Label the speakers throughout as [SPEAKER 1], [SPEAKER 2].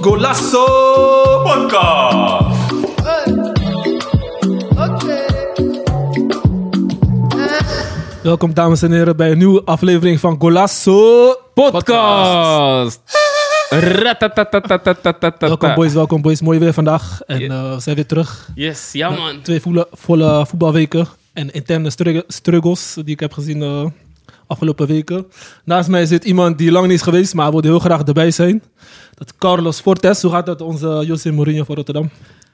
[SPEAKER 1] Golasso Podcast. Welkom dames en heren bij een nieuwe aflevering van Golasso Podcast.
[SPEAKER 2] Podcast.
[SPEAKER 1] Welkom boys, welkom boys. Mooi weer vandaag en
[SPEAKER 2] Yeah.
[SPEAKER 1] eh, we zijn weer terug.
[SPEAKER 2] Yes, ja man.
[SPEAKER 1] Twee voele- volle voetbalweken en interne strugg- struggles die ik heb gezien eh afgelopen weken. Naast mij zit iemand die lang niet is geweest, maar hij wilde heel graag erbij zijn. Dat is Carlos Fortes. Hoe gaat het onze José Mourinho van Rotterdam?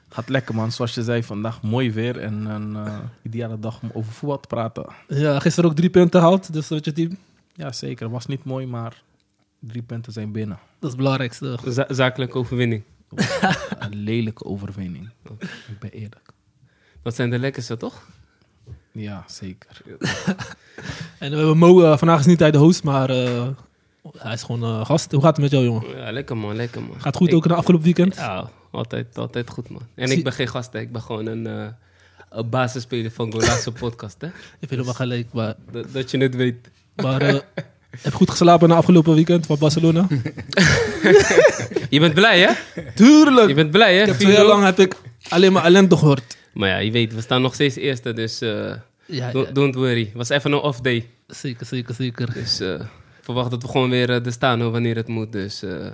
[SPEAKER 3] Gaat lekker man, zoals je zei, vandaag mooi weer en een eh, ideale dag om over voetbal te praten.
[SPEAKER 1] Ja, gisteren ook drie punten gehaald, dus weet je team.
[SPEAKER 3] Ja zeker, was niet mooi, maar drie punten zijn binnen.
[SPEAKER 1] Dat is het belangrijkste.
[SPEAKER 2] Za- zakelijke overwinning.
[SPEAKER 3] Een lelijke overwinning, ik ben eerlijk.
[SPEAKER 2] Dat zijn de lekkerste, toch?
[SPEAKER 3] Ja zeker.
[SPEAKER 1] En we hebben Mo, eh, vandaag is niet hij de host, maar eh, hij is gewoon eh, gast. Hoe gaat het met jou, jongen?
[SPEAKER 2] Ja, lekker man, lekker man.
[SPEAKER 1] Gaat goed
[SPEAKER 2] Ik-
[SPEAKER 1] ook na afgelopen weekend?
[SPEAKER 2] Ja, altijd, altijd goed man. En
[SPEAKER 1] Zie-
[SPEAKER 2] ik ben geen gast, hè. ik ben gewoon een, eh, een basisspeler van Golasso Podcast. Hè.
[SPEAKER 1] Ik vind hem wel gelijk, maar...
[SPEAKER 2] Dat, dat je het weet.
[SPEAKER 1] maar eh, heb goed geslapen na afgelopen weekend van Barcelona?
[SPEAKER 2] Je bent blij, hè?
[SPEAKER 1] Tuurlijk!
[SPEAKER 2] Je bent blij, hè?
[SPEAKER 1] Ik heb twee
[SPEAKER 2] 4-0?
[SPEAKER 1] jaar lang heb ik alleen maar ellende gehoord.
[SPEAKER 2] Maar ja, je weet, we staan nog steeds eerste, dus eh,
[SPEAKER 1] Ja,
[SPEAKER 2] don't, don't worry. was even een off day.
[SPEAKER 1] zeker, zeker, zeker.
[SPEAKER 2] Dus eh, ik verwacht dat we gewoon weer eh, er staan hoor, wanneer het moet. Dus eh,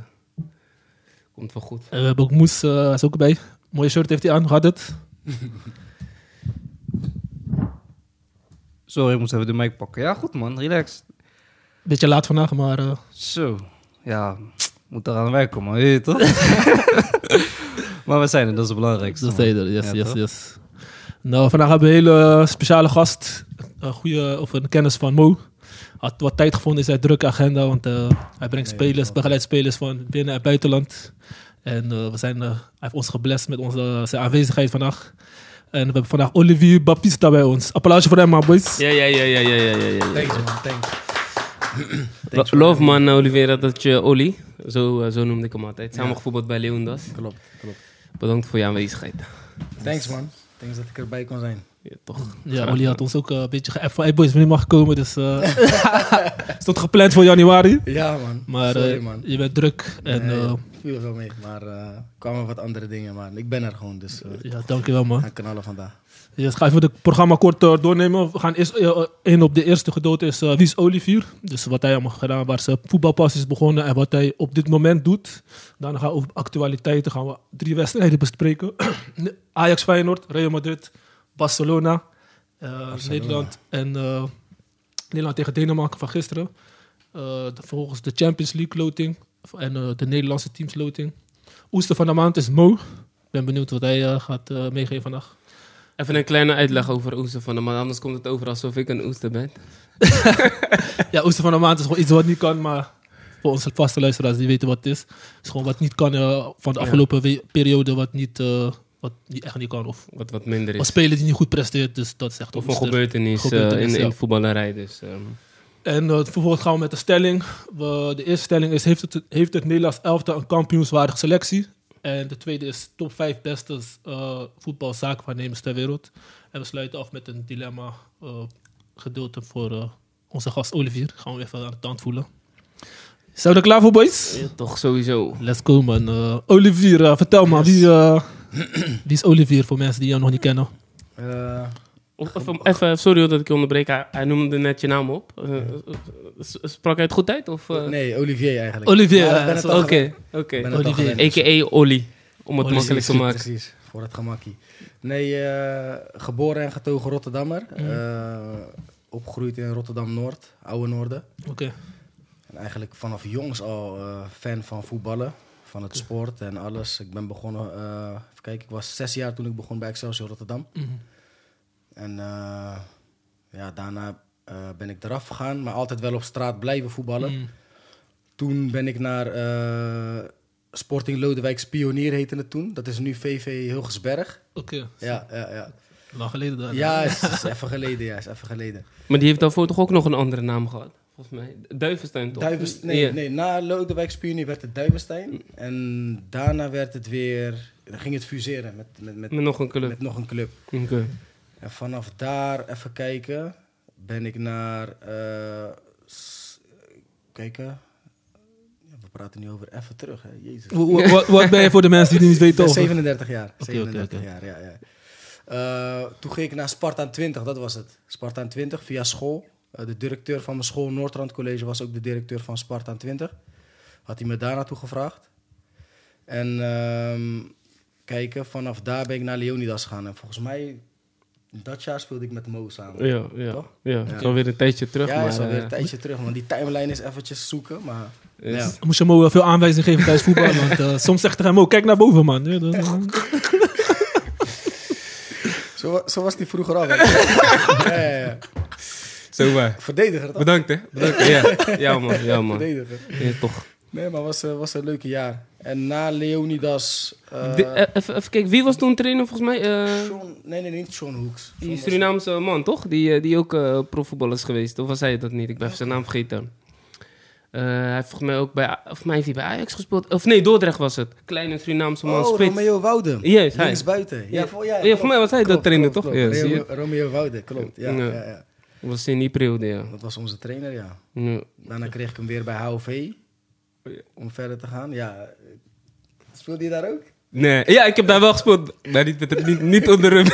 [SPEAKER 2] komt wel goed.
[SPEAKER 1] En we hebben ook Moes, eh, hij is ook bij. Mooie shirt heeft hij aan, gaat het?
[SPEAKER 4] Sorry, ik moest even de mic pakken. Ja, goed man, relax.
[SPEAKER 1] Beetje laat vandaag, maar eh,
[SPEAKER 4] Zo, ja, moet eraan werken man, weet je toch? maar we zijn er, dat is het belangrijkste.
[SPEAKER 1] dat
[SPEAKER 4] man.
[SPEAKER 1] zei hij er. Yes,
[SPEAKER 4] Ja,
[SPEAKER 1] yes,
[SPEAKER 4] toch?
[SPEAKER 1] yes. Nou, vandaag hebben we een hele eh, speciale gast. Een goede, of een kennis van Mo. Had wat tijd gevonden in zijn drukke agenda, want eh, hij brengt spelers, begeleidt spelers van binnen- en buitenland. En eh, we zijn, eh, hij heeft ons geblest met onze, zijn aanwezigheid vandaag. En we hebben vandaag Olivier Baptista bij ons. Applausje voor hem, man, boys.
[SPEAKER 2] Ja, ja, ja, ja, ja, ja, ja. ja.
[SPEAKER 3] Thanks man, thanks.
[SPEAKER 2] Lo- Love man, Oliveira, dat je Oli, zo, eh, zo noemde ik hem altijd. Samen gevoetbald bij Leondas.
[SPEAKER 5] Klopt, klopt.
[SPEAKER 2] Bedankt voor je aanwezigheid.
[SPEAKER 5] Thanks man. Thanks dat ik erbij kon zijn.
[SPEAKER 2] Ja, toch.
[SPEAKER 1] Ja, Olly had ons ook eh, een beetje geappt van, hey boys, wanneer mag ik komen? Dus eh, stond gepland voor januari.
[SPEAKER 5] Ja man.
[SPEAKER 1] Maar eh,
[SPEAKER 5] Sorry man.
[SPEAKER 1] je bent druk en
[SPEAKER 5] Nee,
[SPEAKER 1] eh,
[SPEAKER 5] viel veel mee, maar eh, er kwamen wat andere dingen. Maar ik ben er gewoon, dus eh, we
[SPEAKER 1] ja, dankjewel man.
[SPEAKER 5] gaan knallen vandaag.
[SPEAKER 1] Dus ga even het programma kort eh, doornemen. We gaan eerst eh, in op de eerste gedood is eh, Wie is Olivier? Dus wat hij allemaal gedaan, heeft, waar zijn voetbalpas is begonnen en wat hij op dit moment doet. Dan gaan we over actualiteiten gaan we drie wedstrijden bespreken. Ajax Feyenoord, Real Madrid, Barcelona, eh, Nederland en eh, Nederland tegen Denemarken van gisteren. Eh, de- vervolgens de Champions League loting en eh, de Nederlandse teams loting. Oester van de maand is Mo. Ik ben benieuwd wat hij eh, gaat eh, meegeven vandaag.
[SPEAKER 2] Even een kleine uitleg over oester van de man, anders komt het over alsof ik een oester ben.
[SPEAKER 1] Ja, Ooster van de Maand is gewoon iets wat niet kan, maar voor onze vaste luisteraars die weten wat het is. Het is gewoon wat niet kan eh, van de afgelopen we- periode, wat, niet, eh, wat niet, echt niet kan. Of,
[SPEAKER 2] Wat wat minder
[SPEAKER 1] of
[SPEAKER 2] is.
[SPEAKER 1] spelers die niet goed presteert, dus dat is echt
[SPEAKER 2] Of een
[SPEAKER 1] Ooster.
[SPEAKER 2] gebeurtenis, eh,
[SPEAKER 1] Gebeurtenis,
[SPEAKER 2] in,
[SPEAKER 1] ja.
[SPEAKER 2] in voetballerij. Dus, ehm,
[SPEAKER 1] En eh, vervolgens gaan we met de stelling. We- de eerste stelling is, heeft het, heeft het Nederlands elftal een kampioenswaardige selectie? En de tweede is top 5 beste eh voetbalzaakwaarnemers ter wereld. En we sluiten af met een dilemma eh gedeelte voor eh, onze gast Olivier. Gaan we even aan de tand voelen. Zijn we er klaar voor, boys?
[SPEAKER 2] ja, toch sowieso.
[SPEAKER 1] Let's go, man. Eh, Olivier, eh, vertel maar, wie, eh, wie is Olivier voor mensen die jou nog niet kennen?
[SPEAKER 5] Eh,
[SPEAKER 2] Of Even, even, sorry hoor dat ik je onderbreek, hij, hij noemde net je naam op. Eh, s- sprak hij het goed uit? Of, eh?
[SPEAKER 5] nee, Olivier eigenlijk.
[SPEAKER 1] Olivier,
[SPEAKER 5] Maar ik ben het
[SPEAKER 1] eh,
[SPEAKER 5] al gewend.
[SPEAKER 2] Oké,
[SPEAKER 5] Ik ben
[SPEAKER 2] oké.
[SPEAKER 5] het al
[SPEAKER 1] Olivier.
[SPEAKER 5] gewend.
[SPEAKER 2] A.k.a. Olly, om het
[SPEAKER 1] Olly,
[SPEAKER 2] makkelijk te
[SPEAKER 5] Precies,
[SPEAKER 2] maken.
[SPEAKER 5] Precies, voor het gemakkie. Nee, eh, geboren en getogen Rotterdammer. Eh, opgegroeid in Rotterdam-Noord, Oude Noorden.
[SPEAKER 1] Oké.
[SPEAKER 5] En eigenlijk vanaf jongs al eh, fan van voetballen, van het sport en alles. Ik ben begonnen, eh, even kijken, ik was zes jaar toen ik begon bij Excelsior Rotterdam.
[SPEAKER 1] Mhm.
[SPEAKER 5] En eh, ja, daarna eh, ben ik eraf gegaan, maar altijd wel op straat blijven voetballen.
[SPEAKER 1] Mm.
[SPEAKER 5] Toen ben ik naar eh, Sporting Lodewijks Pionier heette het toen. Dat is nu VV Hilgersberg.
[SPEAKER 1] Oké,
[SPEAKER 5] Ja, ja, ja.
[SPEAKER 1] lang geleden dan.
[SPEAKER 5] Ja, is, is even geleden, ja, is even geleden.
[SPEAKER 2] Maar die heeft daarvoor toch ook nog een andere naam gehad? Volgens mij. Duivenstein toch?
[SPEAKER 5] Duivens- nee,
[SPEAKER 2] Ja. Mm.
[SPEAKER 5] nee, na Lodewijks Pionier werd het Duivenstein. En daarna werd het weer, dan ging het fuseren met, met, met,
[SPEAKER 2] Met nog een club.
[SPEAKER 5] met nog een club.
[SPEAKER 2] Oké.
[SPEAKER 5] En vanaf daar, even kijken, ben ik naar. eh, s- kijken. Ja, we praten nu over even terug, hè? Jezus.
[SPEAKER 1] Wa- wa- wa- Wat ben je voor de mensen die het niet
[SPEAKER 5] Ik ben
[SPEAKER 1] weten? over?
[SPEAKER 5] 37 jaar.
[SPEAKER 1] oké,
[SPEAKER 5] 37
[SPEAKER 1] oké.
[SPEAKER 5] jaar, ja, ja. Eh, toen ging ik naar Spartaan 20, dat was het. Spartaan 20 via school. Eh, de directeur van mijn school, Noordrand College, was ook de directeur van Spartaan 20. Had hij me daar naartoe gevraagd. En ehm, kijken, vanaf daar ben ik naar Leonidas gegaan. En volgens mij, dat jaar speelde ik met Mo samen.
[SPEAKER 2] Ja, ja.
[SPEAKER 5] Toch?
[SPEAKER 2] ja. Het is alweer een tijdje terug.
[SPEAKER 5] ja,
[SPEAKER 2] maar,
[SPEAKER 5] is alweer
[SPEAKER 2] eh,
[SPEAKER 5] een tijdje terug, want die timeline is eventjes zoeken. Maar
[SPEAKER 2] is-
[SPEAKER 5] ja.
[SPEAKER 1] Moest je hem ook wel veel aanwijzingen geven tijdens voetbal. Want eh, soms zegt hij hem ook, kijk naar boven man. Ja, dat-
[SPEAKER 5] zo, wa- zo was die vroeger al. weet je. ja, ja, ja.
[SPEAKER 2] Zo waar.
[SPEAKER 5] Verdediger, toch?
[SPEAKER 2] Bedankt hè. Bedankt. Ja, ja man. Ja, man.
[SPEAKER 5] Verdediger.
[SPEAKER 2] Ja, toch.
[SPEAKER 5] Nee, maar was, eh, was een leuke jaar. En na Leonidas. eh,
[SPEAKER 2] De- eh, even, even kijken, wie was toen trainer volgens mij? Eh,
[SPEAKER 5] Sean- nee, nee, niet Sean Hoeks. Sean
[SPEAKER 2] die
[SPEAKER 5] was-
[SPEAKER 2] Surinaamse man, toch? Die, eh, die ook eh profvoetballer is geweest. Of was hij dat niet? Ik ben even zijn naam vergeten. Eh, hij heeft volgens mij ook bij, of mij heeft hij bij Ajax gespeeld. Of nee, Dordrecht was het. Kleine Surinaamse man,
[SPEAKER 5] Oh,
[SPEAKER 2] spits.
[SPEAKER 5] Romeo Wouden.
[SPEAKER 2] Yes, hij.
[SPEAKER 5] Links buiten. Ja,
[SPEAKER 2] Ja.
[SPEAKER 5] voor, ja,
[SPEAKER 2] Ja,
[SPEAKER 5] klopt.
[SPEAKER 2] voor mij was hij dat
[SPEAKER 5] Klopt,
[SPEAKER 2] trainer,
[SPEAKER 5] klopt,
[SPEAKER 2] toch?
[SPEAKER 5] klopt.
[SPEAKER 2] Ja, zie je?
[SPEAKER 5] Romeo, Romeo Wouden, klopt. Ja,
[SPEAKER 2] Ja.
[SPEAKER 5] ja. Ja, ja.
[SPEAKER 2] Was in die periode, ja.
[SPEAKER 5] Dat was onze trainer, ja.
[SPEAKER 2] Ja.
[SPEAKER 5] Daarna kreeg ik hem weer bij HOV.
[SPEAKER 2] Oh,
[SPEAKER 5] Om verder te gaan. Ja. eh, Speelde je daar ook?
[SPEAKER 2] Nee, ja, ik heb daar wel gespeeld. Maar niet, met- niet, niet onder hem.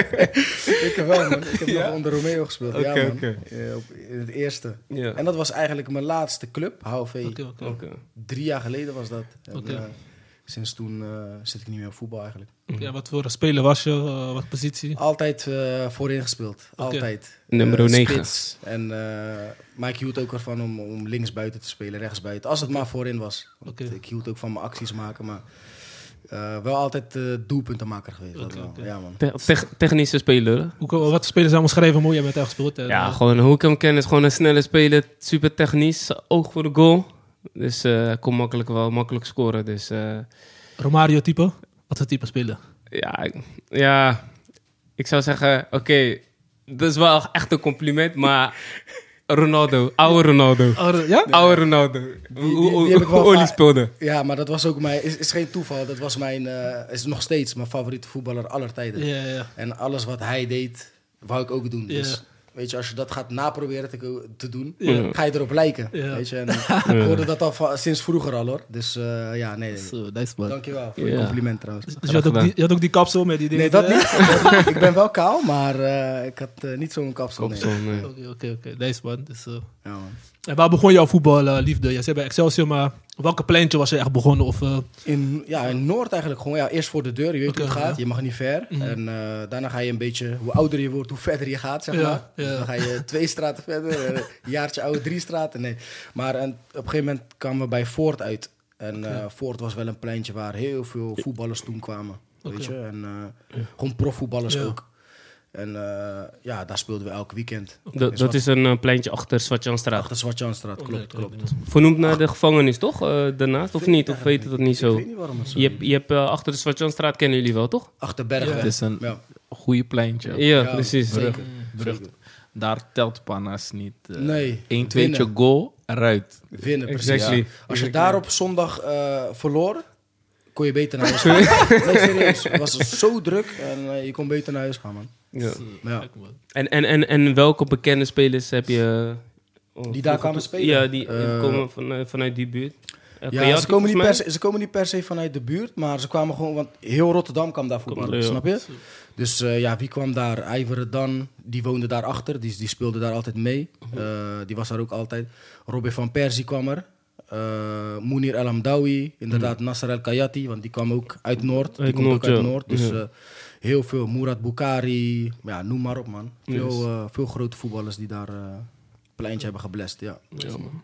[SPEAKER 5] ik heb wel, man. Ik heb nog onder Romeo gespeeld.
[SPEAKER 2] Oké,
[SPEAKER 5] ja, man.
[SPEAKER 2] oké.
[SPEAKER 5] Eh, op- in het eerste.
[SPEAKER 2] Ja.
[SPEAKER 5] En dat was eigenlijk mijn laatste club, HOV.
[SPEAKER 1] Oké, oké.
[SPEAKER 2] Oké.
[SPEAKER 5] Drie jaar geleden was dat. En,
[SPEAKER 1] Oké.
[SPEAKER 5] eh, sinds toen eh, zit ik niet meer op voetbal eigenlijk.
[SPEAKER 1] Oké, eh, wat voor speler was je? eh, wat positie?
[SPEAKER 5] Altijd eh, voorin gespeeld. Altijd.
[SPEAKER 2] Nummer
[SPEAKER 5] Eh,
[SPEAKER 2] 9.
[SPEAKER 5] spits. En, eh, maar ik hield ook ervan om, om links buiten te spelen, rechts buiten. Als het maar voorin was. Want
[SPEAKER 1] Oké.
[SPEAKER 5] Ik hield ook van mijn acties maken, maar eh, wel altijd eh doelpuntenmaker geweest. dat
[SPEAKER 1] Oké,
[SPEAKER 5] wel.
[SPEAKER 1] oké.
[SPEAKER 5] Ja, man.
[SPEAKER 2] Te- tech- technische speler. hè?
[SPEAKER 1] Hoe, wat spelers zijn omschreven? Mooi, jij bent daar gespeeld. En,
[SPEAKER 2] Ja,
[SPEAKER 1] eh,
[SPEAKER 2] gewoon hoe ik hem ken is gewoon een snelle speler. Super technisch. Oog voor de goal. Dus eh kon makkelijk wel makkelijk scoren. Dus eh,
[SPEAKER 1] Romario type? Wat voor type speler?
[SPEAKER 2] ja, ik- ja, ik zou zeggen, oké, dat is wel echt een compliment, maar Ronaldo, oude Ronaldo.
[SPEAKER 1] ja?
[SPEAKER 2] Oude Ronaldo.
[SPEAKER 5] Oh, die-
[SPEAKER 2] Hoe- hoe-
[SPEAKER 5] die heb ik wel
[SPEAKER 2] hoe Oli
[SPEAKER 5] vaak-
[SPEAKER 2] speelde.
[SPEAKER 5] Ja, maar dat was ook mijn. Is, is geen toeval. Dat was mijn. eh, is nog steeds mijn favoriete voetballer aller tijden.
[SPEAKER 1] Ja, ja. Dus
[SPEAKER 5] En alles wat hij deed, wou ik ook doen.
[SPEAKER 1] Ja.
[SPEAKER 5] Dus weet je, als je dat gaat naproberen te, ko- te doen,
[SPEAKER 2] Ja.
[SPEAKER 5] ga je erop lijken.
[SPEAKER 1] Ja.
[SPEAKER 5] Weet je, en ik hoorde dat al van- sinds vroeger al hoor. Dus eh, ja, nee. nee.
[SPEAKER 1] Zo, nice man.
[SPEAKER 5] Dankjewel voor je
[SPEAKER 2] Ja.
[SPEAKER 5] compliment trouwens.
[SPEAKER 1] Dus je had, ook
[SPEAKER 2] gedaan.
[SPEAKER 1] die, je had ook die kapsel met die dingen. eh?
[SPEAKER 5] Nee, dat niet. ik ben wel kaal, maar eh, ik had eh, niet zo'n kapsel. nee.
[SPEAKER 2] Kopsel, nee.
[SPEAKER 1] Oké, oké, oké. Nice man. Dus, eh,
[SPEAKER 5] Ja, man.
[SPEAKER 1] En waar begon jouw voetballiefde? Je zei bij Excelsior, maar op welke pleintje was je echt begonnen? Of, eh,
[SPEAKER 5] In, ja, in Noord eigenlijk gewoon. Ja, eerst voor de deur, je weet
[SPEAKER 1] Oké,
[SPEAKER 5] hoe het gaat.
[SPEAKER 1] ja. Mhm.
[SPEAKER 5] Je mag niet ver. En eh, daarna ga je een beetje, hoe ouder je wordt, hoe verder je gaat, zeg
[SPEAKER 1] Ja,
[SPEAKER 5] maar. Dus
[SPEAKER 1] ja.
[SPEAKER 5] dan ga je twee straten verder, eh, een jaartje ouder, drie straten. Nee. Maar en, op een gegeven moment kwamen we bij Voort uit. En eh, Voort was wel een pleintje waar heel veel voetballers toen kwamen. Weet
[SPEAKER 1] Oké.
[SPEAKER 5] je? En eh, gewoon profvoetballers
[SPEAKER 1] Ja.
[SPEAKER 5] ook. En eh, ja, daar speelden we elk weekend.
[SPEAKER 2] Dat, dat is een eh, pleintje achter Swartjanstraat.
[SPEAKER 5] Achter Zwart-Janstraat, klopt,
[SPEAKER 1] oké, oké.
[SPEAKER 5] klopt.
[SPEAKER 2] Vernoemd naar de gevangenis, toch? eh, daarnaast, of niet? Of weet je dat niet
[SPEAKER 5] Ik
[SPEAKER 2] zo?
[SPEAKER 5] weet niet waarom het zo
[SPEAKER 2] Je hebt, je hebt eh, achter de Swartjanstraat kennen jullie wel, toch?
[SPEAKER 5] Achter
[SPEAKER 3] Het
[SPEAKER 5] Bergweg.
[SPEAKER 3] is een
[SPEAKER 5] Ja.
[SPEAKER 3] goede pleintje.
[SPEAKER 2] Ja,
[SPEAKER 5] Ja,
[SPEAKER 2] precies.
[SPEAKER 5] zeker.
[SPEAKER 3] Brugge. Daar telt Panas niet. eh,
[SPEAKER 5] Nee,
[SPEAKER 3] Eén tweetje
[SPEAKER 5] winnen.
[SPEAKER 3] goal, eruit.
[SPEAKER 5] Winnen, precies.
[SPEAKER 2] Exactly.
[SPEAKER 5] Als je daar op zondag eh, verloor, kon je beter naar huis gaan. Nee, serieus. Het was zo druk en eh, je kon beter naar huis gaan, man.
[SPEAKER 2] Ja.
[SPEAKER 5] Maar ja,
[SPEAKER 1] Kijk, man.
[SPEAKER 2] En, en, en, en welke bekende spelers heb je... eh,
[SPEAKER 5] Die daar
[SPEAKER 2] vroeger
[SPEAKER 5] kwamen
[SPEAKER 2] toe-
[SPEAKER 5] spelen?
[SPEAKER 2] Ja, die die
[SPEAKER 5] Eh,
[SPEAKER 2] komen van, eh, vanuit die buurt. Eh,
[SPEAKER 5] ja,
[SPEAKER 2] Kajati,
[SPEAKER 5] ze, komen niet per
[SPEAKER 2] volgens
[SPEAKER 5] se, ze komen niet per se vanuit de buurt, maar ze kwamen gewoon... Want heel Rotterdam kwam daar voetballen,
[SPEAKER 2] Kom, ja.
[SPEAKER 5] snap je? Dus eh, ja, wie kwam daar? Iveren Dan, die woonde daarachter. Die, die speelde daar altijd mee.
[SPEAKER 2] Mhm.
[SPEAKER 5] Eh, die was daar ook altijd. Robin van Persie kwam er. Eh Mounir El Hamdawi. Inderdaad, Nasser El Kayati. Want die kwam ook uit Noord. Die
[SPEAKER 2] Mhm. Uit
[SPEAKER 5] komt
[SPEAKER 2] Noord,
[SPEAKER 5] ook uit
[SPEAKER 2] ja.
[SPEAKER 5] Noord. Dus
[SPEAKER 2] Ja.
[SPEAKER 5] eh, heel veel. Mourad Bukhari. Ja, noem maar op, man. Veel, eh, veel grote voetballers die daar eh pleintje hebben geblest. Ja.
[SPEAKER 2] mij? Ja, man.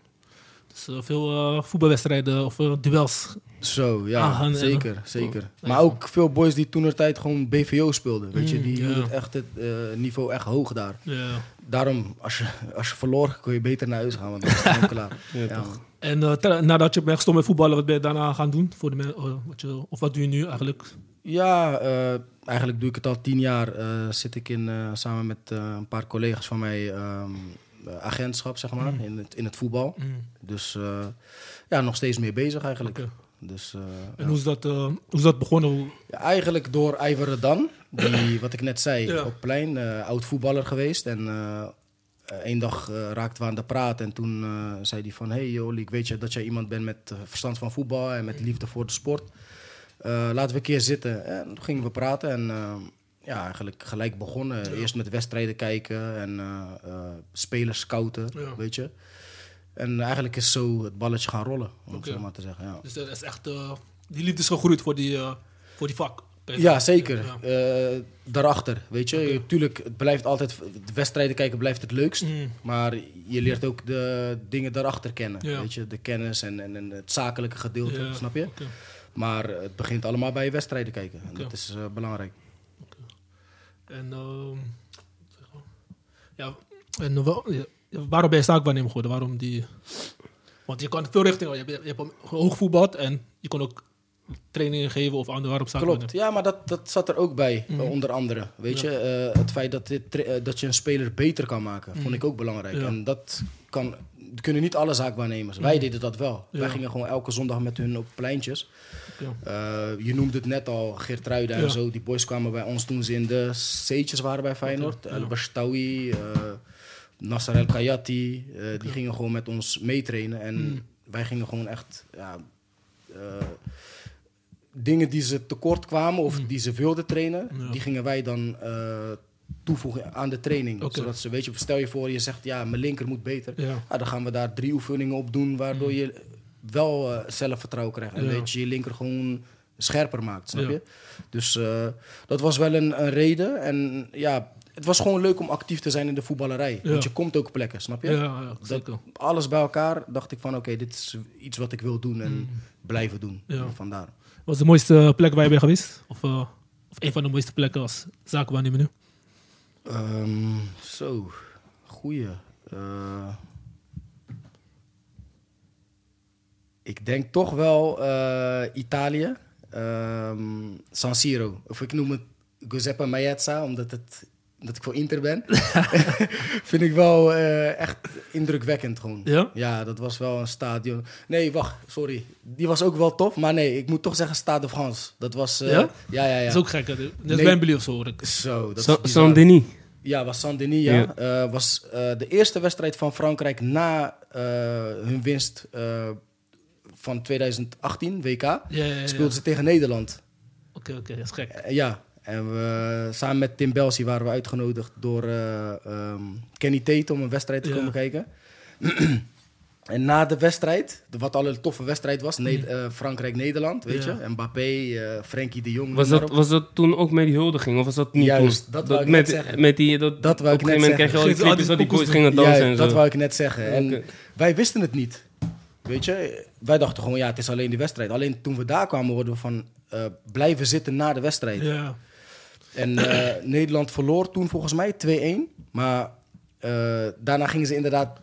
[SPEAKER 1] Dus, eh, veel eh, voetbalwedstrijden of eh, duels.
[SPEAKER 5] Zo, ja,
[SPEAKER 1] Ah, en-
[SPEAKER 5] zeker, zeker. Maar ook veel boys die toen tijd gewoon BVO speelden, weet je,
[SPEAKER 1] Mm,
[SPEAKER 5] die
[SPEAKER 1] ja.
[SPEAKER 5] hielden het echt het eh, niveau echt hoog daar.
[SPEAKER 1] Ja.
[SPEAKER 5] Daarom, als je, als je verloor, kon je beter naar huis gaan, want dan is het gewoon klaar. Ja, man.
[SPEAKER 1] En eh, ter- nadat je bent gestopt met voetballen, wat ben je daarna gaan doen? Voor de men- eh, wat je, of wat doe je nu eigenlijk?
[SPEAKER 5] ja eh, eigenlijk doe ik het al tien jaar. eh, zit ik in, eh, samen met eh, een paar collega's van mij, ehm, eh, agentschap, zeg
[SPEAKER 1] Mm.
[SPEAKER 5] maar, in, het, in het voetbal. Dus eh, ja, nog steeds meer bezig eigenlijk.
[SPEAKER 1] Oké.
[SPEAKER 5] Dus, eh,
[SPEAKER 1] En
[SPEAKER 5] ja.
[SPEAKER 1] hoe, is dat, eh, hoe is dat begonnen? Hoe-
[SPEAKER 5] Ja, eigenlijk door Ivor Redan, die, wat ik net zei,
[SPEAKER 1] Ja.
[SPEAKER 5] op plein, eh, oud voetballer geweest. En eh, Eén dag eh, raakten we aan de praat en toen eh, zei hij van... Hey joh, Liek, weet je dat jij iemand bent met eh, verstand van voetbal en met liefde voor de sport? Eh, laten we een keer zitten. En toen gingen we praten en eh, ja, eigenlijk gelijk begonnen. Eerst met wedstrijden kijken en eh, eh, spelers scouten,
[SPEAKER 1] Ja.
[SPEAKER 5] weet je. En eigenlijk is zo het balletje gaan rollen, om
[SPEAKER 1] Oké.
[SPEAKER 5] het zo maar te zeggen. Ja.
[SPEAKER 1] Dus dat is echt, eh, die liefde is gegroeid voor die, eh, voor die vak.
[SPEAKER 5] Ja, zeker.
[SPEAKER 1] Ja.
[SPEAKER 5] Eh, daarachter, weet je. Je- Tuurlijk, het blijft altijd... de Wedstrijden kijken blijft het leukst.
[SPEAKER 1] Mm.
[SPEAKER 5] Maar je leert ook de dingen daarachter kennen.
[SPEAKER 1] Ja.
[SPEAKER 5] Weet je, de kennis en, en, en het zakelijke gedeelte,
[SPEAKER 1] Ja.
[SPEAKER 5] snap je?
[SPEAKER 1] Oké.
[SPEAKER 5] Maar het begint allemaal bij je wedstrijden kijken. En
[SPEAKER 1] Oké.
[SPEAKER 5] dat is eh, belangrijk.
[SPEAKER 1] En, ehm, wat zeg ik nou? ja, en wel- ja, waarom ben je zaakwaarnemer geworden? Waarom die... Want je kan veel richtingen. Je hebt, je hebt hoog voetbal en je kon ook trainingen geven of andere. Waarom zaakwaarnemer?
[SPEAKER 5] Klopt. Ja, maar dat, dat zat er ook bij,
[SPEAKER 1] Mm-hmm.
[SPEAKER 5] eh, onder andere. Weet je, eh, het feit dat, dit, tra- eh, dat je een speler beter kan maken, vond ik ook belangrijk.
[SPEAKER 1] Mm. Ja. Mm-hmm.
[SPEAKER 5] En dat kan, kunnen niet alle zaakwaarnemers. Wij deden dat wel.
[SPEAKER 1] Ja.
[SPEAKER 5] Wij gingen gewoon elke zondag met hun op pleintjes.
[SPEAKER 1] Ja.
[SPEAKER 5] Eh, je noemde het net al, Geertruida
[SPEAKER 1] Ja.
[SPEAKER 5] en zo. Die boys kwamen bij ons toen ze in de C'tjes waren bij Feyenoord.
[SPEAKER 1] Oké, ja.
[SPEAKER 5] El Bashtawi, eh, Nasser El Kayati. eh, Die gingen gewoon met ons meetrainen. En
[SPEAKER 1] Mm.
[SPEAKER 5] wij gingen gewoon echt... Ja, eh, dingen die ze tekort kwamen of die ze wilden trainen...
[SPEAKER 1] Mm. Ja.
[SPEAKER 5] die gingen wij dan eh, toevoegen aan de training.
[SPEAKER 1] Oké.
[SPEAKER 5] Zodat ze, weet je, stel je voor, je zegt... ja, mijn linker moet beter.
[SPEAKER 1] Ja.
[SPEAKER 5] Ah, dan gaan we daar drie oefeningen op doen, waardoor je wel eh, zelfvertrouwen krijgt. En
[SPEAKER 1] Mm. Ja.
[SPEAKER 5] weet je, je linker gewoon scherper maakt, snap
[SPEAKER 1] Ja.
[SPEAKER 5] je? Dus eh, dat was wel een, een reden. En ja, het was gewoon leuk om actief te zijn in de voetballerij.
[SPEAKER 1] Ja.
[SPEAKER 5] Want je komt ook plekken, snap je?
[SPEAKER 1] Ja, ja, zeker.
[SPEAKER 5] Dat, alles bij elkaar dacht ik van, oké, dit is iets wat ik wil doen en blijven doen.
[SPEAKER 1] Mm. Ja.
[SPEAKER 5] Vandaar.
[SPEAKER 1] Wat was de mooiste plek waar je bent geweest? Of, eh, of een van de mooiste plekken als zaakwaarnemer nu?
[SPEAKER 5] Ehm, zo, goeie. Eh, ik denk toch wel eh, Italië. Ehm, San Siro. Of ik noem het Giuseppe Maezza, omdat, het, omdat ik voor Inter ben. Vind ik wel eh, echt indrukwekkend gewoon.
[SPEAKER 1] Ja?
[SPEAKER 5] dat was wel een stadion. Nee, wacht, sorry. Die was ook wel tof, maar nee, ik moet toch zeggen Stade de France. Dat was... eh,
[SPEAKER 1] Ja?
[SPEAKER 5] Ja, ja, ja.
[SPEAKER 1] Dat is ook gek. hè? Net
[SPEAKER 5] Nee.
[SPEAKER 1] Wembley of zo hoor ik.
[SPEAKER 5] Zo, dat
[SPEAKER 2] Sa-
[SPEAKER 5] is eh, bizar.
[SPEAKER 2] Saint-Denis.
[SPEAKER 5] Ja, was Saint-Denis, ja.
[SPEAKER 2] Ja.
[SPEAKER 5] Eh, was eh, de eerste wedstrijd van Frankrijk na eh, hun winst eh, van 2018, WK.
[SPEAKER 1] Ja, ja, ja. ja.
[SPEAKER 5] Speelden ze tegen Nederland.
[SPEAKER 1] Oké, oké, dat is gek.
[SPEAKER 5] Eh, ja, en we, samen met Tim Belsi waren we uitgenodigd door eh, ehm, Kenny Tate om een wedstrijd te
[SPEAKER 1] Ja.
[SPEAKER 5] komen kijken. en na de wedstrijd, de- wat al een toffe wedstrijd was, Ne- eh, Frankrijk-Nederland, weet
[SPEAKER 1] Mm. Ja.
[SPEAKER 5] je. Mbappé, eh, Frenkie de Jong.
[SPEAKER 2] Was
[SPEAKER 5] noem
[SPEAKER 2] dat,
[SPEAKER 5] maar op.
[SPEAKER 2] was dat toen ook met die huldiging? Of was dat niet
[SPEAKER 5] Juist,
[SPEAKER 2] toen?
[SPEAKER 5] dat wou ik net
[SPEAKER 2] met,
[SPEAKER 5] zeggen.
[SPEAKER 2] met die, dat,
[SPEAKER 5] Dat wou
[SPEAKER 2] op
[SPEAKER 5] ik
[SPEAKER 2] een gegeven
[SPEAKER 5] net
[SPEAKER 2] moment krijg je al die
[SPEAKER 1] zeggen. Gingen
[SPEAKER 2] clipjes
[SPEAKER 1] ze al
[SPEAKER 2] dat
[SPEAKER 1] die
[SPEAKER 2] die boys
[SPEAKER 1] pokoes
[SPEAKER 2] gingen dansen
[SPEAKER 5] ja,
[SPEAKER 2] en zo.
[SPEAKER 5] dat wou ik net zeggen. En
[SPEAKER 2] Oké.
[SPEAKER 5] wij wisten het niet. Weet je, wij dachten gewoon, ja, het is alleen die wedstrijd. Alleen toen we daar kwamen, worden we van eh, blijven zitten na de wedstrijd.
[SPEAKER 1] Ja,
[SPEAKER 5] En eh, Nederland verloor toen volgens mij 2-1. Maar eh, daarna gingen ze inderdaad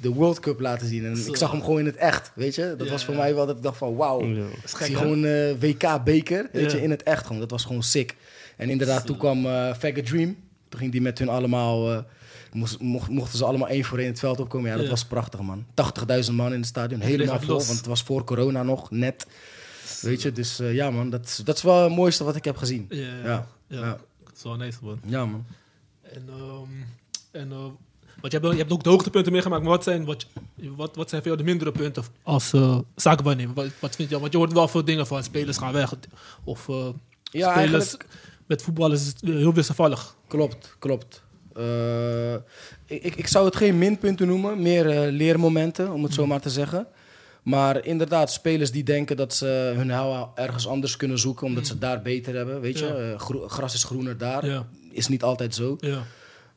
[SPEAKER 5] de World Cup laten zien. En
[SPEAKER 1] Zo.
[SPEAKER 5] ik zag hem gewoon in het echt, weet je. Dat
[SPEAKER 1] Ja,
[SPEAKER 5] was voor
[SPEAKER 1] ja.
[SPEAKER 5] mij wel dat ik dacht van, wauw.
[SPEAKER 2] Ja.
[SPEAKER 5] Ik
[SPEAKER 1] gek,
[SPEAKER 5] zie
[SPEAKER 1] hè?
[SPEAKER 5] gewoon eh, WK-beker, weet
[SPEAKER 1] Ja.
[SPEAKER 5] je, in het echt gewoon. Dat was gewoon sick. En inderdaad, toen kwam eh Faggot Dream. Toen ging die met hun allemaal... eh, moest- mocht- mochten ze allemaal één voor één het veld opkomen. Ja, dat
[SPEAKER 1] Ja.
[SPEAKER 5] was prachtig, man. 80.000 man in het stadion.
[SPEAKER 1] Iedereen
[SPEAKER 5] Helemaal
[SPEAKER 1] gaat
[SPEAKER 5] vol,
[SPEAKER 1] los.
[SPEAKER 5] want het was voor corona nog, net. Weet je, dus eh, ja, man. Dat, is- dat is wel het mooiste wat ik heb gezien.
[SPEAKER 1] ja, ja. ja.
[SPEAKER 5] Ja,
[SPEAKER 1] ja.
[SPEAKER 5] ja.
[SPEAKER 1] Dat is wel nice man.
[SPEAKER 5] Ja, man.
[SPEAKER 1] En, ehm, en ehm, want je hebt, je hebt ook de hoogtepunten meegemaakt, maar wat zijn, wat, wat, wat zijn voor jou de mindere punten als eh zaakwaarnemer? Wat, wat vind je? Want je hoort wel veel dingen van spelers gaan weg. Of eh,
[SPEAKER 5] Ja,
[SPEAKER 1] spelers
[SPEAKER 5] eigenlijk-
[SPEAKER 1] met voetballers is het heel wisselvallig.
[SPEAKER 5] Klopt, klopt. Eh, ik, ik- ik zou het geen minpunten noemen, meer eh, leermomenten, om het zo maar te zeggen. Maar inderdaad, spelers die denken dat ze hun hel ergens anders kunnen zoeken, omdat ze het daar beter hebben. Weet je,
[SPEAKER 1] Ja.
[SPEAKER 5] Eh, groe- gras is groener daar.
[SPEAKER 1] Ja.
[SPEAKER 5] Is niet altijd zo.
[SPEAKER 1] Ja.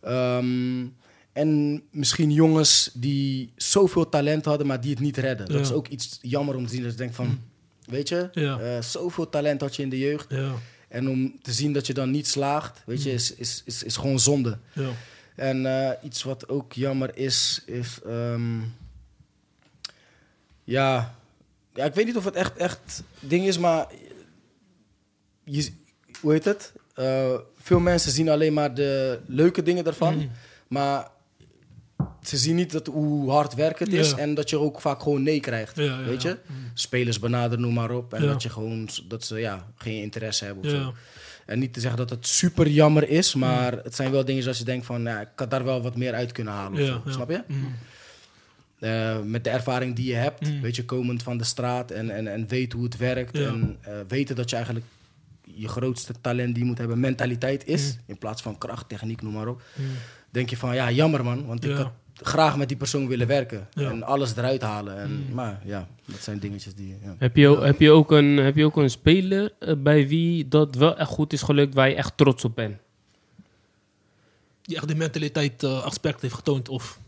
[SPEAKER 5] Ehm, en misschien jongens die zoveel talent hadden, maar die het niet redden. Dat
[SPEAKER 1] Ja.
[SPEAKER 5] is ook iets jammer om te zien. Dat je denkt van, weet je,
[SPEAKER 1] Ja.
[SPEAKER 5] eh, zoveel talent had je in de jeugd.
[SPEAKER 1] Ja.
[SPEAKER 5] En om te zien dat je dan niet slaagt, weet je,
[SPEAKER 1] Mm.
[SPEAKER 5] is, is, is, is gewoon zonde.
[SPEAKER 1] Ja.
[SPEAKER 5] En eh, iets wat ook jammer is, is... ehm, ja, ja, ik weet niet of het echt, echt ding is, maar... Je, hoe heet het? Eh, veel mensen zien alleen maar de leuke dingen daarvan.
[SPEAKER 1] Mhm.
[SPEAKER 5] Maar ze zien niet dat, hoe hard werk het is.
[SPEAKER 1] Ja.
[SPEAKER 5] En dat je ook vaak gewoon nee krijgt,
[SPEAKER 1] Ja, ja,
[SPEAKER 5] weet
[SPEAKER 1] ja. Mhm.
[SPEAKER 5] je? Spelers benaderen, noem maar op. En
[SPEAKER 1] Ja.
[SPEAKER 5] dat, je gewoon, dat ze ja, geen interesse hebben of
[SPEAKER 1] Ja.
[SPEAKER 5] zo. En niet te zeggen dat het super jammer is, maar het zijn wel dingen zoals je denkt van, nou, ik had daar wel wat meer uit kunnen halen. of
[SPEAKER 1] Ja,
[SPEAKER 5] zo,
[SPEAKER 1] ja.
[SPEAKER 5] Snap je?
[SPEAKER 1] Mm.
[SPEAKER 5] Eh, met de ervaring die je hebt,
[SPEAKER 1] Mm.
[SPEAKER 5] weet je, komend van de straat en, en, en weet hoe het werkt.
[SPEAKER 1] Ja.
[SPEAKER 5] En eh, weten dat je eigenlijk je grootste talent die je moet hebben, mentaliteit
[SPEAKER 1] Mm.
[SPEAKER 5] is. In plaats van kracht, techniek, noem maar op. Denk je van, ja, jammer man, want
[SPEAKER 1] Ja.
[SPEAKER 5] ik had graag met die persoon willen werken.
[SPEAKER 1] Ja. Mm.
[SPEAKER 5] En alles eruit halen. En, Maar ja, dat zijn dingetjes die... Ja.
[SPEAKER 2] Heb je, heb, je ook een, heb je ook een speler eh, bij wie dat wel echt goed is gelukt, waar je echt trots op bent?
[SPEAKER 1] Die echt de mentaliteit eh, aspect heeft getoond. Of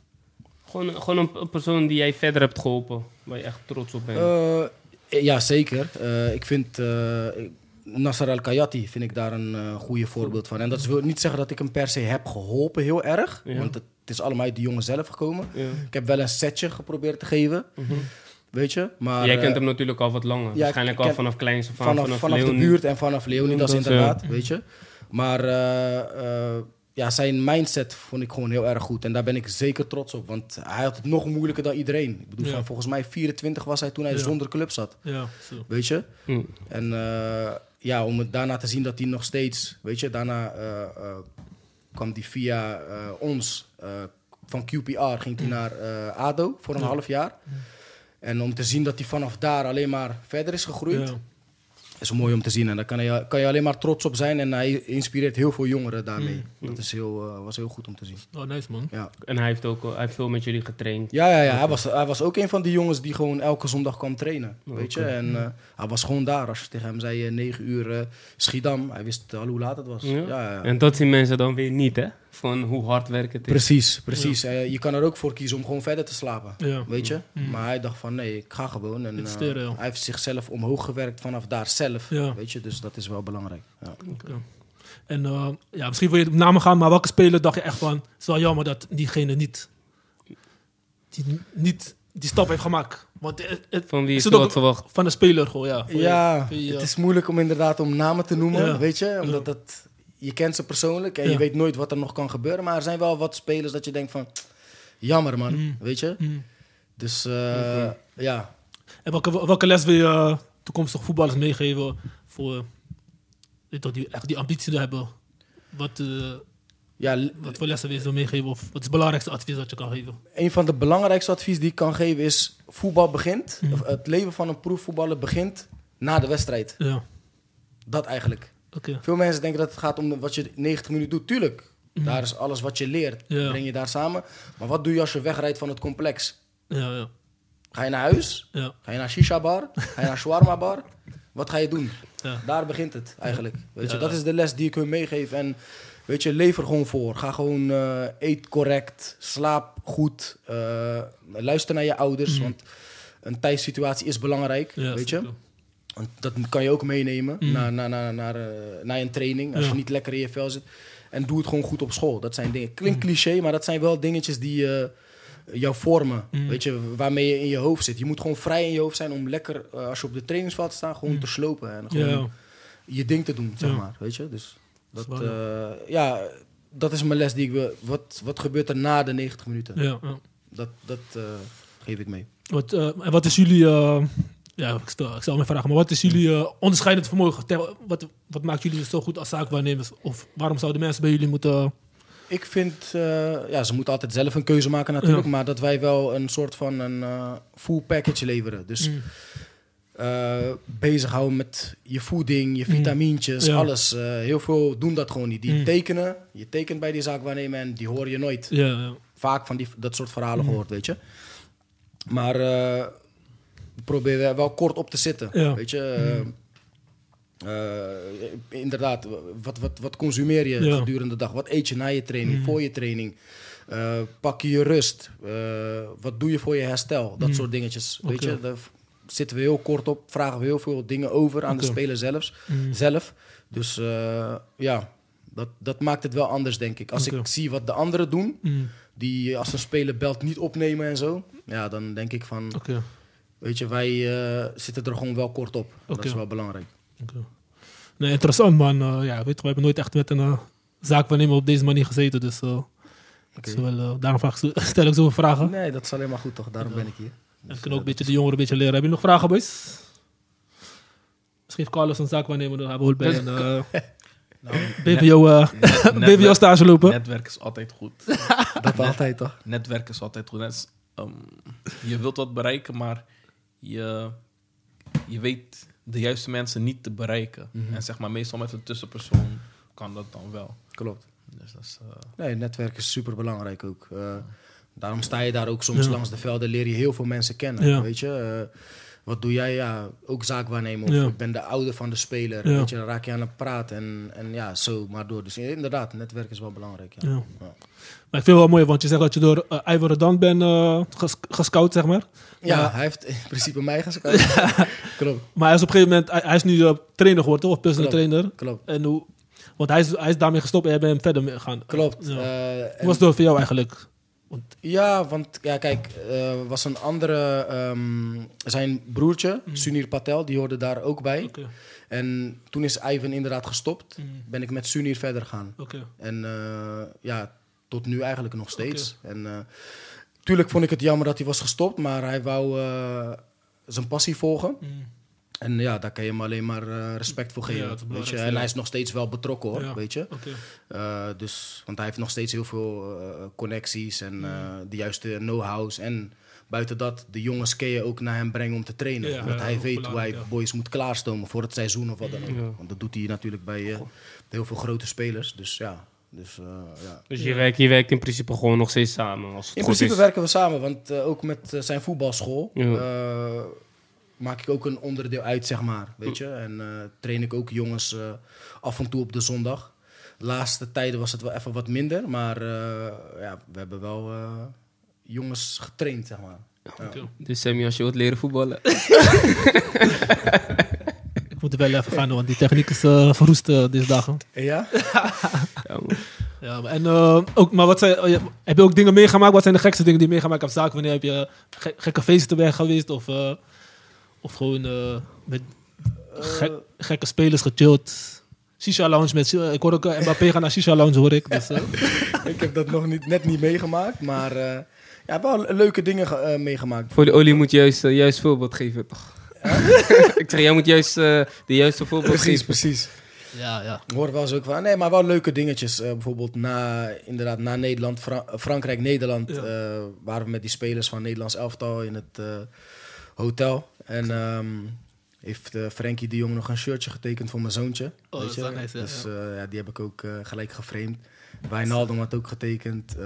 [SPEAKER 2] Gewoon, gewoon een, een persoon die jij verder hebt geholpen, waar je echt trots op bent.
[SPEAKER 5] Eh, ja, zeker. Eh, ik vind eh Nasser Al-Kayati vind ik daar een eh goede voorbeeld van. En dat wil niet zeggen dat ik hem per se heb geholpen heel erg.
[SPEAKER 2] Ja.
[SPEAKER 5] Want het, het is allemaal uit de jongen zelf gekomen.
[SPEAKER 2] ja. Mhm.
[SPEAKER 5] Ik heb wel een setje geprobeerd te geven. Weet je? Maar,
[SPEAKER 2] jij
[SPEAKER 5] eh,
[SPEAKER 2] kent hem natuurlijk al wat langer.
[SPEAKER 5] ik-
[SPEAKER 2] Waarschijnlijk
[SPEAKER 5] ik
[SPEAKER 2] al
[SPEAKER 5] ken-
[SPEAKER 2] vanaf eh, kleins af aan,
[SPEAKER 5] vanaf, vanaf, de
[SPEAKER 2] Leeuwen.
[SPEAKER 5] buurt en vanaf Leonidas
[SPEAKER 2] Leonidas,
[SPEAKER 5] inderdaad, weet je. Maar eh, eh, ja, zijn mindset vond ik gewoon heel erg goed. En daar ben ik zeker trots op. Want hij had het nog moeilijker dan iedereen. Ik bedoel,
[SPEAKER 1] Ja.
[SPEAKER 5] van, volgens mij 24 was hij toen hij
[SPEAKER 1] Ja.
[SPEAKER 5] zonder club zat.
[SPEAKER 1] ja, zo.
[SPEAKER 5] Weet je?
[SPEAKER 2] Hm.
[SPEAKER 5] En eh, ja, om het daarna te zien dat hij nog steeds, weet je, daarna eh, eh, kwam hij via eh, ons eh, van QPR ging hij naar eh, ADO voor een half jaar. En om te zien dat hij vanaf daar alleen maar verder is gegroeid,
[SPEAKER 1] Ja.
[SPEAKER 5] is mooi om te zien. En daar kan je, kan je alleen maar trots op zijn. En hij inspireert heel veel jongeren daarmee. Dat is heel, eh, was heel goed om te zien.
[SPEAKER 1] Oh, nice man.
[SPEAKER 5] Ja,
[SPEAKER 2] En hij heeft ook eh, hij heeft veel met jullie getraind.
[SPEAKER 5] ja, ja, ja. Hij, was, hij was ook een van die jongens die gewoon elke zondag kwam trainen. Weet je? En eh, hij was gewoon daar. Als je tegen hem zei eh, 9 uur eh, Schiedam, hij wist al hoe laat het was.
[SPEAKER 2] Ja.
[SPEAKER 5] Ja, ja, ja.
[SPEAKER 2] En dat zien mensen dan weer niet, hè? Van hoe hard werken het is.
[SPEAKER 5] Precies, precies. Eh, je kan er ook voor kiezen om gewoon verder te slapen.
[SPEAKER 1] Ja.
[SPEAKER 5] Weet je? Maar hij dacht van nee, ik ga gewoon. En,
[SPEAKER 1] Ik
[SPEAKER 5] eh,
[SPEAKER 1] steer, ja.
[SPEAKER 5] hij heeft zichzelf omhoog gewerkt vanaf daar zelf.
[SPEAKER 1] Ja.
[SPEAKER 5] Weet je? Dus dat is wel belangrijk. Ja.
[SPEAKER 1] Oké. En eh, ja, misschien wil je op namen gaan, maar welke speler dacht je echt van... Het is wel jammer dat diegene niet die, niet die stap heeft gemaakt. Want eh, het-
[SPEAKER 2] Van wie
[SPEAKER 1] Is
[SPEAKER 2] is
[SPEAKER 1] het
[SPEAKER 2] dat
[SPEAKER 1] ook-
[SPEAKER 2] verwacht?
[SPEAKER 1] van de speler gewoon, ja. Voor je-
[SPEAKER 5] Ja,
[SPEAKER 1] voor je-
[SPEAKER 5] het is moeilijk om inderdaad om namen te noemen,
[SPEAKER 1] Ja.
[SPEAKER 5] weet je? Omdat dat, je kent ze persoonlijk en
[SPEAKER 1] Ja.
[SPEAKER 5] je weet nooit wat er nog kan gebeuren. Maar er zijn wel wat spelers dat je denkt van, jammer man,
[SPEAKER 1] Mm.
[SPEAKER 5] weet je?
[SPEAKER 1] Mm.
[SPEAKER 5] Dus eh, ja,
[SPEAKER 1] En welke, welke les wil je eh, toekomstige voetballers meegeven voor eh, weet toch, die echt die ambitie te hebben? Wat, eh,
[SPEAKER 5] ja l-
[SPEAKER 1] wat voor lessen wil je ze meegeven? Of wat is het belangrijkste advies dat je kan geven?
[SPEAKER 5] een van de belangrijkste advies die ik kan geven is, voetbal begint,
[SPEAKER 1] Mm.
[SPEAKER 5] of het leven van een proefvoetballer begint na de wedstrijd.
[SPEAKER 1] Ja,
[SPEAKER 5] Dat eigenlijk.
[SPEAKER 1] oké.
[SPEAKER 5] Veel mensen denken dat het gaat om wat je 90 minuten doet. Tuurlijk, daar is alles wat je leert,
[SPEAKER 1] Mm. Ja.
[SPEAKER 5] breng je daar samen. Maar wat doe je als je wegrijdt van het complex?
[SPEAKER 1] Ja, ja,
[SPEAKER 5] Ga je naar huis?
[SPEAKER 1] ja.
[SPEAKER 5] Ga je naar shisha bar? Ga je naar shawarma bar? Wat ga je doen?
[SPEAKER 1] Ja.
[SPEAKER 5] Daar begint het eigenlijk. Weet je,
[SPEAKER 1] Ja.
[SPEAKER 5] dat is de les die ik hun meegeef. En weet je, lever gewoon voor. Ga gewoon eh, eet correct, slaap goed, eh, luister naar je ouders. Want een thuissituatie is belangrijk,
[SPEAKER 1] Mm. ja
[SPEAKER 5] weet je.
[SPEAKER 1] zeker.
[SPEAKER 5] Want dat kan je ook meenemen naar, naar, naar, naar, eh, naar een training. Als
[SPEAKER 1] Mm. Ja.
[SPEAKER 5] je niet lekker in je vel zit. En doe het gewoon goed op school. Dat zijn dingen. Klinkt
[SPEAKER 1] Mm.
[SPEAKER 5] cliché, maar dat zijn wel dingetjes die eh, jou vormen.
[SPEAKER 1] Mm.
[SPEAKER 5] Weet je, waarmee je in je hoofd zit. Je moet gewoon vrij in je hoofd zijn om lekker, eh, als je op de trainingsveld staat, gewoon te slopen. En
[SPEAKER 1] Mm. Ja,
[SPEAKER 5] gewoon
[SPEAKER 1] ja.
[SPEAKER 5] je ding te doen, zeg
[SPEAKER 1] Ja.
[SPEAKER 5] maar. Weet je, dus dat,
[SPEAKER 1] Dat is
[SPEAKER 5] eh, ja, dat is mijn les die ik wil. Wat, wat gebeurt er na de 90 minuten?
[SPEAKER 1] ja, ja.
[SPEAKER 5] Dat, dat eh, geef ik mee.
[SPEAKER 1] Wat, eh, en wat is jullie... eh, ja, ik stel, ik stel mijn vragen, maar wat is jullie eh, onderscheidend vermogen? Ter- wat, wat maakt jullie zo goed als zaakwaarnemers? Of waarom zouden mensen bij jullie moeten...
[SPEAKER 5] Ik vind, eh, ja, ze moeten altijd zelf een keuze maken natuurlijk,
[SPEAKER 1] Ja.
[SPEAKER 5] maar dat wij wel een soort van een eh, full package leveren. Dus
[SPEAKER 1] Mm.
[SPEAKER 5] eh, bezighouden met je voeding, je vitamintjes,
[SPEAKER 1] Mm. Ja.
[SPEAKER 5] alles. Eh, heel veel doen dat gewoon niet. Die
[SPEAKER 1] Mm.
[SPEAKER 5] tekenen, je tekent bij die zaak waarnemen en die hoor je nooit.
[SPEAKER 1] Ja, eh, ja.
[SPEAKER 5] Vaak van die, dat soort verhalen
[SPEAKER 1] Mhm.
[SPEAKER 5] gehoord, weet je. Maar eh, we proberen wel kort op te zitten,
[SPEAKER 1] Ja. Mhm.
[SPEAKER 5] weet je. Eh, eh, inderdaad, wat, wat, wat consumeer je
[SPEAKER 1] Ja. Mhm.
[SPEAKER 5] gedurende de dag? Wat eet je na je training, voor je training? Eh, pak je je rust? Eh, wat doe je voor je herstel? Dat soort dingetjes. Weet
[SPEAKER 1] Mhm. Oké.
[SPEAKER 5] je, daar v- zitten we heel kort op, vragen we heel veel dingen over aan de
[SPEAKER 1] Oké.
[SPEAKER 5] speler zelfs,
[SPEAKER 1] Mm.
[SPEAKER 5] zelf. Dus eh, ja, dat, dat maakt het wel anders, denk ik. Als
[SPEAKER 1] Oké.
[SPEAKER 5] ik zie wat de anderen doen,
[SPEAKER 1] Mm.
[SPEAKER 5] die eh, als een speler belt niet opnemen en zo, ja, dan denk ik van,
[SPEAKER 1] Oké.
[SPEAKER 5] weet je, wij eh, zitten er gewoon wel kort op. Dat
[SPEAKER 1] Oké.
[SPEAKER 5] is wel belangrijk.
[SPEAKER 1] Oké. Nee, interessant man. Eh, ja, weet, je, we hebben nooit echt met een eh, zaakwaarnemer op deze manier gezeten. Dus eh, het is wel, eh, daarom vraag ik zo- stel ik zoveel vragen.
[SPEAKER 5] Nee, dat is alleen maar goed toch? Daarom ben ik hier.
[SPEAKER 1] En we kunnen ook een beetje de jongeren een beetje leren. Hebben jullie nog vragen, boys? Misschien heeft Carlos een zaakwaarnemer, dan hebben we het bij.
[SPEAKER 2] Dat-
[SPEAKER 1] En, eh,
[SPEAKER 3] Nou,
[SPEAKER 1] BVO, eh BVO
[SPEAKER 3] netwerk,
[SPEAKER 1] stage lopen.
[SPEAKER 3] netwerk is altijd goed.
[SPEAKER 5] Dat altijd toch?
[SPEAKER 3] netwerk is altijd goed. Dat is, ehm, je wilt wat bereiken, maar je, je weet de juiste mensen niet te bereiken. En zeg maar, meestal met een tussenpersoon kan dat dan wel.
[SPEAKER 5] Klopt.
[SPEAKER 3] Dus dat is, eh,
[SPEAKER 5] Nee, netwerk is super belangrijk ook. Eh, daarom sta je daar ook soms langs de velden, leer je heel veel mensen kennen.
[SPEAKER 1] Ja.
[SPEAKER 5] Weet je, Eh, wat doe jij? Ja, ook zaak waarnemen. Of
[SPEAKER 1] Ja.
[SPEAKER 5] ik ben de oude van de speler.
[SPEAKER 1] Ja.
[SPEAKER 5] Weet je, dan raak je aan het praten en, en ja, zo maar door. Dus inderdaad, netwerk is wel belangrijk. Ja.
[SPEAKER 1] Ja.
[SPEAKER 5] Ja.
[SPEAKER 1] Maar ik vind het wel mooi, want je zegt dat je door eh, Ivor Redan bent eh, ges- gescout, zeg maar.
[SPEAKER 5] Ja,
[SPEAKER 1] Maar-
[SPEAKER 5] hij heeft in principe mij gescout. klopt,
[SPEAKER 1] Maar hij is op een gegeven moment, hij, hij is nu eh, trainer geworden, toch? Of personal
[SPEAKER 5] Klopt.
[SPEAKER 1] trainer.
[SPEAKER 5] klopt,
[SPEAKER 1] En hoe, want hij is, hij is daarmee gestopt en jij bent verder mee gegaan.
[SPEAKER 5] klopt.
[SPEAKER 1] Ja.
[SPEAKER 5] Eh, en-
[SPEAKER 1] Hoe was het door voor jou eigenlijk?
[SPEAKER 5] Ja, want ja, kijk, eh, was een andere, ehm, zijn broertje, Sunir Patel, die hoorde daar ook bij.
[SPEAKER 1] Mm. Oké.
[SPEAKER 5] En toen is Ivan inderdaad gestopt,
[SPEAKER 1] Mm.
[SPEAKER 5] ben ik met Sunir verder gaan.
[SPEAKER 1] Oké.
[SPEAKER 5] En eh, ja, tot nu eigenlijk nog steeds. En eh, tuurlijk vond ik het jammer dat hij was gestopt, maar hij wou eh, zijn passie volgen.
[SPEAKER 1] Mm.
[SPEAKER 5] En ja, daar kan je hem alleen maar eh, respect voor
[SPEAKER 1] Ja,
[SPEAKER 5] geven.
[SPEAKER 1] dat is
[SPEAKER 5] weet je?
[SPEAKER 1] belangrijk,
[SPEAKER 5] En
[SPEAKER 1] ja.
[SPEAKER 5] hij is nog steeds wel betrokken hoor,
[SPEAKER 1] Ja.
[SPEAKER 5] weet je.
[SPEAKER 1] Oké.
[SPEAKER 5] Eh, dus, want hij heeft nog steeds heel veel eh, connecties en
[SPEAKER 1] Mm.
[SPEAKER 5] eh, de juiste know-hows. En buiten dat, de jongens kun je ook naar hem brengen om te trainen.
[SPEAKER 1] Ja,
[SPEAKER 5] want
[SPEAKER 1] ja,
[SPEAKER 5] hij
[SPEAKER 1] ook
[SPEAKER 5] weet hoe hij
[SPEAKER 1] belangrijk, ja.
[SPEAKER 5] boys moet klaarstomen voor het seizoen of wat dan ook. Want dat doet hij natuurlijk bij eh, heel veel grote spelers. Dus ja, dus, eh, ja.
[SPEAKER 2] Dus je werkt, je werkt in principe gewoon nog steeds samen. Als het
[SPEAKER 5] In
[SPEAKER 2] goed
[SPEAKER 5] principe
[SPEAKER 2] is.
[SPEAKER 5] werken we samen, want eh, ook met eh, zijn voetbalschool
[SPEAKER 2] Ja.
[SPEAKER 5] eh, maak ik ook een onderdeel uit, zeg maar. Weet je? En eh, train ik ook jongens eh, af en toe op de zondag. Laatste tijden was het wel even wat minder, maar eh, ja, we hebben wel eh, jongens getraind, zeg maar. Ja.
[SPEAKER 2] Dus Sammy, als je wilt leren voetballen.
[SPEAKER 1] Ik moet er wel even gaan, want die techniek is eh, verroest eh, deze dagen.
[SPEAKER 5] Ja?
[SPEAKER 2] Ja, man.
[SPEAKER 1] Ja, maar, en, eh, ook, maar wat zijn, oh ja, heb je ook dingen meegemaakt? Wat zijn de gekste dingen die je meegemaakt hebt op zaak? Wanneer heb je ge- gekke feesten weg geweest? Of, eh, of gewoon eh, met gek-
[SPEAKER 5] Eh.
[SPEAKER 1] gekke spelers gechilled? Shisha Lounge met... eh, Ik hoor ook eh, Mbappé gaan naar Shisha Lounge, hoor ik. Dus, eh,
[SPEAKER 5] ik heb dat nog niet, net niet meegemaakt, maar eh, ja, wel le- leuke dingen ge- eh, meegemaakt.
[SPEAKER 2] Voor de olie moet je juist, eh, juist voorbeeld geven, toch? ik zeg, jij moet juist eh, de juiste voorbeeld geven.
[SPEAKER 5] precies.
[SPEAKER 1] ja, ja.
[SPEAKER 5] Ik hoor wel eens ook van, nee, maar wel leuke dingetjes. Eh, bijvoorbeeld na, inderdaad, na Nederland, Fra- Frankrijk, Nederland,
[SPEAKER 1] Ja.
[SPEAKER 5] eh, waren we met die spelers van Nederlands elftal in het eh, hotel. En ehm, heeft eh, Frenkie de Jong nog een shirtje getekend voor mijn zoontje.
[SPEAKER 1] Oh, dat
[SPEAKER 5] weet
[SPEAKER 1] is
[SPEAKER 5] je?
[SPEAKER 1] wel nice, ja,
[SPEAKER 5] dus eh, ja, die heb ik ook eh, gelijk geframed. Wijnaldum had ook getekend, eh,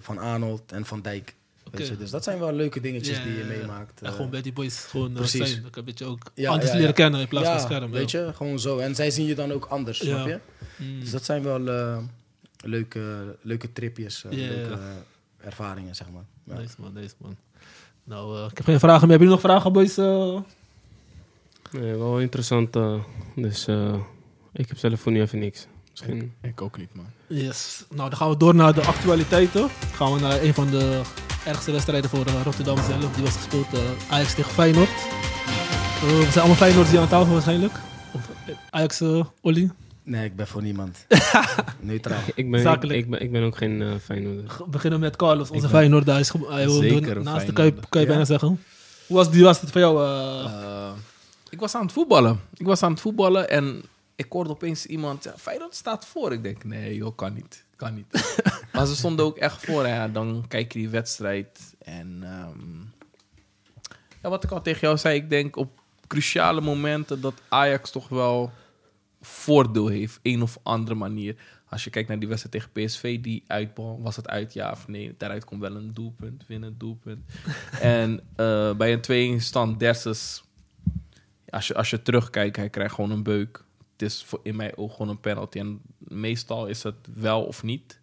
[SPEAKER 5] Van Arnold en Van Dijk.
[SPEAKER 1] Oké.
[SPEAKER 5] Weet je? Dus dat zijn wel leuke dingetjes
[SPEAKER 1] Ja,
[SPEAKER 5] die je
[SPEAKER 1] ja, ja.
[SPEAKER 5] meemaakt.
[SPEAKER 1] En
[SPEAKER 5] eh.
[SPEAKER 1] gewoon bij die boys gewoon eh,
[SPEAKER 5] precies.
[SPEAKER 1] zijn. Dan kan je een beetje ook
[SPEAKER 5] Ja,
[SPEAKER 1] anders
[SPEAKER 5] ja, ja.
[SPEAKER 1] leren kennen in plaats
[SPEAKER 5] ja,
[SPEAKER 1] van scherm.
[SPEAKER 5] weet je, gewoon zo. En zij zien je dan ook anders,
[SPEAKER 1] Ja.
[SPEAKER 5] snap je?
[SPEAKER 1] Mm.
[SPEAKER 5] Dus dat zijn wel eh, leuke, leuke tripjes, eh,
[SPEAKER 1] Ja, ja, ja.
[SPEAKER 5] leuke eh, ervaringen, zeg maar. Ja.
[SPEAKER 1] Nice man, nice man. Nou, eh, ik heb geen vragen meer. Hebben jullie nog vragen, boys? eh?
[SPEAKER 2] Nee, wel interessant. eh, dus eh, ik heb zelf voor nu even niks. Misschien.
[SPEAKER 3] ik ook niet, man.
[SPEAKER 1] Yes. Nou, dan gaan we door naar de actualiteiten. Dan gaan we naar een van de ergste wedstrijden voor eh, Rotterdam zelf. Die was gespeeld eh, Ajax tegen Feyenoord. Eh, we zijn allemaal Feyenoords hier aan tafel waarschijnlijk. Of, eh, Ajax, eh Olly.
[SPEAKER 5] Nee, ik ben voor niemand. Neutraal.
[SPEAKER 2] Ik ben, ik,
[SPEAKER 1] Zakelijk.
[SPEAKER 2] ik ben, ik ben ook geen eh Feyenoorder.
[SPEAKER 1] We beginnen met Carlos, onze Feyenoord. Hij is ge- hij woont
[SPEAKER 3] zeker
[SPEAKER 1] door-
[SPEAKER 3] een
[SPEAKER 1] naast de
[SPEAKER 3] Feyenoorder.
[SPEAKER 1] Kuip, kan je bijna zeggen. Hoe was die was het voor jou? eh?
[SPEAKER 3] Eh, ik was aan het voetballen. Ik was aan het voetballen en ik hoorde opeens iemand... Ja, Feyenoord staat voor. Ik denk, nee joh, kan niet. Kan niet. maar ze stonden ook echt voor. hè. Ja, dan kijk je die wedstrijd. En ehm, ja, wat ik al tegen jou zei, ik denk op cruciale momenten dat Ajax toch wel voordeel heeft. Een of andere manier. Als je kijkt naar die wedstrijd tegen PSV, die uitbal, was het uit ja of nee? Daaruit komt wel een doelpunt, winnen, doelpunt. en eh, bij een 2-1 stand, Dersus, als je, als je terugkijkt, hij krijgt gewoon een beuk. Het is voor, in mijn ogen gewoon een penalty. En meestal is het wel of niet.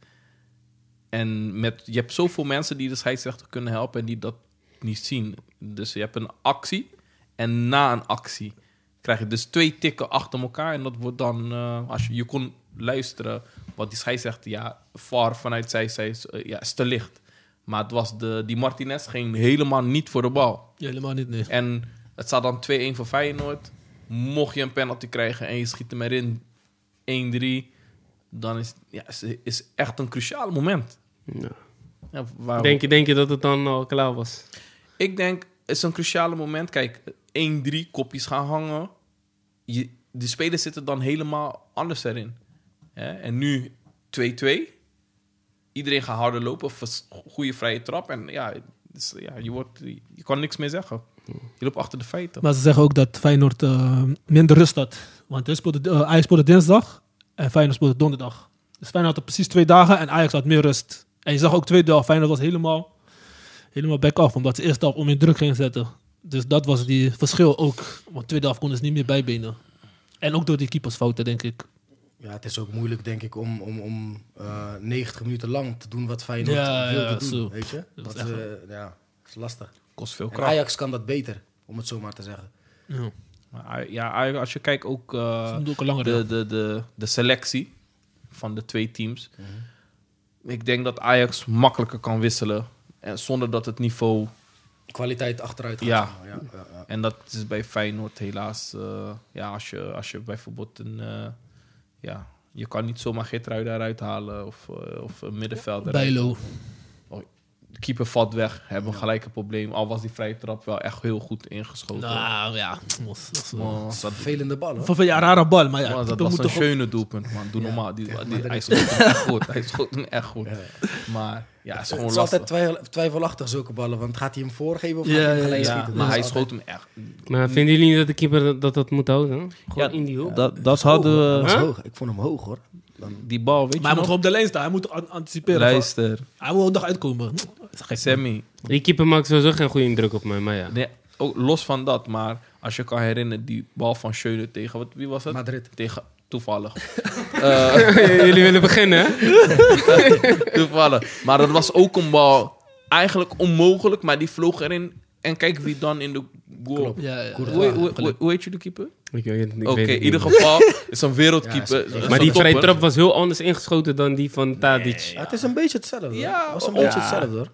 [SPEAKER 3] En met, je hebt zoveel mensen die de scheidsrechter kunnen helpen en die dat niet zien. Dus je hebt een actie en na een actie krijg je dus twee tikken achter elkaar. En dat wordt dan, eh, als je, je kon luisteren, wat die scheidsrechter, ja, VAR vanuit zij, zij is, eh, ja, is te licht. Maar het was de, die Martinez ging helemaal niet voor de bal.
[SPEAKER 1] Ja, helemaal niet, nee.
[SPEAKER 3] En het staat dan 2-1 voor Feyenoord. Mocht je een penalty krijgen en je schiet hem erin 1-3, dan is ja, is, is echt een cruciaal moment.
[SPEAKER 2] Ja.
[SPEAKER 3] Ja, waarom-
[SPEAKER 2] Denk, je, denk je dat het dan al klaar was?
[SPEAKER 3] Ik denk, het is een cruciale moment. Kijk, 1-3 kopjes gaan hangen. Je, de spelers zitten dan helemaal anders erin. Hè? En nu 2-2. Iedereen gaat harder lopen. vers- Goede vrije trap. En ja, dus, ja je, wordt, je kan niks meer zeggen. Je loopt achter de feiten.
[SPEAKER 1] Maar ze zeggen ook dat Feyenoord eh, minder rust had. Want hij speelde, eh, Ajax speelde dinsdag en Feyenoord speelde donderdag. Dus Feyenoord had precies twee dagen en Ajax had meer rust. En je zag ook tweede dag, Feyenoord was helemaal, helemaal back-off. Omdat ze eerst half om in druk ging zetten. Dus dat was die verschil ook. Want tweede half konden ze niet meer bijbenen. En ook door die keepersfouten, denk ik.
[SPEAKER 5] Ja, het is ook moeilijk, denk ik, om, om, om eh, 90 minuten lang te doen wat Feyenoord
[SPEAKER 1] Ja,
[SPEAKER 5] wilde
[SPEAKER 1] ja,
[SPEAKER 5] doen.
[SPEAKER 1] zo.
[SPEAKER 5] Weet je?
[SPEAKER 1] Dat
[SPEAKER 5] Dat,
[SPEAKER 1] is echt
[SPEAKER 5] eh, ja, dat is lastig.
[SPEAKER 3] Kost veel
[SPEAKER 5] En
[SPEAKER 3] kracht.
[SPEAKER 5] Ajax kan dat beter, om het zo maar te zeggen.
[SPEAKER 1] Ja,
[SPEAKER 3] Maar Aj- ja, Aj- als je kijkt ook... eh,
[SPEAKER 1] dat ook een langere.
[SPEAKER 3] de, de, de, de selectie van de twee teams. Ik denk dat Ajax makkelijker kan wisselen. En zonder dat het niveau.
[SPEAKER 5] Kwaliteit achteruit gaat.
[SPEAKER 3] Ja.
[SPEAKER 5] zeg maar. Ja, Oh, ja, ja.
[SPEAKER 3] En dat is bij Feyenoord helaas. eh, ja, als je, als je bijvoorbeeld een. eh, ja, je kan niet zomaar Geertrui daaruit halen. Of, eh, of een middenveld. eruit.
[SPEAKER 1] Bijlo.
[SPEAKER 3] De keeper valt weg. Hebben we gelijk een probleem. Al was die vrije trap wel echt heel goed ingeschoten. Oh.
[SPEAKER 1] Nou ja, dat is een
[SPEAKER 3] Maar dat,
[SPEAKER 5] Vervelende bal, hoor.
[SPEAKER 1] een rare bal. Maar ja,
[SPEAKER 3] maar dat
[SPEAKER 1] keeper
[SPEAKER 3] was
[SPEAKER 1] moet
[SPEAKER 3] een
[SPEAKER 1] toch ook-
[SPEAKER 3] schöne doelpunt, man. Doe
[SPEAKER 5] Ja.
[SPEAKER 3] normaal. Die,
[SPEAKER 5] Ja,
[SPEAKER 3] die,
[SPEAKER 5] maar dat
[SPEAKER 3] hij
[SPEAKER 5] is-
[SPEAKER 3] schoot hem echt goed. Hij schoot hem echt goed. Maar ja, het is
[SPEAKER 5] Het
[SPEAKER 3] gewoon
[SPEAKER 5] is
[SPEAKER 3] lastig.
[SPEAKER 5] altijd twijfel- twijfelachtig, zulke ballen. Want gaat hij hem voorgeven of
[SPEAKER 1] Ja,
[SPEAKER 5] gaat hij
[SPEAKER 1] ja,
[SPEAKER 5] hem gelijk
[SPEAKER 1] ja.
[SPEAKER 5] schieten?
[SPEAKER 3] Maar
[SPEAKER 5] Dat
[SPEAKER 3] hij
[SPEAKER 5] is altijd-
[SPEAKER 3] schoot hem echt.
[SPEAKER 2] Maar vinden jullie niet dat de keeper dat dat, dat moet houden? Gewoon
[SPEAKER 3] Ja,
[SPEAKER 2] in die hoek.
[SPEAKER 4] Dat, dat hadden
[SPEAKER 5] Hoog,
[SPEAKER 4] we...
[SPEAKER 5] hoor. Hij was
[SPEAKER 2] Huh?
[SPEAKER 5] hoog. Ik vond hem hoog, hoor. Dan,
[SPEAKER 3] Die bal, weet
[SPEAKER 1] Maar hij moet
[SPEAKER 3] je nog?
[SPEAKER 1] gewoon op de lijn staan. Hij moet an- anticiperen.
[SPEAKER 3] Luister,
[SPEAKER 1] Hij moet er nog uitkomen. Dat is gek.
[SPEAKER 3] Sammy.
[SPEAKER 2] Die keeper maakt sowieso geen goede indruk op mij, maar ja.
[SPEAKER 3] Nee, ook los van dat, maar als je kan herinneren, die bal van Schöne tegen... Wat, wie was dat?
[SPEAKER 5] Madrid.
[SPEAKER 3] Tegen... Toevallig. Eh,
[SPEAKER 2] jullie willen beginnen, hè?
[SPEAKER 3] toevallig. Maar dat was ook een bal eigenlijk onmogelijk, maar die vloog erin. En kijk wie dan in de goal...
[SPEAKER 5] Klopt.
[SPEAKER 1] Ja, ja.
[SPEAKER 3] Hoe, hoe, hoe- hoe heet je de keeper?
[SPEAKER 2] Ik weet het niet.
[SPEAKER 3] Oké, in ieder geval is een
[SPEAKER 5] Ja, is-
[SPEAKER 3] wereldkeeper.
[SPEAKER 5] is-
[SPEAKER 2] Maar die vrije
[SPEAKER 3] vrij
[SPEAKER 2] trap was heel anders ingeschoten dan die van Tadic.
[SPEAKER 5] Ja, het is een beetje hetzelfde, hoor.
[SPEAKER 3] Ja,
[SPEAKER 5] Het was een
[SPEAKER 3] ja.
[SPEAKER 5] beetje hetzelfde, hoor.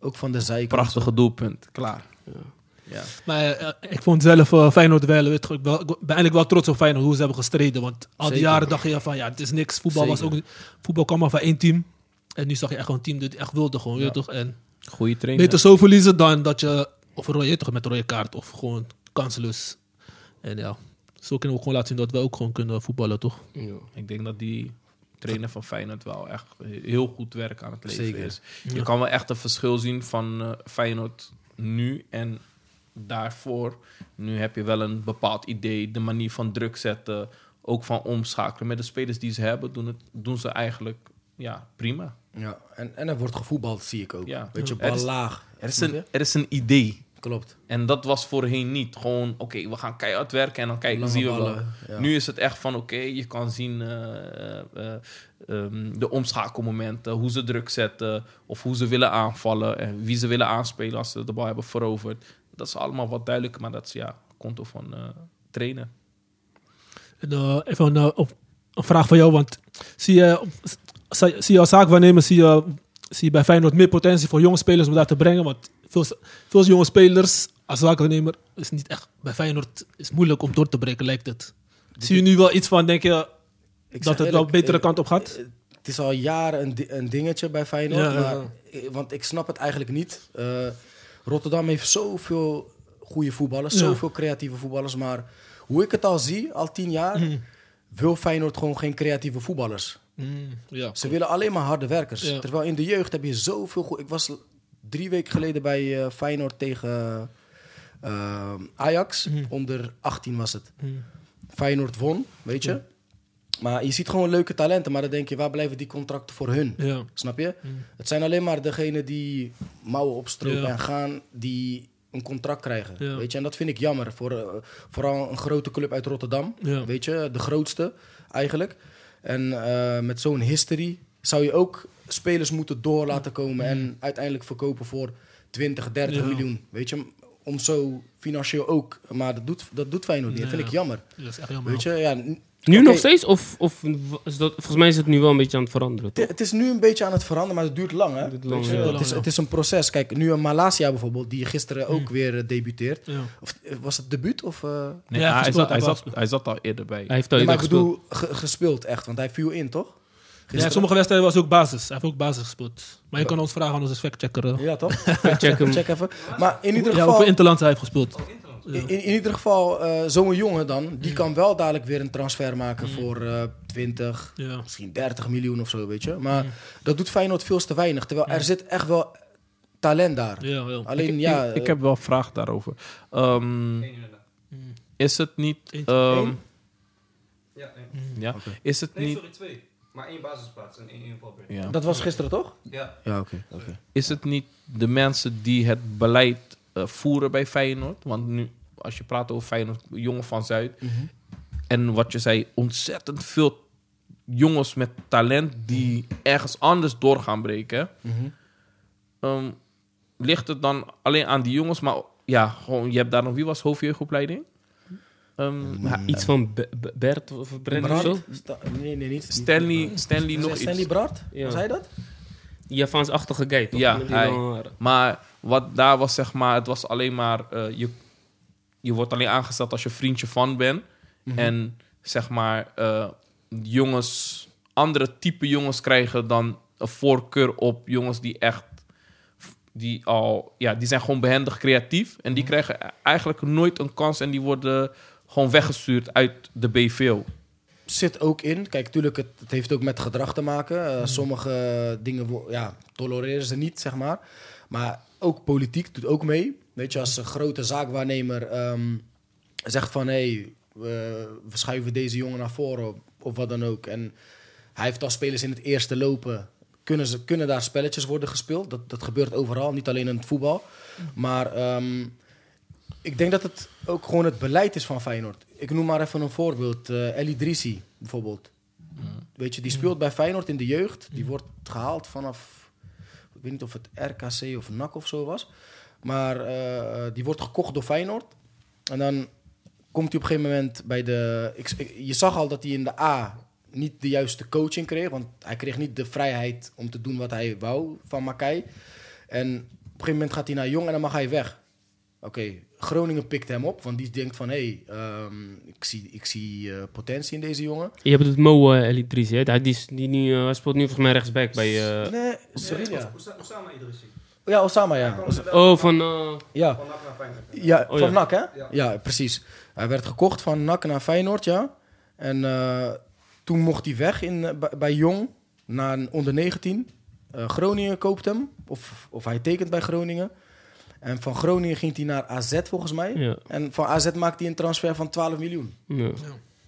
[SPEAKER 5] Ook van de zijkant.
[SPEAKER 3] Prachtige doelpunt. Klaar. Ja.
[SPEAKER 1] Maar eh, ik vond zelf eh, Feyenoord wel, weet je, ik wel- ik ben eigenlijk wel trots op Feyenoord, hoe ze hebben gestreden. Want al die
[SPEAKER 5] Zeker.
[SPEAKER 1] jaren dacht je van, ja, het is niks. Voetbal, was ook,
[SPEAKER 5] Zeker.
[SPEAKER 1] niet- voetbal kwam maar van één team. En nu zag je echt gewoon een team dat echt wilde gewoon, weet je toch. En
[SPEAKER 3] Goeie trainer.
[SPEAKER 1] beter zo verliezen dan dat je, of een rode, weet je toch, met een rode kaart, of gewoon kanseloos. En ja, zo kunnen we ook gewoon laten zien dat we ook gewoon kunnen voetballen, toch.
[SPEAKER 3] Ik denk dat die trainer van Feyenoord wel echt heel goed werk aan het leveren
[SPEAKER 5] Zeker.
[SPEAKER 3] is.
[SPEAKER 1] Ja.
[SPEAKER 3] Je kan wel echt een verschil zien van eh, Feyenoord nu en daarvoor. Nu heb je wel een bepaald idee, de manier van druk zetten, ook van omschakelen. Met de spelers die ze hebben, doen, het, doen ze eigenlijk ja, prima.
[SPEAKER 5] Ja, en, en er wordt gevoetbald, zie ik ook.
[SPEAKER 3] Ja.
[SPEAKER 5] Beetje
[SPEAKER 3] Ja.
[SPEAKER 5] bal
[SPEAKER 3] Er is-
[SPEAKER 5] laag.
[SPEAKER 3] Er is
[SPEAKER 5] Snap
[SPEAKER 3] een,
[SPEAKER 5] je?
[SPEAKER 3] er is een idee.
[SPEAKER 5] Klopt.
[SPEAKER 3] En dat was voorheen niet. Gewoon, oké, we gaan keihard werken en dan kijken,
[SPEAKER 5] Lange
[SPEAKER 3] zien we wel.
[SPEAKER 5] ballen, ja.
[SPEAKER 3] Nu is het echt van, oké, je kan zien eh, eh, eh, ehm, de omschakelmomenten, hoe ze druk zetten of hoe ze willen aanvallen en wie ze willen aanspelen als ze de bal hebben veroverd. Dat is allemaal wat duidelijker, maar dat is ja, konto van eh, trainen.
[SPEAKER 1] En, eh, even een, eh, op- een vraag van jou, want zie je, zie zie je als zaakwaarnemer, zie je, zie je bij Feyenoord meer potentie voor jonge spelers om daar te brengen? Want veel, veel jonge spelers als zaakwaarnemer is niet echt, bij Feyenoord is moeilijk om door te breken, lijkt het. Zie je nu wel iets van, denk je,
[SPEAKER 5] Ik zeg
[SPEAKER 1] dat het wel
[SPEAKER 5] eerlijk,
[SPEAKER 1] betere
[SPEAKER 5] eh,
[SPEAKER 1] kant op gaat?
[SPEAKER 5] Het is al jaren een, di- een dingetje bij Feyenoord.
[SPEAKER 1] Ja, ja,
[SPEAKER 5] maar,
[SPEAKER 1] ja.
[SPEAKER 5] eh, Want ik snap het eigenlijk niet. Eh, Rotterdam heeft zoveel goede voetballers,
[SPEAKER 1] Ja.
[SPEAKER 5] zoveel creatieve voetballers. Maar hoe ik het al zie, al tien jaar,
[SPEAKER 3] Mm.
[SPEAKER 5] wil Feyenoord gewoon geen creatieve voetballers.
[SPEAKER 1] Mm, ja.
[SPEAKER 5] Ze willen alleen maar harde werkers.
[SPEAKER 1] Ja.
[SPEAKER 5] Terwijl in de jeugd heb je zoveel goe- Ik was l- drie weken geleden bij eh, Feyenoord tegen eh, Ajax.
[SPEAKER 1] Mhm.
[SPEAKER 5] Onder 18 was het.
[SPEAKER 1] Mm,
[SPEAKER 5] Feyenoord won, weet je. Maar je ziet gewoon leuke talenten. Maar dan denk je, waar blijven die contracten voor hun?
[SPEAKER 1] Ja.
[SPEAKER 5] Snap je? Het zijn alleen maar degenen die mouwen opstropen
[SPEAKER 1] Mm. Ja.
[SPEAKER 5] en gaan... die een contract krijgen,
[SPEAKER 1] Ja.
[SPEAKER 5] weet je. En dat vind ik jammer. Voor, eh, vooral een grote club uit Rotterdam,
[SPEAKER 1] Ja.
[SPEAKER 5] weet je. De grootste eigenlijk. En eh, met zo'n history zou je ook spelers moeten door laten komen... en uiteindelijk verkopen voor 20, 30
[SPEAKER 1] Mm. Ja.
[SPEAKER 5] miljoen, weet je. Om zo financieel ook... Maar dat doet, dat doet Feyenoord niet. Dat
[SPEAKER 1] Nee.
[SPEAKER 5] vind ik jammer.
[SPEAKER 1] Dat is echt jammer.
[SPEAKER 5] Weet je, ja... n-
[SPEAKER 2] Nu
[SPEAKER 5] oké,
[SPEAKER 2] nog steeds? Of, of is dat, volgens mij is het nu wel een beetje aan het veranderen.
[SPEAKER 5] Het, het is nu een beetje aan het veranderen, maar het duurt lang, hè?
[SPEAKER 2] duurt lang,
[SPEAKER 5] Weet je,
[SPEAKER 1] ja.
[SPEAKER 5] het, is, het is een proces. Kijk, nu een Malasia bijvoorbeeld, die gisteren ook weer eh, debuteert.
[SPEAKER 1] Ja.
[SPEAKER 5] Of, eh, was het debuut? Of, eh,
[SPEAKER 1] Nee, Ja, hij
[SPEAKER 3] hij,
[SPEAKER 1] gespeeld, zat-
[SPEAKER 3] zat,
[SPEAKER 1] hij
[SPEAKER 3] hij,
[SPEAKER 1] hij zat-
[SPEAKER 3] zat,
[SPEAKER 1] gespeeld.
[SPEAKER 3] al eerder bij.
[SPEAKER 2] Hij heeft al
[SPEAKER 5] nee,
[SPEAKER 2] eerder
[SPEAKER 5] maar ik
[SPEAKER 2] gespeeld.
[SPEAKER 5] bedoel, ge- gespeeld echt, want hij viel in, toch?
[SPEAKER 1] Ja, in sommige wedstrijden was hij ook basis. Hij heeft ook basis gespeeld. Maar je kan ons vragen aan onze factchecker. eh,
[SPEAKER 5] Ja, toch?
[SPEAKER 2] Check hem.
[SPEAKER 5] Check even. Maar in ieder
[SPEAKER 1] ja, hoeveel
[SPEAKER 5] geval,
[SPEAKER 1] Interlands hij heeft gespeeld.
[SPEAKER 5] in, in ieder geval eh, zo'n jongen dan, die kan wel dadelijk weer een transfer maken voor eh, 20,
[SPEAKER 1] Ja.
[SPEAKER 5] misschien 30 miljoen of zo, weet je. Maar dat doet Feyenoord veel te weinig. Terwijl er zit echt wel talent daar.
[SPEAKER 1] Ja, wel.
[SPEAKER 5] Alleen
[SPEAKER 3] ik,
[SPEAKER 5] ja,
[SPEAKER 3] ik,
[SPEAKER 5] eh,
[SPEAKER 3] ik heb wel een vraag daarover. Ehm, is het niet...
[SPEAKER 1] Eentje.
[SPEAKER 3] ehm,
[SPEAKER 1] Eén?
[SPEAKER 4] Ja, nee.
[SPEAKER 3] ja, is het niet...
[SPEAKER 4] sorry, twee. Maar één basisplaats en één invalbeurt.
[SPEAKER 3] Ja.
[SPEAKER 5] dat was gisteren toch?
[SPEAKER 4] Ja.
[SPEAKER 5] Ja, oké. oké.
[SPEAKER 3] Is het niet de mensen die het beleid eh, voeren bij Feyenoord? Want nu, als je praat over Feyenoord, jongen van Zuid. En wat je zei, ontzettend veel jongens met talent die ergens anders door gaan breken. Ehm, ligt het dan alleen aan die jongens? Maar ja, gewoon, je hebt daar nog, wie was hoofdjeugdopleiding? Ehm,
[SPEAKER 2] Ja, iets van Be- Be- Bert of Brent of zo.
[SPEAKER 5] Brandt? Sta- nee, nee, niet.
[SPEAKER 3] Stanley, Stanley nog
[SPEAKER 5] Stanley
[SPEAKER 3] iets.
[SPEAKER 5] Brand?
[SPEAKER 2] Ja.
[SPEAKER 5] Was hij dat?
[SPEAKER 2] Javaans-achtige guy, toch?
[SPEAKER 3] Ja,
[SPEAKER 2] Met die
[SPEAKER 3] hij.
[SPEAKER 2] lange haren.
[SPEAKER 3] Maar wat daar was, zeg maar, het was alleen maar. eh, je, je wordt alleen aangesteld als je vriendje van bent. En zeg maar, eh, jongens, andere type jongens krijgen dan een voorkeur op jongens die echt. Die al, ja, die zijn gewoon behendig creatief. En die krijgen e- eigenlijk nooit een kans en die worden gewoon weggestuurd uit de BVO.
[SPEAKER 5] Zit ook in. Kijk, tuurlijk, het, het heeft ook met gedrag te maken. Eh, Sommige eh, dingen wo- ja, tolereren ze niet, zeg maar. Maar ook politiek doet ook mee. Weet je, als een grote zaakwaarnemer ehm, zegt van... hé, hey, we we schuiven deze jongen naar voren of wat dan ook. En hij heeft al spelers in het eerste lopen. Kunnen, ze, kunnen daar spelletjes worden gespeeld? Dat, dat gebeurt overal, niet alleen in het voetbal. Maar ehm, ik denk dat het ook gewoon het beleid is van Feyenoord. Ik noem maar even een voorbeeld. eh El Idrissi bijvoorbeeld. Weet je, die speelt bij Feyenoord in de jeugd. Die wordt gehaald vanaf... Ik weet niet of het RKC of NAC of zo was. Maar eh, die wordt gekocht door Feyenoord. En dan komt hij op een gegeven moment bij de... Ik, ik- je zag al dat hij in de A niet de juiste coaching kreeg. Want hij kreeg niet de vrijheid om te doen wat hij wou van Makai. En op een gegeven moment gaat hij naar Jong en dan mag hij weg. Oké, Groningen pikt hem op. Want die denkt van... Hé, hey, ehm, ik zie, ik zie eh, potentie in deze jongen.
[SPEAKER 2] Je hebt het Mo uh, Elidris, hè? Hij, die, is- die nu, eh, hij speelt nu volgens mij rechtsback bij... eh
[SPEAKER 5] Nee, Sevilla.
[SPEAKER 4] Osama Idrissi.
[SPEAKER 5] Ja, Osama, ja. Os-
[SPEAKER 2] oh, van... eh,
[SPEAKER 5] ja.
[SPEAKER 4] Van Nakna Feyenoord.
[SPEAKER 5] ja
[SPEAKER 2] Oh,
[SPEAKER 5] van
[SPEAKER 2] ja.
[SPEAKER 5] NAC, hè? Ja. precies. Hij werd gekocht van NAC naar Feyenoord, ja. En eh, toen mocht hij weg in, eh, bij- bij Jong, naar een onder 19. Eh, Groningen koopt hem, of, of hij tekent bij Groningen. En van Groningen ging hij naar AZ, volgens mij.
[SPEAKER 2] ja.
[SPEAKER 5] En van AZ maakte hij een transfer van 12 miljoen.
[SPEAKER 2] ja.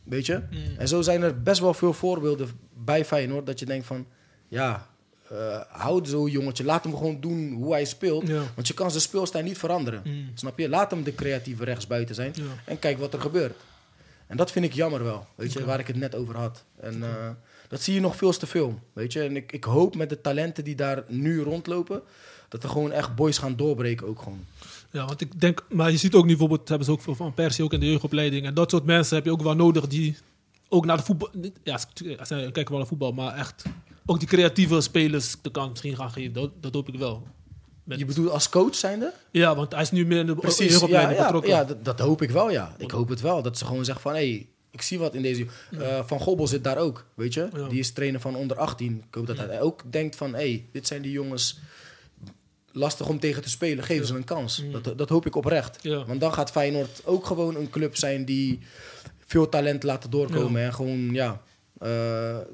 [SPEAKER 5] Weet je?
[SPEAKER 1] Mm.
[SPEAKER 5] En zo zijn er best wel veel voorbeelden bij Feyenoord dat je denkt van... Ja, eh houd zo'n jongetje. Laat hem gewoon doen hoe hij speelt.
[SPEAKER 1] Ja.
[SPEAKER 5] Want je kan zijn speelstijl niet veranderen.
[SPEAKER 1] Mm.
[SPEAKER 5] Snap je? Laat hem de creatieve rechtsbuiten zijn.
[SPEAKER 1] Ja.
[SPEAKER 5] En kijk wat er gebeurt. En dat vind ik jammer wel. Weet je? Waar ik het net over had. En eh, dat zie je nog veel te veel. Weet je? En ik, ik hoop met de talenten die daar nu rondlopen... dat er gewoon echt boys gaan doorbreken ook gewoon.
[SPEAKER 1] Ja, want ik denk, maar je ziet ook nu bijvoorbeeld, hebben ze ook voor van Persie ook in de jeugdopleiding. En dat soort mensen heb je ook wel nodig die ook naar de voetbal, niet- ja, ze ze kijken wel naar voetbal, maar echt ook die creatieve spelers de kans misschien gaan geven. Dat, dat hoop ik wel. Met-
[SPEAKER 5] Je bedoelt als coach zijnde?
[SPEAKER 1] ja, want hij is nu meer in de
[SPEAKER 5] Precies, ja,
[SPEAKER 1] jeugdopleiding
[SPEAKER 5] ja,
[SPEAKER 1] betrokken.
[SPEAKER 5] ja dat, dat hoop ik wel, ja. Ik hoop het wel. Dat ze gewoon zeggen van, hé, ik zie wat in deze... Eh, van Gobbel zit daar ook, weet je.
[SPEAKER 1] Ja.
[SPEAKER 5] Die is trainer van onder 18. Ik hoop dat hij ook denkt van, hé, dit zijn die jongens... Lastig om tegen te spelen, geef ze een kans. Dat, dat hoop ik oprecht.
[SPEAKER 1] Ja.
[SPEAKER 5] Want dan gaat Feyenoord ook gewoon een club zijn die veel talent laten doorkomen. En gewoon, ja, eh,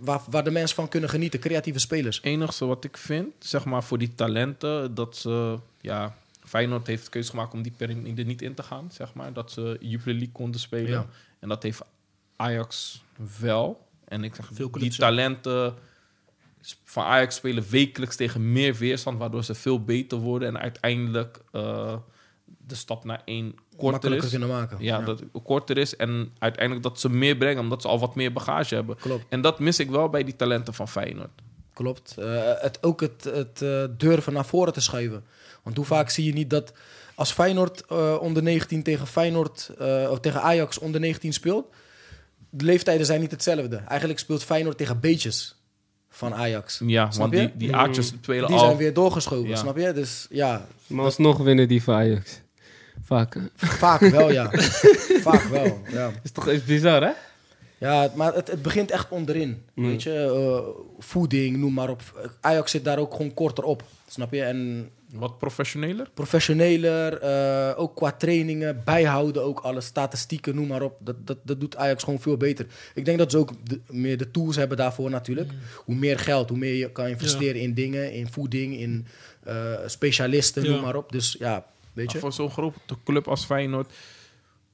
[SPEAKER 5] waar, waar de mensen van kunnen genieten. Creatieve spelers.
[SPEAKER 3] Het enige wat ik vind, zeg maar, voor die talenten, dat ze, ja, Feyenoord heeft de keuze gemaakt om die periode niet in te gaan, zeg maar. Dat ze Jupiler League konden spelen.
[SPEAKER 5] Ja.
[SPEAKER 3] En dat heeft Ajax wel. En ik zeg,
[SPEAKER 1] Veel clubs,
[SPEAKER 3] die
[SPEAKER 1] ja.
[SPEAKER 3] talenten sp- van Ajax spelen wekelijks tegen meer weerstand, waardoor ze veel beter worden en uiteindelijk eh, de stap naar één korter
[SPEAKER 5] Makkelijker
[SPEAKER 3] is.
[SPEAKER 5] kunnen maken.
[SPEAKER 3] Ja, dat het korter is en uiteindelijk dat ze meer brengen, omdat ze al wat meer bagage hebben.
[SPEAKER 5] Klopt.
[SPEAKER 3] En dat mis ik wel bij die talenten van Feyenoord.
[SPEAKER 5] Klopt. Eh, het, ook het, het eh, durven naar voren te schuiven. Want hoe vaak zie je niet dat als Feyenoord eh, onder 19 tegen Feyenoord eh, of tegen Ajax onder 19 speelt, de leeftijden zijn niet hetzelfde. Eigenlijk speelt Feyenoord tegen beetjes van Ajax.
[SPEAKER 3] Ja,
[SPEAKER 5] Snap
[SPEAKER 3] want
[SPEAKER 5] je? Mm.
[SPEAKER 3] die, die aardjes spelen
[SPEAKER 5] Die
[SPEAKER 3] al.
[SPEAKER 5] zijn weer doorgeschoven,
[SPEAKER 3] Ja.
[SPEAKER 5] snap je? Dus ja,
[SPEAKER 2] Maar alsnog winnen die van Ajax. Vaak.
[SPEAKER 5] vaak wel ja. vaak wel, ja.
[SPEAKER 2] Is toch is bizar, hè?
[SPEAKER 5] Ja, het- maar het, het begint echt onderin.
[SPEAKER 3] Mm.
[SPEAKER 5] Weet je, eh, voeding, noem maar op. Ajax zit daar ook gewoon korter op, snap je? En
[SPEAKER 3] Wat professioneler?
[SPEAKER 5] professioneler, eh, ook qua trainingen, bijhouden ook alles, statistieken, noem maar op. Dat, dat, dat doet Ajax gewoon veel beter. Ik denk dat ze ook de- meer de tools hebben daarvoor natuurlijk. Hoe meer geld, hoe meer je kan investeren in dingen, in voeding, in eh, specialisten,
[SPEAKER 1] Ja.
[SPEAKER 5] noem maar op. Dus ja, weet je.
[SPEAKER 3] Maar Voor zo'n grote club als Feyenoord.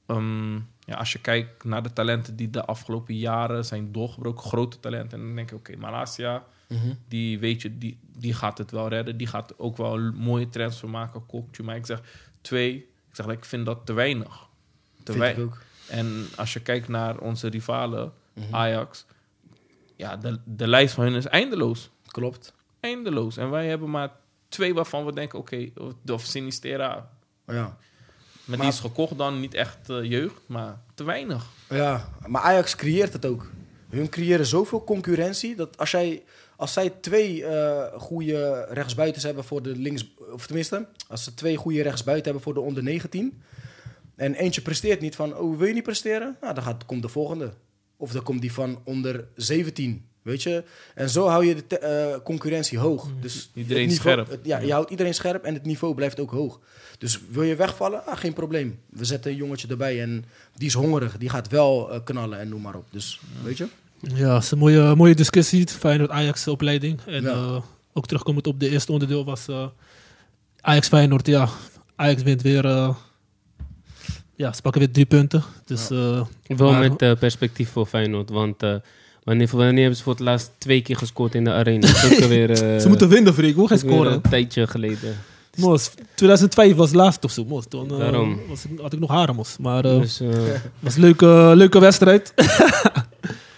[SPEAKER 3] ehm, ja, als je kijkt naar de talenten die de afgelopen jaren zijn doorgebroken, grote talenten. En dan denk je, oké, Malasia,
[SPEAKER 5] Mhm.
[SPEAKER 3] die weet je, die, die gaat het wel redden. Die gaat ook wel mooie trends van maken, Kokju. Maar ik zeg twee, ik zeg dat ik vind dat te weinig. Te
[SPEAKER 5] Vind ik
[SPEAKER 3] weinig.
[SPEAKER 5] ook. Mhm.
[SPEAKER 3] En als je kijkt naar onze rivalen, Ajax, ja, de, de lijst van hun is eindeloos
[SPEAKER 5] Klopt.
[SPEAKER 3] eindeloos. En wij hebben maar twee waarvan we denken, oké, of- of Sinistera.
[SPEAKER 5] Ja.
[SPEAKER 3] Maar
[SPEAKER 5] Maar-
[SPEAKER 3] die is gekocht dan, niet echt eh, jeugd, maar te weinig.
[SPEAKER 5] Ja, maar Ajax creëert het ook. Hun creëren zoveel concurrentie dat als, jij, als zij twee eh goede rechtsbuitens hebben voor de links, of tenminste, als ze twee goede rechtsbuiten hebben voor de onder 19 en eentje presteert niet van, oh wil je niet presteren? Nou, dan gaat, komt de volgende. Of dan komt die van onder 17, weet je? En zo hou je de te- eh, concurrentie hoog. Dus
[SPEAKER 3] Iedereen
[SPEAKER 5] het niveau-
[SPEAKER 3] scherp.
[SPEAKER 5] het- ja, je houdt iedereen scherp en het niveau blijft ook hoog. Dus wil je wegvallen? Ah, geen probleem. We zetten een jongetje erbij en die is hongerig. Die gaat wel eh, knallen en noem maar op. Dus weet je?
[SPEAKER 1] Ja, het is een mooie, mooie discussie. Feyenoord Ajax opleiding. En
[SPEAKER 5] Ja.
[SPEAKER 1] eh, ook terugkomend op de eerste onderdeel was eh, Ajax Feyenoord. Ja, Ajax wint weer. eh, ja, ze pakken weer drie punten. Dus eh,
[SPEAKER 2] Wel
[SPEAKER 1] Maar-
[SPEAKER 2] met eh, perspectief voor Feyenoord, want eh, wanneer, wanneer hebben ze voor het laatst twee keer gescoord in de arena? Dat is ook alweer, eh,
[SPEAKER 1] ze moeten winnen, Freek. Hoe gaan
[SPEAKER 2] ook weer
[SPEAKER 1] scoren?
[SPEAKER 2] Een tijdje geleden.
[SPEAKER 1] Mos, 2005 was laatst of zo. Mos, toen eh,
[SPEAKER 2] Daarom.
[SPEAKER 1] was ik, had ik nog haren, Mos. Maar eh,
[SPEAKER 2] Dus, eh,
[SPEAKER 1] was een leuke, leuke wedstrijd.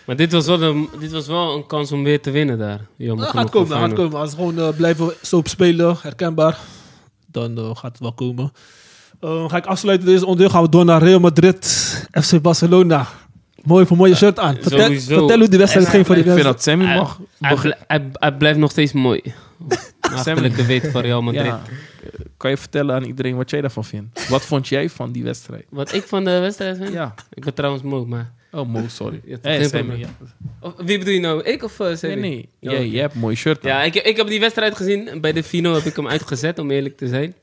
[SPEAKER 2] maar dit was, wel een, dit was wel een kans om weer te winnen daar. Jammer
[SPEAKER 1] Dat
[SPEAKER 2] genoeg
[SPEAKER 1] Nou, Ah, gaat
[SPEAKER 2] voor
[SPEAKER 1] komen, dat gaat
[SPEAKER 2] Feyenoord.
[SPEAKER 1] komen. Als we gewoon eh, blijven zo op spelen, herkenbaar, dan eh, gaat het wel komen. Eh, ga ik afsluiten deze onderdeel. Gaan we door naar Real Madrid, FC Barcelona. Mooi voor mooie shirt aan. Vertel,
[SPEAKER 2] sowieso.
[SPEAKER 1] vertel hoe die wedstrijd ging voor die
[SPEAKER 3] ik vind
[SPEAKER 1] mensen.
[SPEAKER 3] dat Ah, Sammy
[SPEAKER 2] Hij-
[SPEAKER 3] mag.
[SPEAKER 2] Hij, bl- hij- hij blijft nog steeds mooi. Achterlijke weet van Real Madrid.
[SPEAKER 3] Ja. Kan je vertellen aan iedereen wat jij daarvan vindt? Wat vond jij van die wedstrijd?
[SPEAKER 2] Wat ik van de wedstrijd vind?
[SPEAKER 3] Ja.
[SPEAKER 2] Ik ben trouwens moe, maar...
[SPEAKER 3] Oh, Mo, sorry.
[SPEAKER 2] Ja,
[SPEAKER 3] Hey,
[SPEAKER 2] geen
[SPEAKER 3] Sammy,
[SPEAKER 2] probleem.
[SPEAKER 3] ja.
[SPEAKER 2] Of, wie bedoel je nou? Ik of eh Sammy?
[SPEAKER 3] Nee, nee.
[SPEAKER 2] Ja,
[SPEAKER 3] Jij,
[SPEAKER 2] oké.
[SPEAKER 3] jij hebt een mooi shirt aan.
[SPEAKER 2] Ja, ik, ik heb die wedstrijd gezien. Bij de Fino heb ik hem uitgezet, om eerlijk te zijn.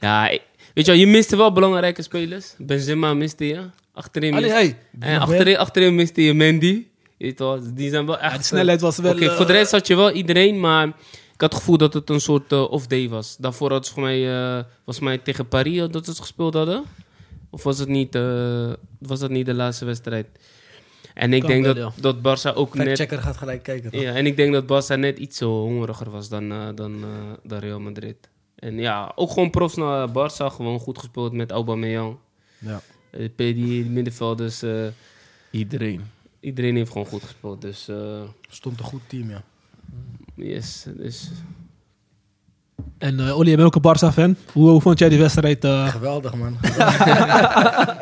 [SPEAKER 2] Ja, ik- weet je wel, je miste wel belangrijke spelers. Benzema miste je. Achterin
[SPEAKER 1] Allee,
[SPEAKER 2] miste
[SPEAKER 1] hey.
[SPEAKER 2] En achterin, achterin miste je Mandy. Je weet wel, die zijn wel echt...
[SPEAKER 1] de snelheid was wel,
[SPEAKER 2] Oké,
[SPEAKER 1] eh,
[SPEAKER 2] voor de rest had je wel iedereen, maar... Ik had het gevoel dat het een soort eh, off-day was. Daarvoor hadden ze voor mij, eh, volgens mij tegen Paris eh, dat ze het gespeeld hadden. Of was, het niet, eh, was dat niet de laatste wedstrijd? En ik
[SPEAKER 1] Kan
[SPEAKER 2] denk
[SPEAKER 1] wel,
[SPEAKER 2] dat, dat Barça ook net...
[SPEAKER 5] Checker gaat gelijk kijken. toch?
[SPEAKER 2] Ja, en ik denk dat Barca net iets zo hongeriger was dan, eh, dan, eh, dan Real Madrid. En ja, ook gewoon profs naar Barca. Gewoon goed gespeeld met Aubameyang.
[SPEAKER 5] Ja.
[SPEAKER 2] Eh, PD, de middenvelders. eh,
[SPEAKER 3] Iedereen.
[SPEAKER 2] iedereen heeft gewoon goed gespeeld. Dus eh,
[SPEAKER 5] Stond een goed team, ja.
[SPEAKER 2] yes. Dus,
[SPEAKER 1] En eh Olly, je bent ook een Barca-fan. Hoe, hoe vond jij die wedstrijd? eh?
[SPEAKER 5] Geweldig, man. ja,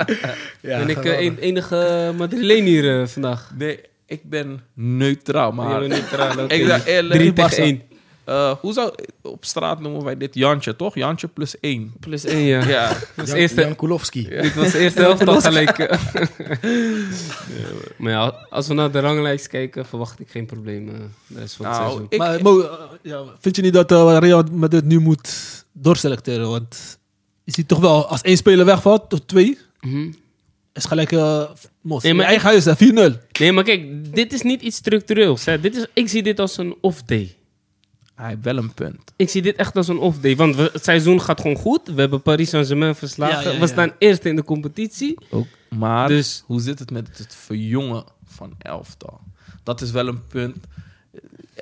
[SPEAKER 2] ben ik eh,
[SPEAKER 5] geweldig.
[SPEAKER 2] de enige Madrileen hier eh, vandaag?
[SPEAKER 3] Nee, ik ben neutraal, maar...
[SPEAKER 2] Ja, neutraal, oké.
[SPEAKER 3] ik dacht eerlijk...
[SPEAKER 2] Drie tegen
[SPEAKER 3] Barca.
[SPEAKER 2] één.
[SPEAKER 3] Eh, hoe zou... Op straat noemen wij dit Jantje, toch? Jantje plus één.
[SPEAKER 2] Plus één, ja.
[SPEAKER 3] Ja.
[SPEAKER 2] Dat was
[SPEAKER 5] Jan,
[SPEAKER 2] eerste,
[SPEAKER 5] Jan Kulowski.
[SPEAKER 2] Dit was de eerste helft al gelijk. eh. maar ja, als we naar de ranglijst kijken, verwacht ik geen problemen. eh, de rest van het
[SPEAKER 3] Nou,
[SPEAKER 2] seizoen.
[SPEAKER 3] ik,
[SPEAKER 1] maar, Mo, eh, ja, vind je niet dat eh, Real Madrid nu moet doorselecteren? Want je ziet toch wel, als één speler wegvalt, tot twee,
[SPEAKER 2] Mhm.
[SPEAKER 1] is gelijk eh Mos.
[SPEAKER 2] Nee,
[SPEAKER 1] In
[SPEAKER 2] maar-
[SPEAKER 1] eigen huis, hè, 4-0.
[SPEAKER 2] Nee, maar kijk, dit is niet iets structureels. Hè. Dit is, ik zie dit als een off-day.
[SPEAKER 3] Hij heeft wel een punt.
[SPEAKER 2] Ik zie dit echt als een off-day. Want we- het seizoen gaat gewoon goed. We hebben Paris Saint-Germain verslagen.
[SPEAKER 1] Ja, ja,
[SPEAKER 2] We
[SPEAKER 1] ja.
[SPEAKER 2] staan eerst in de competitie.
[SPEAKER 3] Ook. Maar
[SPEAKER 2] Dus-
[SPEAKER 3] hoe zit het met het verjongen van elftal? Dat is wel een punt.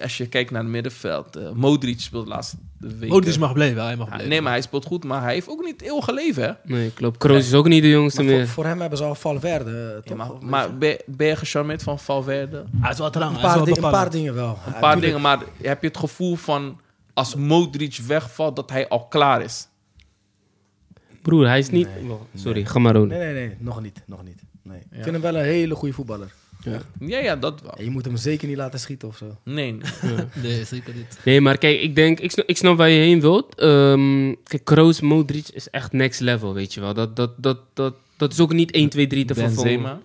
[SPEAKER 3] Als je kijkt naar het middenveld. eh, Modric speelt de laatste weken.
[SPEAKER 1] Modric mag blijven, Oh, dus hij mag
[SPEAKER 3] Ja,
[SPEAKER 1] blijven.
[SPEAKER 3] nee, maar hij speelt goed. Maar hij heeft ook niet eeuw geleven, hè?
[SPEAKER 2] Nee, klopt. Kroos is ook niet de jongste
[SPEAKER 5] Maar voor,
[SPEAKER 2] meer.
[SPEAKER 5] voor hem hebben ze al Valverde. eh, toch?
[SPEAKER 3] Ja, maar
[SPEAKER 5] Of-
[SPEAKER 3] maar ben, ben je gecharmeerd van Valverde?
[SPEAKER 1] Hij is wel trang,
[SPEAKER 5] een,
[SPEAKER 1] hij is
[SPEAKER 5] paar
[SPEAKER 1] wel
[SPEAKER 5] ding- een paar
[SPEAKER 1] bepalend.
[SPEAKER 5] dingen wel.
[SPEAKER 3] Een paar dingen, maar heb je het gevoel van... Als Modric wegvalt, dat hij al klaar is?
[SPEAKER 2] Broer, hij is niet... Wel, sorry, ga maar door.
[SPEAKER 5] Nee, nee, nee. Nog niet. Nog niet. Nee. Ik vind hem wel een hele goede voetballer.
[SPEAKER 3] Ja, ja, dat wel.
[SPEAKER 5] En je moet hem zeker niet laten schieten of zo.
[SPEAKER 3] Nee, nee.
[SPEAKER 1] Nee, zeker niet.
[SPEAKER 2] Nee, maar kijk, ik denk, ik snap, ik snap waar je heen wilt. Ehm, kijk, Kroos, Modric is echt next level, weet je wel. Dat, dat, dat, dat, dat is ook niet 1, 2, 3 te vervangen.
[SPEAKER 3] Benzema.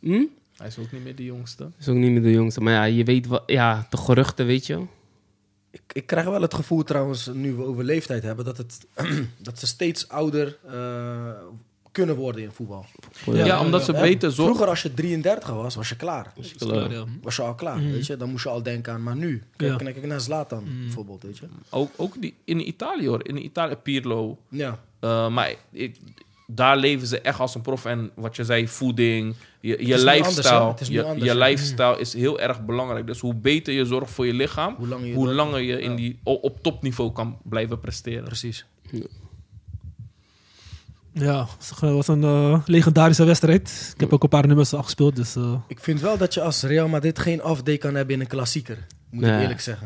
[SPEAKER 2] Hm?
[SPEAKER 3] Hij is ook niet meer de jongste.
[SPEAKER 2] Is ook niet meer de jongste. Maar ja, je weet wat... Ja, de geruchten, weet je wel.
[SPEAKER 5] Ik, ik krijg wel het gevoel trouwens, nu we over leeftijd hebben, dat, het, dat ze steeds ouder eh, kunnen worden in voetbal.
[SPEAKER 3] Ja, omdat ze
[SPEAKER 5] Hè?
[SPEAKER 3] beter zorgen.
[SPEAKER 5] Vroeger als je 33 was, was je klaar.
[SPEAKER 1] Klaar, ja.
[SPEAKER 5] Was je al klaar, weet je? Dan moest je al denken aan, maar nu.
[SPEAKER 1] Ja.
[SPEAKER 5] Kijk, kijk ik naar Zlatan bijvoorbeeld, weet je?
[SPEAKER 3] Ook, ook die, in Italië hoor. In Italië, Pirlo.
[SPEAKER 5] Ja.
[SPEAKER 3] Eh, maar ik- daar leven ze echt als een prof. En wat je zei, voeding, je, je
[SPEAKER 5] nu
[SPEAKER 3] lifestyle.
[SPEAKER 5] anders, hè? Het is nu
[SPEAKER 3] je
[SPEAKER 5] anders,
[SPEAKER 3] je
[SPEAKER 5] ja.
[SPEAKER 3] lifestyle is heel erg belangrijk. Dus hoe beter je zorgt voor je lichaam,
[SPEAKER 5] Hoe langer je
[SPEAKER 3] hoe
[SPEAKER 5] dat-
[SPEAKER 3] langer je in
[SPEAKER 5] ja.
[SPEAKER 3] die, o- op topniveau kan blijven presteren.
[SPEAKER 5] Precies.
[SPEAKER 1] Ja, het was een eh, legendarische wedstrijd. Ik heb ook een paar nummers afgespeeld, dus... eh,
[SPEAKER 5] Ik vind wel dat je als Real Madrid geen afdek kan hebben in een klassieker. Moet
[SPEAKER 2] Nee.
[SPEAKER 5] ik eerlijk zeggen.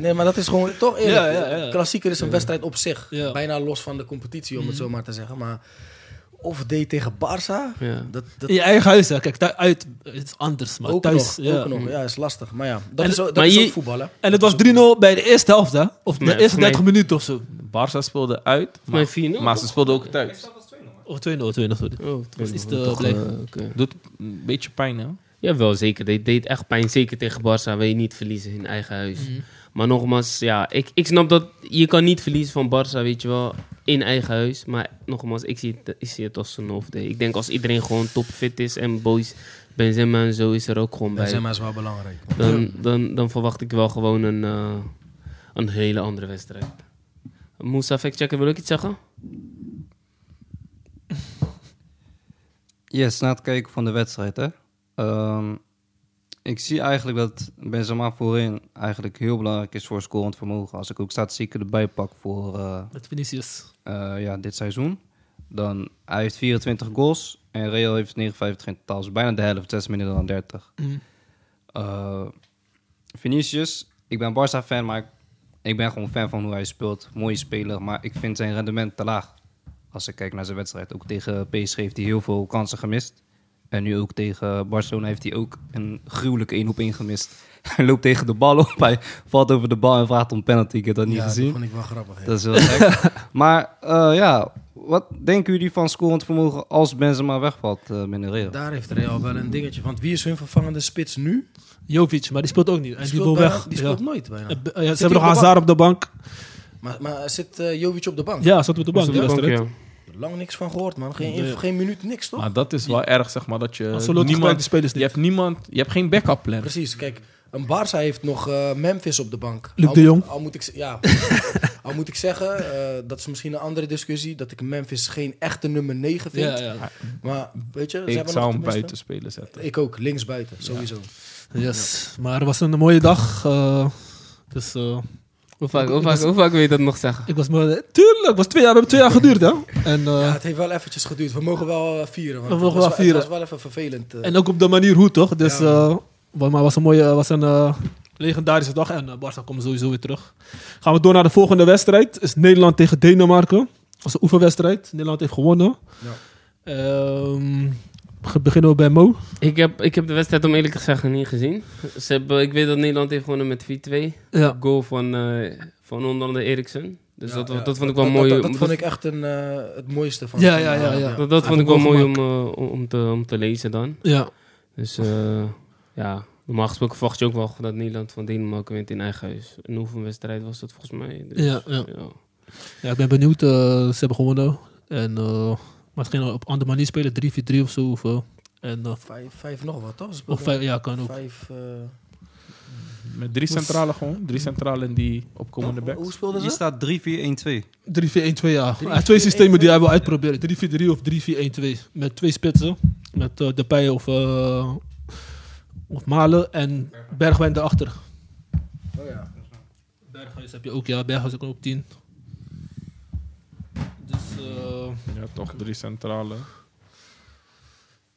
[SPEAKER 5] nee, maar dat is gewoon toch eerlijk.
[SPEAKER 1] Ja, ja, ja.
[SPEAKER 5] Klassieker is een wedstrijd op zich.
[SPEAKER 1] Ja.
[SPEAKER 5] Bijna los van de competitie, om
[SPEAKER 2] Mhm.
[SPEAKER 5] het zo maar te zeggen. Maar of D tegen Barça,
[SPEAKER 2] Ja.
[SPEAKER 5] dat, dat
[SPEAKER 1] in je eigen huis, hè. Kijk, uit is anders, maar
[SPEAKER 5] ook
[SPEAKER 1] thuis...
[SPEAKER 5] nog.
[SPEAKER 1] ja.
[SPEAKER 5] Ook nog. Ja, is lastig. Maar ja, dat
[SPEAKER 1] En-
[SPEAKER 5] is, ook- dat
[SPEAKER 2] maar
[SPEAKER 5] is
[SPEAKER 2] je-
[SPEAKER 5] ook voetbal, hè?
[SPEAKER 1] En het was 3-0 bij de eerste helft, hè? Of
[SPEAKER 2] Nee,
[SPEAKER 1] de eerste
[SPEAKER 2] voor mij-
[SPEAKER 1] 30 minuten of zo.
[SPEAKER 3] Barça speelde uit, maar,
[SPEAKER 2] Mijn 4
[SPEAKER 3] maar ze speelden ook thuis.
[SPEAKER 1] Of 2-0, 2-0, sorry.
[SPEAKER 2] Oh, het
[SPEAKER 1] Dat
[SPEAKER 2] was
[SPEAKER 1] is
[SPEAKER 2] nog
[SPEAKER 1] de
[SPEAKER 2] toch,
[SPEAKER 1] plek.
[SPEAKER 2] eh, oké.
[SPEAKER 3] Doet een beetje pijn, hè?
[SPEAKER 2] Jawel, zeker. Dit deed echt pijn. Zeker tegen Barça. Wil je niet verliezen in eigen huis. Maar nogmaals, ja, ik, ik snap dat je kan niet verliezen van Barça, weet je wel, in eigen huis. Maar nogmaals, ik zie het, ik zie het als een off day. Ik denk als iedereen gewoon topfit is en boys, Benzema en zo is er ook gewoon bij.
[SPEAKER 5] is wel belangrijk.
[SPEAKER 2] Dan, dan, dan verwacht ik wel gewoon een, eh, een hele andere wedstrijd. Moussa, factchecker, wil ik iets zeggen?
[SPEAKER 4] Yes, na het kijken van de wedstrijd, hè. Ehm, ik zie eigenlijk dat Benzema voorin eigenlijk heel belangrijk is voor scorend vermogen. Als ik ook statistieken erbij pak voor eh,
[SPEAKER 1] Met Vinicius.
[SPEAKER 4] eh, ja, dit seizoen, dan hij heeft 24 goals en Real heeft 59 in totaal. Dus bijna de helft, 6 minder dan 30. Eh, Vinicius, ik ben Barca-fan, maar ik- ik ben gewoon fan van hoe hij speelt. Mooie speler, maar ik vind zijn rendement te laag. Als ik kijk naar zijn wedstrijd. Ook tegen PSG heeft hij heel veel kansen gemist. En nu ook tegen Barcelona heeft hij ook een gruwelijke 1 op 1 gemist. Hij loopt tegen de bal op, hij valt over de bal en vraagt om penalty. Ik heb dat niet
[SPEAKER 5] ja,
[SPEAKER 4] gezien.
[SPEAKER 5] dat vond ik wel grappig. hè.
[SPEAKER 4] Dat is heel gek. maar eh, ja, wat denken jullie van scorend vermogen als Benzema wegvalt eh binnen Real?
[SPEAKER 5] Daar heeft Real wel een dingetje. Want wie is hun vervangende spits nu?
[SPEAKER 1] Jovic, maar die speelt ook niet. En die
[SPEAKER 5] speelt
[SPEAKER 1] wil
[SPEAKER 5] bijna-
[SPEAKER 1] weg.
[SPEAKER 5] Die
[SPEAKER 1] ja.
[SPEAKER 5] speelt nooit bijna.
[SPEAKER 1] Eh, b- eh, ze
[SPEAKER 5] Zit
[SPEAKER 1] hebben nog
[SPEAKER 5] hij op de
[SPEAKER 1] Hazard op de bank.
[SPEAKER 5] Maar, maar zit eh, Jovic op de bank?
[SPEAKER 1] Ja, zat op de bank.
[SPEAKER 2] Moussa,
[SPEAKER 1] ja.
[SPEAKER 2] dank je.
[SPEAKER 5] Lang niks van gehoord, man. Geen,
[SPEAKER 1] Nee.
[SPEAKER 5] geen minuut, niks toch?
[SPEAKER 3] Maar dat is wel erg, zeg maar, dat je
[SPEAKER 1] Eh, Ancelotti gebruikt die
[SPEAKER 3] niemand...
[SPEAKER 1] spelers
[SPEAKER 3] Je
[SPEAKER 1] niet.
[SPEAKER 3] hebt niemand... Je hebt geen backup plan.
[SPEAKER 5] Precies, kijk. Een Barça heeft nog eh, Memphis op de bank.
[SPEAKER 1] Luc
[SPEAKER 5] Al
[SPEAKER 1] de
[SPEAKER 5] moet-
[SPEAKER 1] Jong.
[SPEAKER 5] Al moet ik, z- ja, al moet ik zeggen, eh, dat is misschien een andere discussie, dat ik Memphis geen echte nummer 9 vind.
[SPEAKER 1] Ja, ja.
[SPEAKER 5] Maar weet je, ze
[SPEAKER 3] Ik
[SPEAKER 5] hebben
[SPEAKER 3] zou
[SPEAKER 5] nog
[SPEAKER 3] hem
[SPEAKER 5] tenminste-
[SPEAKER 3] buiten spelen zetten.
[SPEAKER 5] Ik ook, links buiten, sowieso.
[SPEAKER 1] Eh, Yes. Maar het was een mooie dag. eh, dus eh,
[SPEAKER 2] Hoe vaak, hoe, vaak, hoe vaak wil je dat nog zeggen?
[SPEAKER 1] ik was maar... Tuurlijk, het was twee jaar, het heeft twee jaar geduurd, hè? En, eh,
[SPEAKER 5] Ja, het heeft wel eventjes geduurd. We mogen wel eh, vieren. Want
[SPEAKER 1] We
[SPEAKER 5] het
[SPEAKER 1] mogen
[SPEAKER 5] was
[SPEAKER 1] wel vieren.
[SPEAKER 5] Het was wel even vervelend. eh.
[SPEAKER 1] en ook op de manier hoe, toch? Dus,
[SPEAKER 5] Ja.
[SPEAKER 1] eh, maar het was een mooie... was een eh, legendarische dag. En eh, Barca komt sowieso weer terug. Gaan we door naar de volgende wedstrijd. Is Nederland tegen Denemarken. Dat was een oefenwedstrijd. Nederland heeft gewonnen.
[SPEAKER 5] Ja.
[SPEAKER 1] Ehm, ge- beginnen we bij Mo.
[SPEAKER 2] Ik heb, ik heb de wedstrijd om eerlijk te zeggen niet gezien. Ze hebben, ik weet dat Nederland heeft gewonnen met 4-2.
[SPEAKER 1] Ja.
[SPEAKER 2] Goal van, eh, van onder andere Eriksen. Dus
[SPEAKER 5] Ja,
[SPEAKER 2] dat,
[SPEAKER 5] ja.
[SPEAKER 2] dat vond ik wel
[SPEAKER 5] Dat-
[SPEAKER 2] mooi.
[SPEAKER 5] Dat,
[SPEAKER 2] om-
[SPEAKER 5] dat vond ik echt een, eh, het mooiste van
[SPEAKER 1] Ja,
[SPEAKER 5] van-
[SPEAKER 1] ja, ja, ja.
[SPEAKER 2] dat, dat
[SPEAKER 1] Hij
[SPEAKER 2] vond ik wel
[SPEAKER 1] vond
[SPEAKER 2] mooi
[SPEAKER 1] goal
[SPEAKER 2] om, eh, om- om, te, om te lezen dan.
[SPEAKER 1] Ja.
[SPEAKER 2] Dus eh, ja, normaal gesproken verwacht je ook wel dat Nederland van Denemarken wint in eigen huis. Een oefenwedstrijd was dat volgens mij. Dus,
[SPEAKER 1] Ja, ja. Ja, ik ben benieuwd. eh, ze hebben gewonnen. En, eh, maar het ging op een andere manier spelen. 3-4-3 of zo. Of, eh, en, eh,
[SPEAKER 5] Vijf, vijf nog wat, toch? Ze
[SPEAKER 1] of
[SPEAKER 5] speelden
[SPEAKER 1] vijf- ja, kan ook.
[SPEAKER 5] vijf, eh,
[SPEAKER 3] Met drie centralen gewoon. Drie centralen en die opkomende
[SPEAKER 5] hoe
[SPEAKER 3] backs.
[SPEAKER 5] speelden
[SPEAKER 4] Hier
[SPEAKER 5] ze?
[SPEAKER 4] staat 3-4-1-2.
[SPEAKER 1] 3-4-1-2, ja. Hij heeft
[SPEAKER 5] 3-4-1-2.
[SPEAKER 1] twee systemen die hij wil uitproberen. 3-4-3 of 3-4-1-2. Met twee spitsen. Met eh Depay of, eh, of Malen. En Bergwijn daarachter.
[SPEAKER 5] Oh, ja.
[SPEAKER 1] Berghuis heb je ook, ja. Berghuis ook op 10. Dus, eh,
[SPEAKER 3] Ja, toch drie centralen.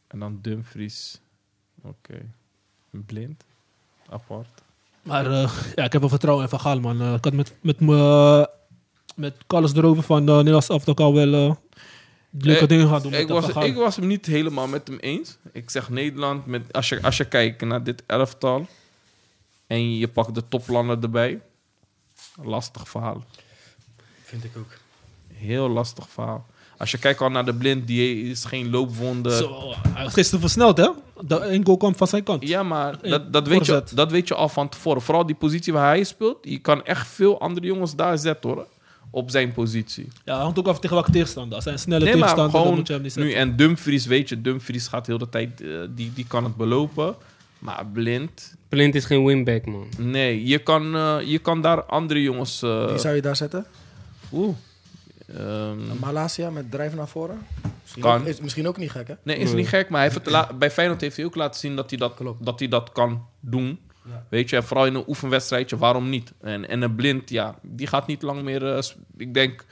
[SPEAKER 3] En dan Dumfries. Oké. Blind. Apart.
[SPEAKER 1] Maar eh, ja, ik heb wel vertrouwen in Van Gaal, man. Eh, ik had met, met, me- met Carlos erover van eh Nederlands Elftal al wel eh, leuke
[SPEAKER 3] Eh,
[SPEAKER 1] dingen gaan doen.
[SPEAKER 3] Ik
[SPEAKER 1] met
[SPEAKER 3] was,
[SPEAKER 1] Van Gaal.
[SPEAKER 3] ik was hem niet helemaal met hem eens. Ik zeg Nederland, met, als, je, als je kijkt naar dit elftal en je pakt de toplanden erbij. Lastig verhaal.
[SPEAKER 5] Vind ik ook.
[SPEAKER 3] Heel lastig verhaal. Als je kijkt al naar de blind, die is geen loopwonden.
[SPEAKER 1] Zo, eh, hij is gisteren versneld, hè? De één goal kwam van zijn kant.
[SPEAKER 3] Ja, maar
[SPEAKER 1] Eh,
[SPEAKER 3] dat, dat, weet je,
[SPEAKER 1] voorzet.
[SPEAKER 3] dat weet je al van tevoren. Vooral die positie waar hij speelt. Je kan echt veel andere jongens daar zetten hoor. Op zijn positie.
[SPEAKER 1] Ja, hij hangt ook af tegen welke tegenstander. Als hij een snelle
[SPEAKER 3] Nee, maar
[SPEAKER 1] tegenstander dan
[SPEAKER 3] gewoon
[SPEAKER 1] moet je hem niet zetten.
[SPEAKER 3] nu. En Dumfries, weet je, Dumfries gaat heel de tijd. eh, die, die kan het belopen. Maar blind.
[SPEAKER 2] Blind is geen winback, man.
[SPEAKER 3] Nee, je kan, eh, je kan daar andere jongens. eh,
[SPEAKER 5] Wie zou je daar zetten?
[SPEAKER 3] Oeh. Ehm,
[SPEAKER 5] Malasia met drijven naar voren? Misschien
[SPEAKER 3] Kan.
[SPEAKER 5] Ook, is misschien ook niet gek, hè?
[SPEAKER 3] nee, is niet gek, maar hij heeft het la- bij Feyenoord heeft hij ook laten zien dat hij dat, dat, hij dat kan doen. Weet je, en vooral in een oefenwedstrijdje, waarom niet? En, en een blind, ja, die gaat niet lang meer. eh, sp- ik denk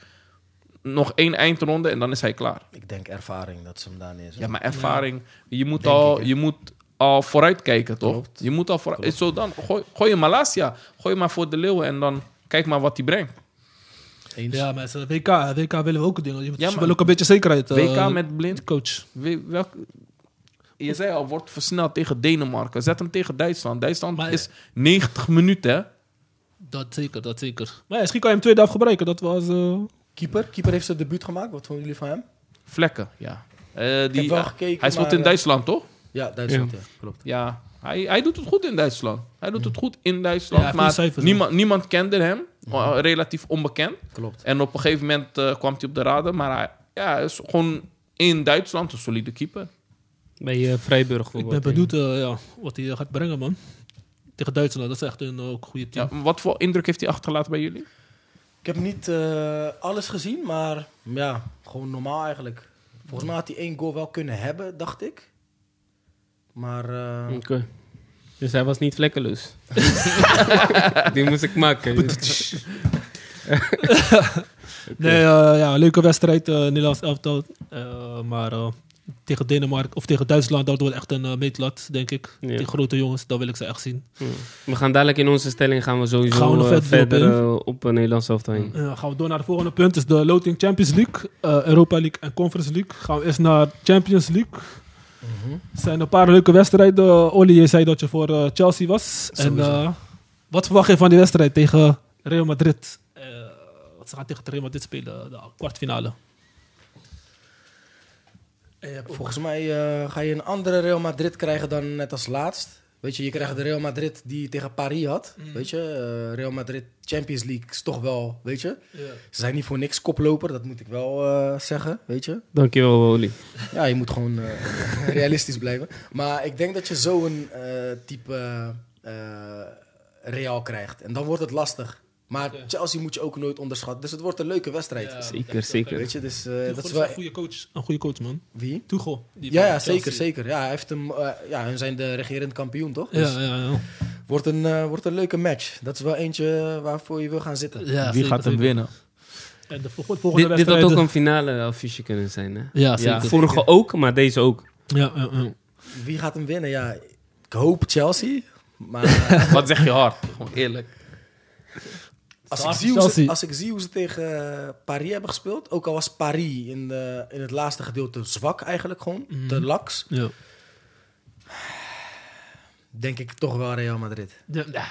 [SPEAKER 3] nog één eindronde en dan is hij klaar.
[SPEAKER 5] Ik denk ervaring dat ze hem daar neerzetten.
[SPEAKER 3] Ja, maar ervaring. Je moet,
[SPEAKER 5] Denk
[SPEAKER 3] al,
[SPEAKER 5] ik, hè.
[SPEAKER 3] je moet al vooruitkijken, toch? Je moet al vooruit. Zo dan, gooi, gooi je Malasia. Gooi maar voor de leeuwen en dan kijk maar wat hij brengt.
[SPEAKER 5] Eens.
[SPEAKER 1] Ja, maar het is, eh, WK, eh, WK willen we ook doen. Je moet- Ze
[SPEAKER 3] Ja, maar-
[SPEAKER 1] willen ook een beetje zekerheid. eh,
[SPEAKER 3] WK met blind.
[SPEAKER 1] coach.
[SPEAKER 3] We- welk- je zei al, wordt versneld tegen Denemarken. Zet hem tegen Duitsland. Duitsland
[SPEAKER 1] Maar-
[SPEAKER 3] is 90 minuten, hè?
[SPEAKER 1] Dat zeker, dat zeker. Maar ja, misschien kan je hem tweede half gebruiken. Dat was... eh,
[SPEAKER 5] Keeper. Keeper heeft zijn debuut gemaakt. Wat vonden jullie van hem?
[SPEAKER 3] Vlekken, ja. Eh, die,
[SPEAKER 5] wel gekeken,
[SPEAKER 3] hij speelt
[SPEAKER 5] maar,
[SPEAKER 3] in
[SPEAKER 5] eh,
[SPEAKER 3] Duitsland, toch?
[SPEAKER 5] Ja, Duitsland, ja. Klopt.
[SPEAKER 3] Ja. Hij, hij doet het goed in Duitsland. Hij doet het goed in Duitsland.
[SPEAKER 1] Ja, hij heeft
[SPEAKER 3] maar
[SPEAKER 1] goede cijfers,
[SPEAKER 3] niemand, niemand kende hem. eh, Relatief onbekend.
[SPEAKER 5] Klopt.
[SPEAKER 3] En op een gegeven moment eh, kwam hij op de radar. Maar hij ja, hij is gewoon in Duitsland een solide keeper.
[SPEAKER 2] Bij eh, Vrijburg
[SPEAKER 1] ik ben
[SPEAKER 2] bijvoorbeeld.
[SPEAKER 1] benieuwd eh, ja, wat hij eh, gaat brengen, man. Tegen Duitsland, dat is echt een eh, ook goede team.
[SPEAKER 3] Ja, wat voor indruk heeft hij achtergelaten bij jullie?
[SPEAKER 5] Ik heb niet eh, alles gezien, maar ja, gewoon normaal eigenlijk. Volgens mij had hij één goal wel kunnen hebben, dacht ik. Maar eh,
[SPEAKER 2] Oké. Dus hij was niet vlekkeloos. Die moest ik maken.
[SPEAKER 1] Nee, eh, ja, leuke wedstrijd, eh Nederlands elftal. Eh, maar eh, tegen Denemarken of tegen Duitsland, dat wordt echt een eh, meetlat, denk ik.
[SPEAKER 2] Ja.
[SPEAKER 1] Die grote jongens, dat wil ik ze echt zien.
[SPEAKER 2] We gaan dadelijk in onze stelling gaan we sowieso
[SPEAKER 1] Gaan we nog
[SPEAKER 2] eh,
[SPEAKER 1] verder op
[SPEAKER 2] verder
[SPEAKER 1] in?
[SPEAKER 2] eh, op een Nederlands elftal heen.
[SPEAKER 1] Eh, gaan we door naar het volgende punt. is de loting Champions League, eh, Europa League en Conference League. Gaan we eerst naar Champions League.
[SPEAKER 5] Mhm.
[SPEAKER 1] Er zijn een paar leuke wedstrijden. Olly, je zei dat je voor eh, Chelsea was. En
[SPEAKER 5] Sowieso.
[SPEAKER 1] eh, wat verwacht je van die wedstrijd tegen Real Madrid? Eh, ze gaan tegen Real Madrid spelen, de kwartfinale.
[SPEAKER 5] volgens mij eh, ga je een andere Real Madrid krijgen dan net als laatst. Weet je, je krijgt de Real Madrid die tegen Paris had. Weet je, eh, Real Madrid Champions League is toch wel, weet je.
[SPEAKER 1] Eh,
[SPEAKER 5] Ze zijn niet voor niks koploper, dat moet ik wel eh, zeggen, weet je.
[SPEAKER 2] Dankjewel, Oli.
[SPEAKER 5] Ja, je moet gewoon eh, realistisch blijven. Maar ik denk dat je zo'n eh type eh, Real krijgt. En dan wordt het lastig. Maar Chelsea moet je ook nooit onderschatten. Dus het wordt een leuke wedstrijd.
[SPEAKER 2] Zeker, zeker.
[SPEAKER 5] Weet je, dus eh, dat is
[SPEAKER 1] Tuchel
[SPEAKER 5] wel...
[SPEAKER 1] is een goede coach. Een goede coach, man.
[SPEAKER 5] Wie?
[SPEAKER 1] Tuchel. die
[SPEAKER 5] Ja,
[SPEAKER 1] van
[SPEAKER 5] ja, zeker,
[SPEAKER 1] Chelsea.
[SPEAKER 5] zeker. Ja, hij heeft hem, eh, ja, hun zijn de regerend kampioen, toch? Dus
[SPEAKER 1] Ja, ja, ja.
[SPEAKER 5] wordt, een, eh, wordt een leuke match. Dat is wel eentje eh, waarvoor je wil gaan zitten.
[SPEAKER 1] Ja,
[SPEAKER 3] Wie
[SPEAKER 1] zeker,
[SPEAKER 3] gaat hem
[SPEAKER 1] zeker.
[SPEAKER 3] winnen?
[SPEAKER 1] En de vol- volgende
[SPEAKER 2] Dit, dit
[SPEAKER 1] wedstrijd...
[SPEAKER 2] had ook een finale affiche kunnen zijn, hè?
[SPEAKER 1] Ja, zeker.
[SPEAKER 2] Vorige ook, maar deze ook.
[SPEAKER 1] Ja, ja, ja.
[SPEAKER 5] Wie gaat hem winnen? Ja, ik hoop Chelsea. Maar
[SPEAKER 3] Wat zeg je hard? Gewoon eerlijk.
[SPEAKER 5] Als ik,
[SPEAKER 1] Chelsea.
[SPEAKER 5] zie hoe ze,
[SPEAKER 1] Chelsea.
[SPEAKER 5] als ik zie hoe ze tegen eh, Paris hebben gespeeld, ook al was Paris in, de, in het laatste gedeelte zwak eigenlijk gewoon,
[SPEAKER 1] Mhm.
[SPEAKER 5] te laks,
[SPEAKER 1] ja.
[SPEAKER 5] denk ik toch wel Real Madrid.
[SPEAKER 1] Ja, ja.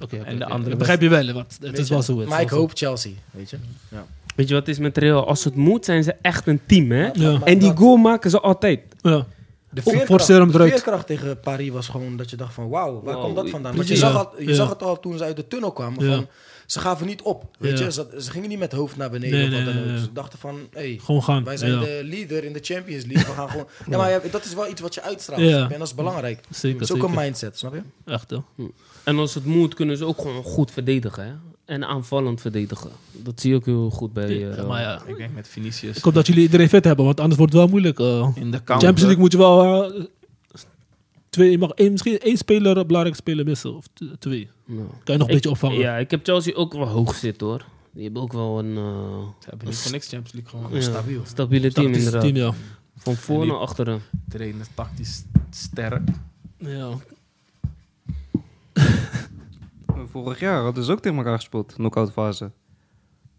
[SPEAKER 1] Oké, oké,
[SPEAKER 3] En de
[SPEAKER 1] oké.
[SPEAKER 3] andere
[SPEAKER 1] Dat begrijp je wel, want het
[SPEAKER 5] Weet
[SPEAKER 1] is
[SPEAKER 5] je?
[SPEAKER 1] wel zo. het is
[SPEAKER 5] maar ik
[SPEAKER 1] wel zo.
[SPEAKER 5] hoop Chelsea, weet je. Ja.
[SPEAKER 2] Weet je wat het is met Real? Als het moet, zijn ze echt een team, hè?
[SPEAKER 1] Ja.
[SPEAKER 5] Maar
[SPEAKER 2] En die
[SPEAKER 5] dat-
[SPEAKER 2] goal maken ze altijd.
[SPEAKER 1] Ja.
[SPEAKER 5] De
[SPEAKER 1] Om-
[SPEAKER 5] veerkracht,
[SPEAKER 1] forceer hem
[SPEAKER 5] de
[SPEAKER 1] eruit.
[SPEAKER 5] veerkracht tegen Paris was gewoon dat je dacht van wauw, waar
[SPEAKER 2] Wow,
[SPEAKER 5] komt dat vandaan? Want je,
[SPEAKER 1] precies.
[SPEAKER 5] zag,
[SPEAKER 1] Ja.
[SPEAKER 5] al, je
[SPEAKER 1] Ja.
[SPEAKER 5] zag het al toen ze uit de tunnel kwamen.
[SPEAKER 1] Ja.
[SPEAKER 5] Van, ze gaven niet op, weet
[SPEAKER 1] Ja.
[SPEAKER 5] je. Ze, ze gingen niet met het hoofd naar beneden.
[SPEAKER 1] Nee,
[SPEAKER 5] of wat
[SPEAKER 1] nee,
[SPEAKER 5] dan
[SPEAKER 1] nee,
[SPEAKER 5] ook.
[SPEAKER 1] nee.
[SPEAKER 5] Ze dachten van, hey,
[SPEAKER 1] Gewoon gaan.
[SPEAKER 5] wij zijn
[SPEAKER 1] ja.
[SPEAKER 5] de leader in de Champions League. We gaan gewoon... Ja, maar ja, dat is wel iets wat je uitstraalt.
[SPEAKER 1] Ja.
[SPEAKER 5] snap je? En dat is belangrijk.
[SPEAKER 1] Zeker,
[SPEAKER 5] Dat is ook
[SPEAKER 1] zeker.
[SPEAKER 5] een mindset, snap je?
[SPEAKER 1] Echt, hè.
[SPEAKER 2] En als het moet, kunnen ze ook gewoon goed verdedigen, hè? En aanvallend verdedigen. Dat zie je ook heel goed bij eh, Real.
[SPEAKER 1] maar ja.
[SPEAKER 3] Ik denk met Vinicius.
[SPEAKER 1] Ik hoop dat jullie iedereen fit hebben, want anders wordt het wel moeilijk. eh.
[SPEAKER 3] In de counter.
[SPEAKER 1] Champions League moet je wel... eh, twee, je mag één, misschien één speler, een belangrijk speler missen. Of t- twee.
[SPEAKER 2] Nou.
[SPEAKER 1] Kan je nog een
[SPEAKER 2] Ik-
[SPEAKER 1] beetje opvangen.
[SPEAKER 2] Ja, ik heb Chelsea ook wel hoog zitten, hoor. Die hebben ook wel een... eh,
[SPEAKER 3] Ze hebben niet voor niks Champions League gewoon.
[SPEAKER 2] ja,
[SPEAKER 5] stabiel.
[SPEAKER 2] Stabiele team,
[SPEAKER 1] Tactisch
[SPEAKER 2] inderdaad.
[SPEAKER 1] team, ja.
[SPEAKER 2] Van voor
[SPEAKER 3] En die-
[SPEAKER 2] naar achteren.
[SPEAKER 3] Trainer tactisch sterk.
[SPEAKER 1] ja.
[SPEAKER 4] Vorig jaar hadden ze ook tegen elkaar gespeeld, knock-out fase.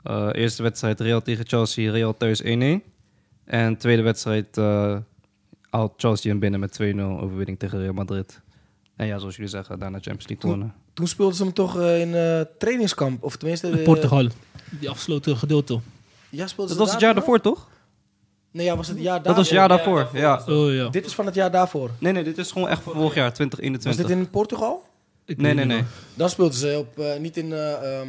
[SPEAKER 4] Eh, eerste wedstrijd Real tegen Chelsea, Real thuis 1-1. En tweede wedstrijd eh haalt Chelsea hem binnen met 2-0 overwinning tegen Real Madrid. En ja, zoals jullie zeggen, daarna Champions League toernooi.
[SPEAKER 5] Toen speelden ze hem toch eh, in eh, trainingskamp, of tenminste... eh,
[SPEAKER 1] Portugal. Die afgesloten gedeelte.
[SPEAKER 5] Ja, speelden
[SPEAKER 4] Dat was het
[SPEAKER 5] ze daar
[SPEAKER 4] jaar
[SPEAKER 5] toen
[SPEAKER 4] daarvoor, toch?
[SPEAKER 5] Nee, ja, was het het jaar
[SPEAKER 4] Dat was het jaar
[SPEAKER 5] daarvoor?
[SPEAKER 4] daarvoor, ja.
[SPEAKER 1] Oh ja.
[SPEAKER 5] Dit is van het jaar daarvoor.
[SPEAKER 4] Nee, nee, dit is gewoon echt van vorig jaar,
[SPEAKER 5] Was dit
[SPEAKER 4] 2021.
[SPEAKER 5] in Portugal?
[SPEAKER 1] Ik
[SPEAKER 4] Nee,
[SPEAKER 1] weet
[SPEAKER 4] nee,
[SPEAKER 1] niet
[SPEAKER 4] nee.
[SPEAKER 5] Dan speelden ze op, eh, niet in eh, ehm,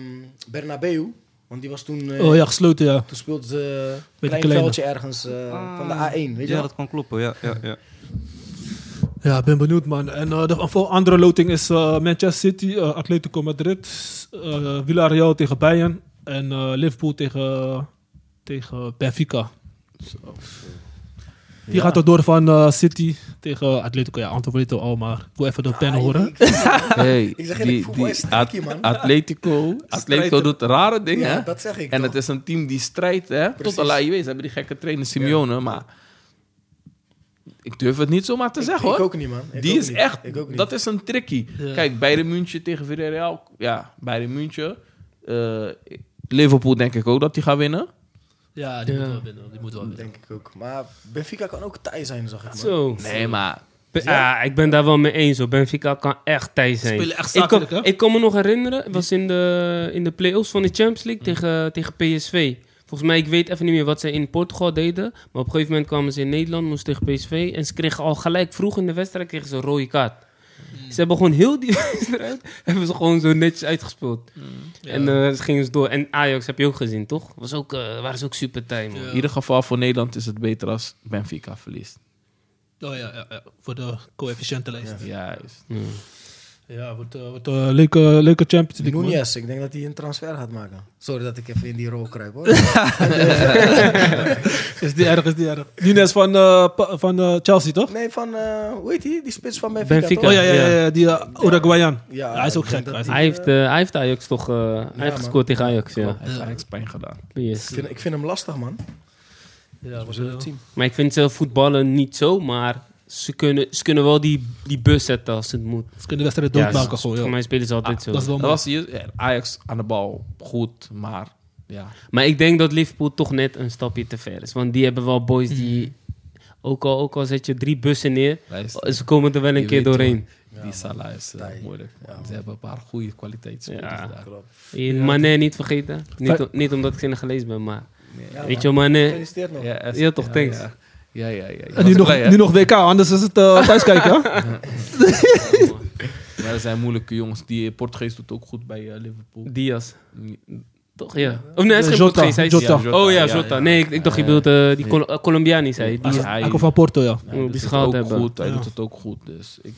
[SPEAKER 5] Bernabeu, want die was toen...
[SPEAKER 1] meer.
[SPEAKER 5] eh,
[SPEAKER 1] Oh ja, gesloten ja.
[SPEAKER 5] Toen speelden ze een
[SPEAKER 1] de
[SPEAKER 5] klein
[SPEAKER 1] kleine.
[SPEAKER 5] veldje ergens eh, van de A1, weet je
[SPEAKER 4] Ja,
[SPEAKER 5] wel?
[SPEAKER 4] dat kan kloppen, ja. ja, ja.
[SPEAKER 1] Ja, ik ben benieuwd, man. En eh, de voor andere loting is eh, Manchester City, eh, Atletico Madrid, eh, Villarreal tegen Bayern en eh, Liverpool tegen, tegen Benfica. Die gaat er door van eh, City tegen Atletico. Ja, Anton weet het al, maar ik wil even de pen horen.
[SPEAKER 3] Hey,
[SPEAKER 5] Ik zeg eerlijk, voetbal is tricky, man.
[SPEAKER 3] Atletico, Atletico doet rare dingen.
[SPEAKER 5] Ja,
[SPEAKER 3] hè?
[SPEAKER 5] dat zeg ik
[SPEAKER 3] en
[SPEAKER 5] toch.
[SPEAKER 3] het is een team die strijdt, hè?
[SPEAKER 5] Precies.
[SPEAKER 3] Tot Allah je weet, ze hebben die gekke trainer Simeone, maar ik durf het niet zomaar te
[SPEAKER 5] Ik-
[SPEAKER 3] zeggen, hoor.
[SPEAKER 5] Ik ook niet, man. Ik
[SPEAKER 3] die
[SPEAKER 5] ook
[SPEAKER 3] is
[SPEAKER 5] niet.
[SPEAKER 3] echt,
[SPEAKER 5] Ik ook niet.
[SPEAKER 3] dat is een tricky. Kijk, Bayern München tegen Villarreal, ja, Bayern München. Eh, Liverpool denk ik ook dat die gaat winnen.
[SPEAKER 1] Ja, die moet wel winnen. Die moet wel winnen.
[SPEAKER 5] denk ik ook. Maar Benfica kan ook Thai zijn, zag ik, man.
[SPEAKER 2] Zo.
[SPEAKER 3] Nee, maar
[SPEAKER 2] Be- ah, ik ben daar wel mee eens hoor. Benfica kan echt thij zijn.
[SPEAKER 1] Spelen echt
[SPEAKER 2] ik, kan,
[SPEAKER 1] zakelijk, hè?
[SPEAKER 2] ik kan me nog herinneren, het was in de, in de play-offs van de Champions League
[SPEAKER 1] Hmm.
[SPEAKER 2] tegen, tegen PSV. Volgens mij, ik weet even niet meer wat ze in Portugal deden. Maar op een gegeven moment kwamen ze in Nederland, moesten tegen PSV. En ze kregen al gelijk vroeg in de wedstrijd kregen ze een rode kaart.
[SPEAKER 1] Hmm.
[SPEAKER 2] Ze hebben gewoon heel die wedstrijd hebben ze gewoon zo netjes uitgespeeld.
[SPEAKER 1] Hmm.
[SPEAKER 2] En eh, ze gingen ze door. En Ajax heb je ook gezien, toch? Was ook, eh, waren ze ook super tijd, man.
[SPEAKER 3] in ieder geval voor Nederland is het beter als Benfica verliest.
[SPEAKER 1] Oh ja, ja, ja, voor de coëfficiëntenlijst. Ja,
[SPEAKER 3] Juist.
[SPEAKER 2] Hmm.
[SPEAKER 1] wordt, eh, wordt, eh, leuke, leuke Champions League. man.
[SPEAKER 5] Nunez, ik denk dat hij een transfer gaat maken. Sorry dat ik even in die rol kruip, hoor.
[SPEAKER 1] Is die erg, is die erg. Nunes van, eh, pa- van eh, Chelsea, toch?
[SPEAKER 5] nee, van, eh, hoe heet die? Die spits van Benfica,
[SPEAKER 2] Benfica.
[SPEAKER 5] toch?
[SPEAKER 1] Oh ja, ja, ja, ja, die eh, Uruguayan.
[SPEAKER 5] Ja,
[SPEAKER 1] Ja, hij is ook
[SPEAKER 5] ik denk
[SPEAKER 1] gek.
[SPEAKER 5] dat
[SPEAKER 1] Hij is
[SPEAKER 2] Hij heeft, eh, hij heeft Ajax toch... eh, hij heeft
[SPEAKER 5] man.
[SPEAKER 2] gescoord tegen Ajax, ja.
[SPEAKER 3] Hij heeft Ajax pijn gedaan.
[SPEAKER 2] Yes.
[SPEAKER 5] Ik vind, ik vind hem lastig, man.
[SPEAKER 1] Ja,
[SPEAKER 5] We zullen het zien.
[SPEAKER 2] Maar ik vind zelf voetballen niet zo, maar ze kunnen, ze kunnen wel die, die bus zetten als het moet.
[SPEAKER 1] Ze kunnen de wedstrijd doodmaken
[SPEAKER 2] ze-
[SPEAKER 1] gewoon,
[SPEAKER 2] Voor
[SPEAKER 1] ja. Ah,
[SPEAKER 2] mij spelen ze altijd zo.
[SPEAKER 1] Dat is wel
[SPEAKER 3] Dat
[SPEAKER 1] mooi.
[SPEAKER 3] was hier, ja, Ajax aan de bal goed, maar ja.
[SPEAKER 2] Maar ik denk dat Liverpool toch net een stapje te ver is. Want die hebben wel boys die... Ook, al, ook al zet je drie bussen neer,
[SPEAKER 3] Luister,
[SPEAKER 2] ze komen er wel een
[SPEAKER 3] je
[SPEAKER 2] keer
[SPEAKER 3] weet
[SPEAKER 2] doorheen.
[SPEAKER 3] die Salah is eh,
[SPEAKER 5] Tij.
[SPEAKER 3] moeilijk. man. Ze hebben een paar goede kwaliteitsspelers
[SPEAKER 2] Ja.
[SPEAKER 3] daar.
[SPEAKER 2] In Mané niet vergeten. Niet,
[SPEAKER 1] Fa-
[SPEAKER 2] o- niet omdat ik zinnen gelezen ben, maar...
[SPEAKER 5] Ja,
[SPEAKER 2] weet
[SPEAKER 5] man.
[SPEAKER 2] je, Mané...
[SPEAKER 5] Gefeliciteerd nog.
[SPEAKER 3] Ja,
[SPEAKER 2] Ja, toch, thanks.
[SPEAKER 3] Ja, ja, ja. ja. Je
[SPEAKER 1] En nu
[SPEAKER 3] was
[SPEAKER 1] nog,
[SPEAKER 3] blij, hè?
[SPEAKER 1] nu nog WK, anders is het eh, thuiskijken. hè?
[SPEAKER 3] Maar er zijn moeilijke jongens. Die eh, Portugees doet ook goed bij eh, Liverpool.
[SPEAKER 2] Diaz. Toch, ja. Of nee, hij is
[SPEAKER 1] Eh,
[SPEAKER 2] geen
[SPEAKER 1] Jota,
[SPEAKER 2] Portugees, hij is-
[SPEAKER 1] Jota.
[SPEAKER 2] Oh ja, Jota. Nee, ik, ik dacht, je bedoelt eh, die Col- eh, Colombiaan, die zei. Die
[SPEAKER 1] Hij
[SPEAKER 2] is-
[SPEAKER 1] is-
[SPEAKER 3] hij-
[SPEAKER 1] Hij komt van Porto, ja.
[SPEAKER 3] Ja,
[SPEAKER 2] Moet
[SPEAKER 3] hij
[SPEAKER 2] die
[SPEAKER 3] doet het
[SPEAKER 2] schaal
[SPEAKER 3] ook
[SPEAKER 2] hebben.
[SPEAKER 3] goed. Hij
[SPEAKER 1] Ja.
[SPEAKER 3] doet het ook goed. Dus ik,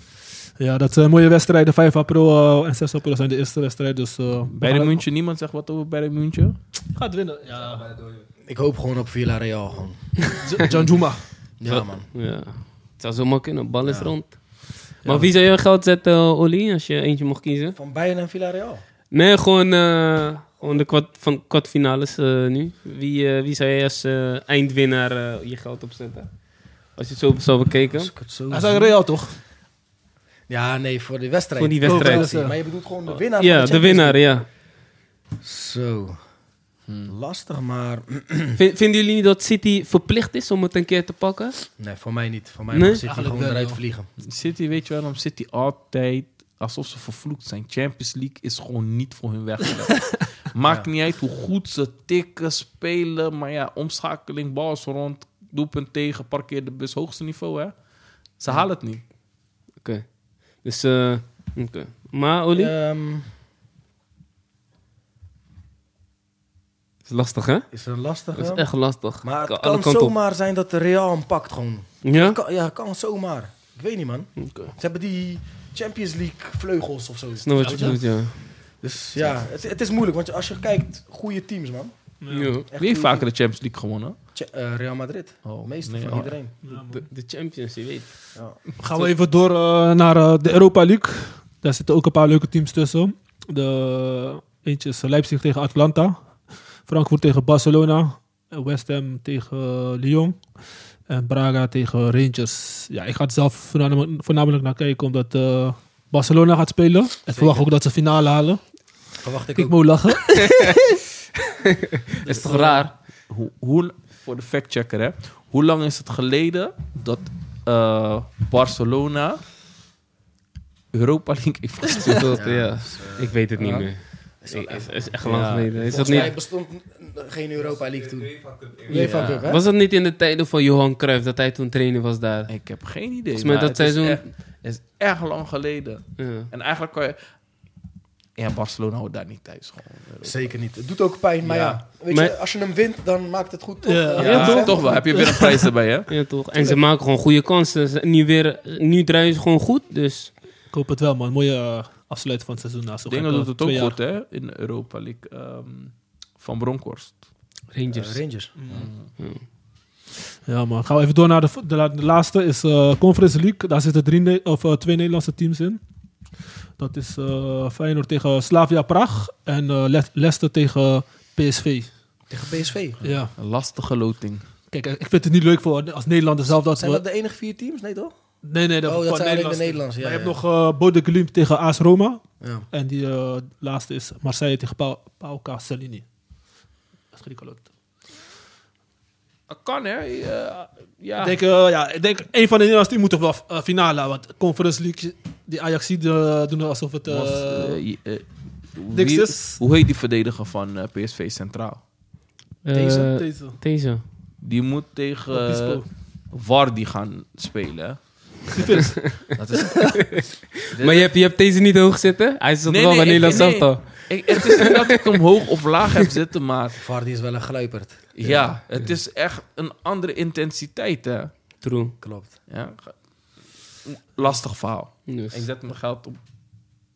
[SPEAKER 1] Ja, dat zijn mooie wedstrijden. 5 april eh, en 6 april zijn de eerste wedstrijd. Dus, eh,
[SPEAKER 3] bij de
[SPEAKER 1] we gaan-
[SPEAKER 3] München, niemand zegt wat over bij de München.
[SPEAKER 1] Gaat winnen, ja.
[SPEAKER 5] Ik hoop gewoon op Villarreal, gewoon.
[SPEAKER 1] Janjuma.
[SPEAKER 5] Ja, man.
[SPEAKER 2] Ja, het zou zomaar kunnen. Bal is rond. Maar wie zou je geld zetten, eh, Olly, als je eentje mocht kiezen?
[SPEAKER 5] Van Bayern en Villarreal.
[SPEAKER 2] Nee, gewoon, eh, gewoon de kwart, van kwartfinales eh, nu. Wie, eh, wie zou jij als eh, eindwinnaar eh, je geld opzetten? Als je het zo zou bekeken.
[SPEAKER 5] Als ik het zo
[SPEAKER 1] Hij is
[SPEAKER 5] zie-
[SPEAKER 1] eigenlijk Real, toch?
[SPEAKER 5] Ja, nee, voor die wedstrijd.
[SPEAKER 2] Voor die wedstrijd.
[SPEAKER 5] Oh, maar je bedoelt gewoon de winnaar
[SPEAKER 2] Ja,
[SPEAKER 5] van
[SPEAKER 2] de winnaar, ja.
[SPEAKER 5] Champions League. Zo. Hm. Lastig, maar...
[SPEAKER 2] Vin- vinden jullie niet dat City verplicht is om het een keer te pakken?
[SPEAKER 5] Nee, voor mij niet. Voor mij
[SPEAKER 2] Nee?
[SPEAKER 5] mag City
[SPEAKER 1] Eigenlijk
[SPEAKER 5] gewoon
[SPEAKER 1] wel,
[SPEAKER 5] eruit
[SPEAKER 1] joh.
[SPEAKER 5] vliegen.
[SPEAKER 3] City, weet je waarom City altijd... Alsof ze vervloekt zijn. Champions League is gewoon niet voor hun weg. Maakt niet uit hoe goed ze tikken, spelen. Maar ja, omschakeling, bal is rond. Doelpunt tegen, parkeer de bus. Hoogste niveau, hè. Ze halen het niet.
[SPEAKER 2] Oké. Dus, eh, oké. Maar, Olly?
[SPEAKER 5] Ehm,
[SPEAKER 2] is lastig, hè?
[SPEAKER 5] is er een lastige?
[SPEAKER 2] Dat is echt lastig.
[SPEAKER 5] Maar
[SPEAKER 2] Ka-
[SPEAKER 5] het
[SPEAKER 2] alle
[SPEAKER 5] kan
[SPEAKER 2] kanten op.
[SPEAKER 5] zomaar zijn dat de Real hem pakt gewoon.
[SPEAKER 2] Ja?
[SPEAKER 5] Kan, ja, kan zomaar. Ik weet niet, man.
[SPEAKER 2] Oké.
[SPEAKER 5] Ze hebben die Champions League vleugels of zo.
[SPEAKER 2] Snap wat je
[SPEAKER 5] Weet je?
[SPEAKER 2] bedoelt, ja.
[SPEAKER 5] Dus ja, het, het is moeilijk. Want als je kijkt, goede teams, man.
[SPEAKER 2] Ja.
[SPEAKER 5] Echt
[SPEAKER 3] Wie heeft
[SPEAKER 5] goede
[SPEAKER 3] vaker de Champions League gewonnen?
[SPEAKER 5] teams. Ch- eh, Real Madrid.
[SPEAKER 3] Oh,
[SPEAKER 5] Meestal
[SPEAKER 3] nee,
[SPEAKER 5] van
[SPEAKER 3] oh.
[SPEAKER 5] iedereen.
[SPEAKER 2] De, de Champions, je weet.
[SPEAKER 1] Gaan we even door eh, naar eh, de Europa League. Daar zitten ook een paar leuke teams tussen. De, eentje is Leipzig tegen Atlanta. Frankfurt tegen Barcelona. eh, West Ham tegen eh, Lyon. En Braga tegen Rangers. Ja, ik ga het zelf voornamelijk, voornamelijk naar kijken omdat eh, Barcelona gaat spelen. Ik verwacht ook dat ze finale halen.
[SPEAKER 5] Verwacht ik
[SPEAKER 1] Ik
[SPEAKER 5] ook.
[SPEAKER 1] moet lachen.
[SPEAKER 2] is toch raar?
[SPEAKER 3] Hoe, hoe, voor de factchecker, hè. Hoe lang is het geleden dat eh, Barcelona Europa League heeft gespeeld?
[SPEAKER 2] Ik weet het niet meer.
[SPEAKER 5] Is wel
[SPEAKER 2] is,
[SPEAKER 5] even.
[SPEAKER 2] is echt lang
[SPEAKER 4] Ja.
[SPEAKER 2] geleden. Is dat
[SPEAKER 5] Volgens mij
[SPEAKER 2] niet,
[SPEAKER 5] bestond geen Europa League toen. UEFA
[SPEAKER 2] Ja.
[SPEAKER 5] Cup, hè?
[SPEAKER 2] Was dat niet in de tijden van Johan Cruijff dat hij toen trainer was daar?
[SPEAKER 3] Ik heb geen idee.
[SPEAKER 2] Volgens mij
[SPEAKER 3] maar
[SPEAKER 2] dat
[SPEAKER 3] het is
[SPEAKER 2] seizoen-
[SPEAKER 3] echt- Het is erg lang geleden.
[SPEAKER 2] Ja.
[SPEAKER 3] En eigenlijk kan je... Ja, Barcelona hoort daar niet thuis. Gewoon.
[SPEAKER 5] Zeker niet. Het doet ook pijn, maar
[SPEAKER 3] Ja.
[SPEAKER 5] ja. Weet
[SPEAKER 2] Maar-
[SPEAKER 5] je, als je hem wint, dan maakt het goed. toch?
[SPEAKER 1] Ja.
[SPEAKER 5] Eh,
[SPEAKER 3] Ja,
[SPEAKER 2] Ja,
[SPEAKER 3] toch,
[SPEAKER 5] hè?
[SPEAKER 3] toch wel. Heb je weer een prijs erbij, hè?
[SPEAKER 2] Ja, toch? En ze maken gewoon goede kansen. Ze- Nu, weer, nu draaien ze gewoon goed, dus...
[SPEAKER 1] Ik hoop het wel, man. Mooie eh, afsluit van het seizoen. na zo'n
[SPEAKER 3] Dingen
[SPEAKER 1] gek,
[SPEAKER 3] doet
[SPEAKER 1] eh,
[SPEAKER 3] het
[SPEAKER 1] twee
[SPEAKER 3] ook
[SPEAKER 1] jaar.
[SPEAKER 3] goed, hè? In Europa League. ehm, van Bronkhorst.
[SPEAKER 2] Rangers.
[SPEAKER 5] Eh, Rangers.
[SPEAKER 1] Ja, man. Gaan we even door naar de, vo- de, la- de laatste. Is eh, Conference League. Daar zitten drie, Ne- of, eh, twee Nederlandse teams in. Dat is eh Feyenoord tegen Slavia Praag. En eh, Le- Leicester tegen PSV.
[SPEAKER 5] Tegen PSV.
[SPEAKER 1] Ja.
[SPEAKER 3] Een lastige loting.
[SPEAKER 1] Kijk, eh, ik vind het niet leuk voor als Nederlander zelf dat
[SPEAKER 5] Zijn
[SPEAKER 1] we...
[SPEAKER 5] dat de enige vier teams? Nee, toch?
[SPEAKER 1] Nee, nee, dat
[SPEAKER 5] Oh, dat
[SPEAKER 1] qua
[SPEAKER 5] zijn alleen de
[SPEAKER 1] Nederlandse.
[SPEAKER 5] Nederlanders, ja,
[SPEAKER 1] Maar je
[SPEAKER 5] ja.
[SPEAKER 1] hebt nog eh Bode Glimp tegen AS Roma.
[SPEAKER 5] Ja.
[SPEAKER 1] En die eh, laatste is Marseille tegen Pau Pauka Salini. Dat is Griekenland.
[SPEAKER 3] Dat kan, hè? Ja, ja.
[SPEAKER 1] Ik denk, eh, ja, ik denk, een van de Nederlandse die moet toch wel eh, finale. Want Conference League, die Ajax doen alsof het... eh,
[SPEAKER 3] Was, eh, je- eh,
[SPEAKER 1] Dix
[SPEAKER 3] wie-
[SPEAKER 1] is-
[SPEAKER 3] Hoe heet die verdediger van eh, PSV Centraal?
[SPEAKER 1] deze,
[SPEAKER 2] Eh,
[SPEAKER 1] deze.
[SPEAKER 2] deze.
[SPEAKER 3] Die moet tegen eh,
[SPEAKER 1] Obispo.
[SPEAKER 3] Wardy gaan spelen. hè? Dat is,
[SPEAKER 2] Maar je hebt, je hebt deze niet hoog zitten? Hij zat
[SPEAKER 3] Nee,
[SPEAKER 2] wel
[SPEAKER 3] nee,
[SPEAKER 2] bij
[SPEAKER 3] ik-
[SPEAKER 2] Nederlands
[SPEAKER 3] nee.
[SPEAKER 2] elftal.
[SPEAKER 3] ik, het is niet dat ik hem hoog of laag heb zitten, maar
[SPEAKER 5] Vardy is wel een gluiperd.
[SPEAKER 3] ja, het is echt een andere intensiteit. Hè?
[SPEAKER 2] True.
[SPEAKER 5] Klopt.
[SPEAKER 3] Ja, ge- lastig verhaal.
[SPEAKER 2] Dus.
[SPEAKER 3] Ik zet mijn geld op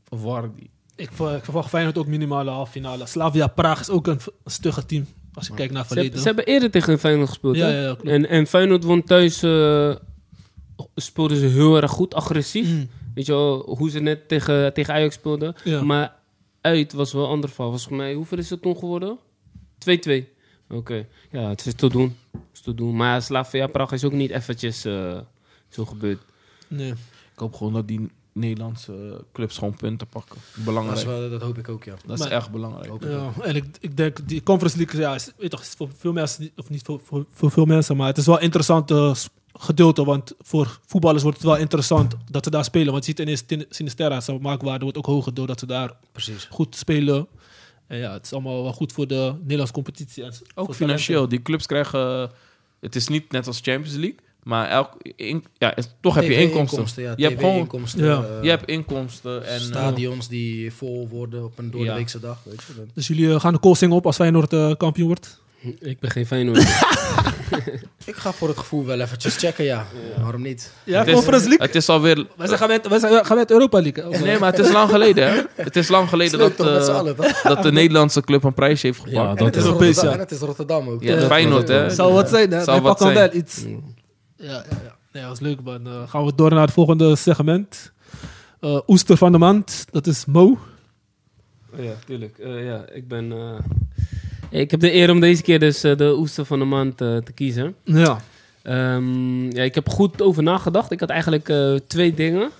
[SPEAKER 3] Wardy.
[SPEAKER 1] Ik, ver- ik verwacht Feyenoord ook minimale halve finale. Slavia Praag is ook een v- een stugge team. Als je kijkt naar
[SPEAKER 2] Ze,
[SPEAKER 1] verleden.
[SPEAKER 2] hebben- ze hebben eerder tegen Feyenoord gespeeld,
[SPEAKER 1] Ja,
[SPEAKER 2] hè?
[SPEAKER 1] ja, ja, klopt.
[SPEAKER 2] en, en Feyenoord won thuis... eh, speelden ze heel erg goed, agressief.
[SPEAKER 1] Mm.
[SPEAKER 2] Weet je wel, hoe ze net tegen, tegen Ajax speelden.
[SPEAKER 1] Ja.
[SPEAKER 2] Maar uit was wel een ander verhaal. Was voor mij, hoeveel is het toen geworden? 2-2. Oké. Ja, het is te doen. Het is te doen. Maar Slavia Praag is ook niet eventjes eh, zo gebeurd.
[SPEAKER 1] Nee.
[SPEAKER 3] Ik hoop gewoon dat die Nederlandse clubs gewoon punten pakken.
[SPEAKER 5] Dat, is
[SPEAKER 3] Belangrijk.
[SPEAKER 5] wel, dat hoop ik ook, ja.
[SPEAKER 3] Dat is
[SPEAKER 1] Maar-
[SPEAKER 3] echt belangrijk.
[SPEAKER 1] Ja, en ik, ik denk, die Conference League ja, is, weet toch, is voor veel mensen, niet- of niet voor, voor, voor veel mensen, maar het is wel een interessant eh, s- gedeelte. Want voor voetballers wordt het wel interessant dat ze daar spelen. Want je ziet ineens Tin- Sinisterra, zijn maakwaarde wordt ook hoger doordat ze daar
[SPEAKER 5] Precies.
[SPEAKER 1] goed spelen. En ja, het is allemaal wel goed voor de Nederlandse competitie. En s- voor
[SPEAKER 3] Ook
[SPEAKER 1] talenten.
[SPEAKER 3] financieel. Die clubs krijgen... eh, Het is niet net als Champions League. Maar elk, in- ja, is- toch heb je
[SPEAKER 5] E
[SPEAKER 3] inkomsten.
[SPEAKER 5] Ja,
[SPEAKER 3] je, hebt gewoon,
[SPEAKER 5] TV-inkomsten.
[SPEAKER 1] Ja.
[SPEAKER 5] eh,
[SPEAKER 3] je hebt inkomsten. En, eh,
[SPEAKER 5] stadions die vol worden op een doordeweekse dag. Weet je. Dan-
[SPEAKER 1] Dus jullie eh, gaan de call zingen op als Feyenoord eh, kampioen wordt?
[SPEAKER 2] Ik ben geen Feyenoord.
[SPEAKER 5] Ik ga voor het gevoel wel eventjes checken, ja. Waarom niet?
[SPEAKER 1] Ja,
[SPEAKER 3] het is-
[SPEAKER 1] Conference League.
[SPEAKER 3] Het is alweer...
[SPEAKER 1] Wij zijn gaan met, wij zijn gaan met Europa League. hè?
[SPEAKER 3] Nee, maar het is lang geleden. Hè? Het is lang geleden dat,
[SPEAKER 5] Leuk toch, met z'n
[SPEAKER 3] eh,
[SPEAKER 5] allen, toch?
[SPEAKER 3] dat de Nederlandse club een prijs heeft gepakt.
[SPEAKER 5] En het is
[SPEAKER 1] Europees,
[SPEAKER 5] Rotterdam,
[SPEAKER 1] ja.
[SPEAKER 5] en het is Rotterdam ook.
[SPEAKER 3] Ja,
[SPEAKER 5] toch?
[SPEAKER 3] Feyenoord, hè?
[SPEAKER 1] Zou wat zijn, hè?
[SPEAKER 3] Zou
[SPEAKER 1] Wij
[SPEAKER 3] wat
[SPEAKER 1] pakken
[SPEAKER 3] zijn.
[SPEAKER 1] wel iets. Ja, ja, ja. Nee, dat is leuk, man. Eh, gaan we door naar het volgende segment. Eh, Oester van de maand, dat is Mo.
[SPEAKER 2] ja, tuurlijk. Eh, ja, ik ben... eh, Ik heb de eer om deze keer dus eh, de oester van de maand eh, te kiezen.
[SPEAKER 1] Ja.
[SPEAKER 2] Ehm, ja, ik heb goed over nagedacht. Ik had eigenlijk eh, twee dingen.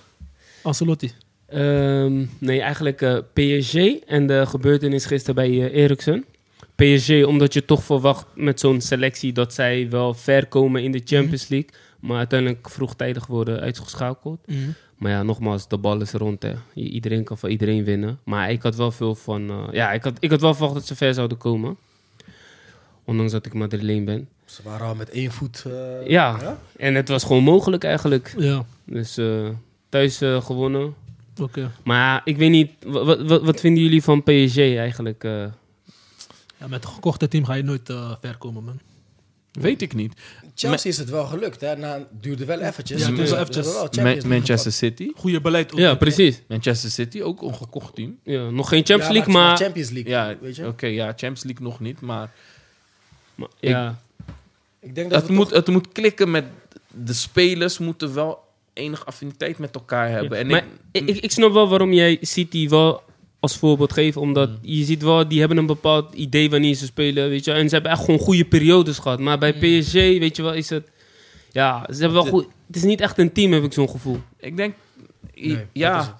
[SPEAKER 1] Ancelotti.
[SPEAKER 2] Ehm, nee, eigenlijk eh, PSG en de gebeurtenis gisteren bij eh, Eriksen. PSG, omdat je toch verwacht met zo'n selectie dat zij wel ver komen in de Champions League. Maar uiteindelijk vroegtijdig worden uitgeschakeld. Maar ja, nogmaals, de bal is rond. Hè. I- Iedereen kan van iedereen winnen. Maar ik had wel veel van. eh, ja, ik had, ik had wel verwacht dat ze ver zouden komen. Ondanks dat ik Madrileen ben.
[SPEAKER 5] Ze waren al met één voet. eh,
[SPEAKER 2] Ja, en het was gewoon mogelijk eigenlijk.
[SPEAKER 1] Ja,
[SPEAKER 2] Dus eh, thuis eh, gewonnen.
[SPEAKER 1] oké.
[SPEAKER 2] Maar ja, ik weet niet, wat, wat, wat vinden jullie van PSG eigenlijk? eh?
[SPEAKER 1] Ja, met een gekochte team ga je nooit eh, ver komen, man.
[SPEAKER 3] Weet ik niet.
[SPEAKER 5] Chelsea is het wel gelukt, hè? Na, het duurde wel eventjes.
[SPEAKER 1] Ja, het duurde
[SPEAKER 5] Ze
[SPEAKER 1] eventjes.
[SPEAKER 5] hebben wel
[SPEAKER 3] Ma-
[SPEAKER 5] Champions League
[SPEAKER 3] Manchester City.
[SPEAKER 1] Goede beleid. ook.
[SPEAKER 2] ja, precies.
[SPEAKER 3] Manchester City, ook een gekocht team.
[SPEAKER 2] Ja, nog geen
[SPEAKER 5] gepakt.
[SPEAKER 2] Champions
[SPEAKER 5] Ja,
[SPEAKER 2] League,
[SPEAKER 5] het is wel
[SPEAKER 2] maar...
[SPEAKER 5] Champions League,
[SPEAKER 3] Ja,
[SPEAKER 5] weet
[SPEAKER 3] oké,
[SPEAKER 5] je?
[SPEAKER 3] ja, Champions League nog niet, maar...
[SPEAKER 2] maar- ja,
[SPEAKER 5] Ik denk dat
[SPEAKER 3] Het
[SPEAKER 5] we
[SPEAKER 3] moet, het moet klikken met... De spelers moeten wel enige affiniteit met elkaar hebben. En
[SPEAKER 2] maar ik, ik, ik snap wel waarom jij City wel als voorbeeld geeft. Omdat je ziet wel, die hebben een bepaald idee wanneer ze spelen, weet je wel. En ze hebben echt gewoon goede periodes gehad. Maar bij PSG, weet je wel, is het... Hmm. Ja, ze hebben wel goed... Het is niet echt een team, heb ik zo'n gevoel.
[SPEAKER 3] Ik denk, i-
[SPEAKER 5] Nee, dat is
[SPEAKER 3] ja,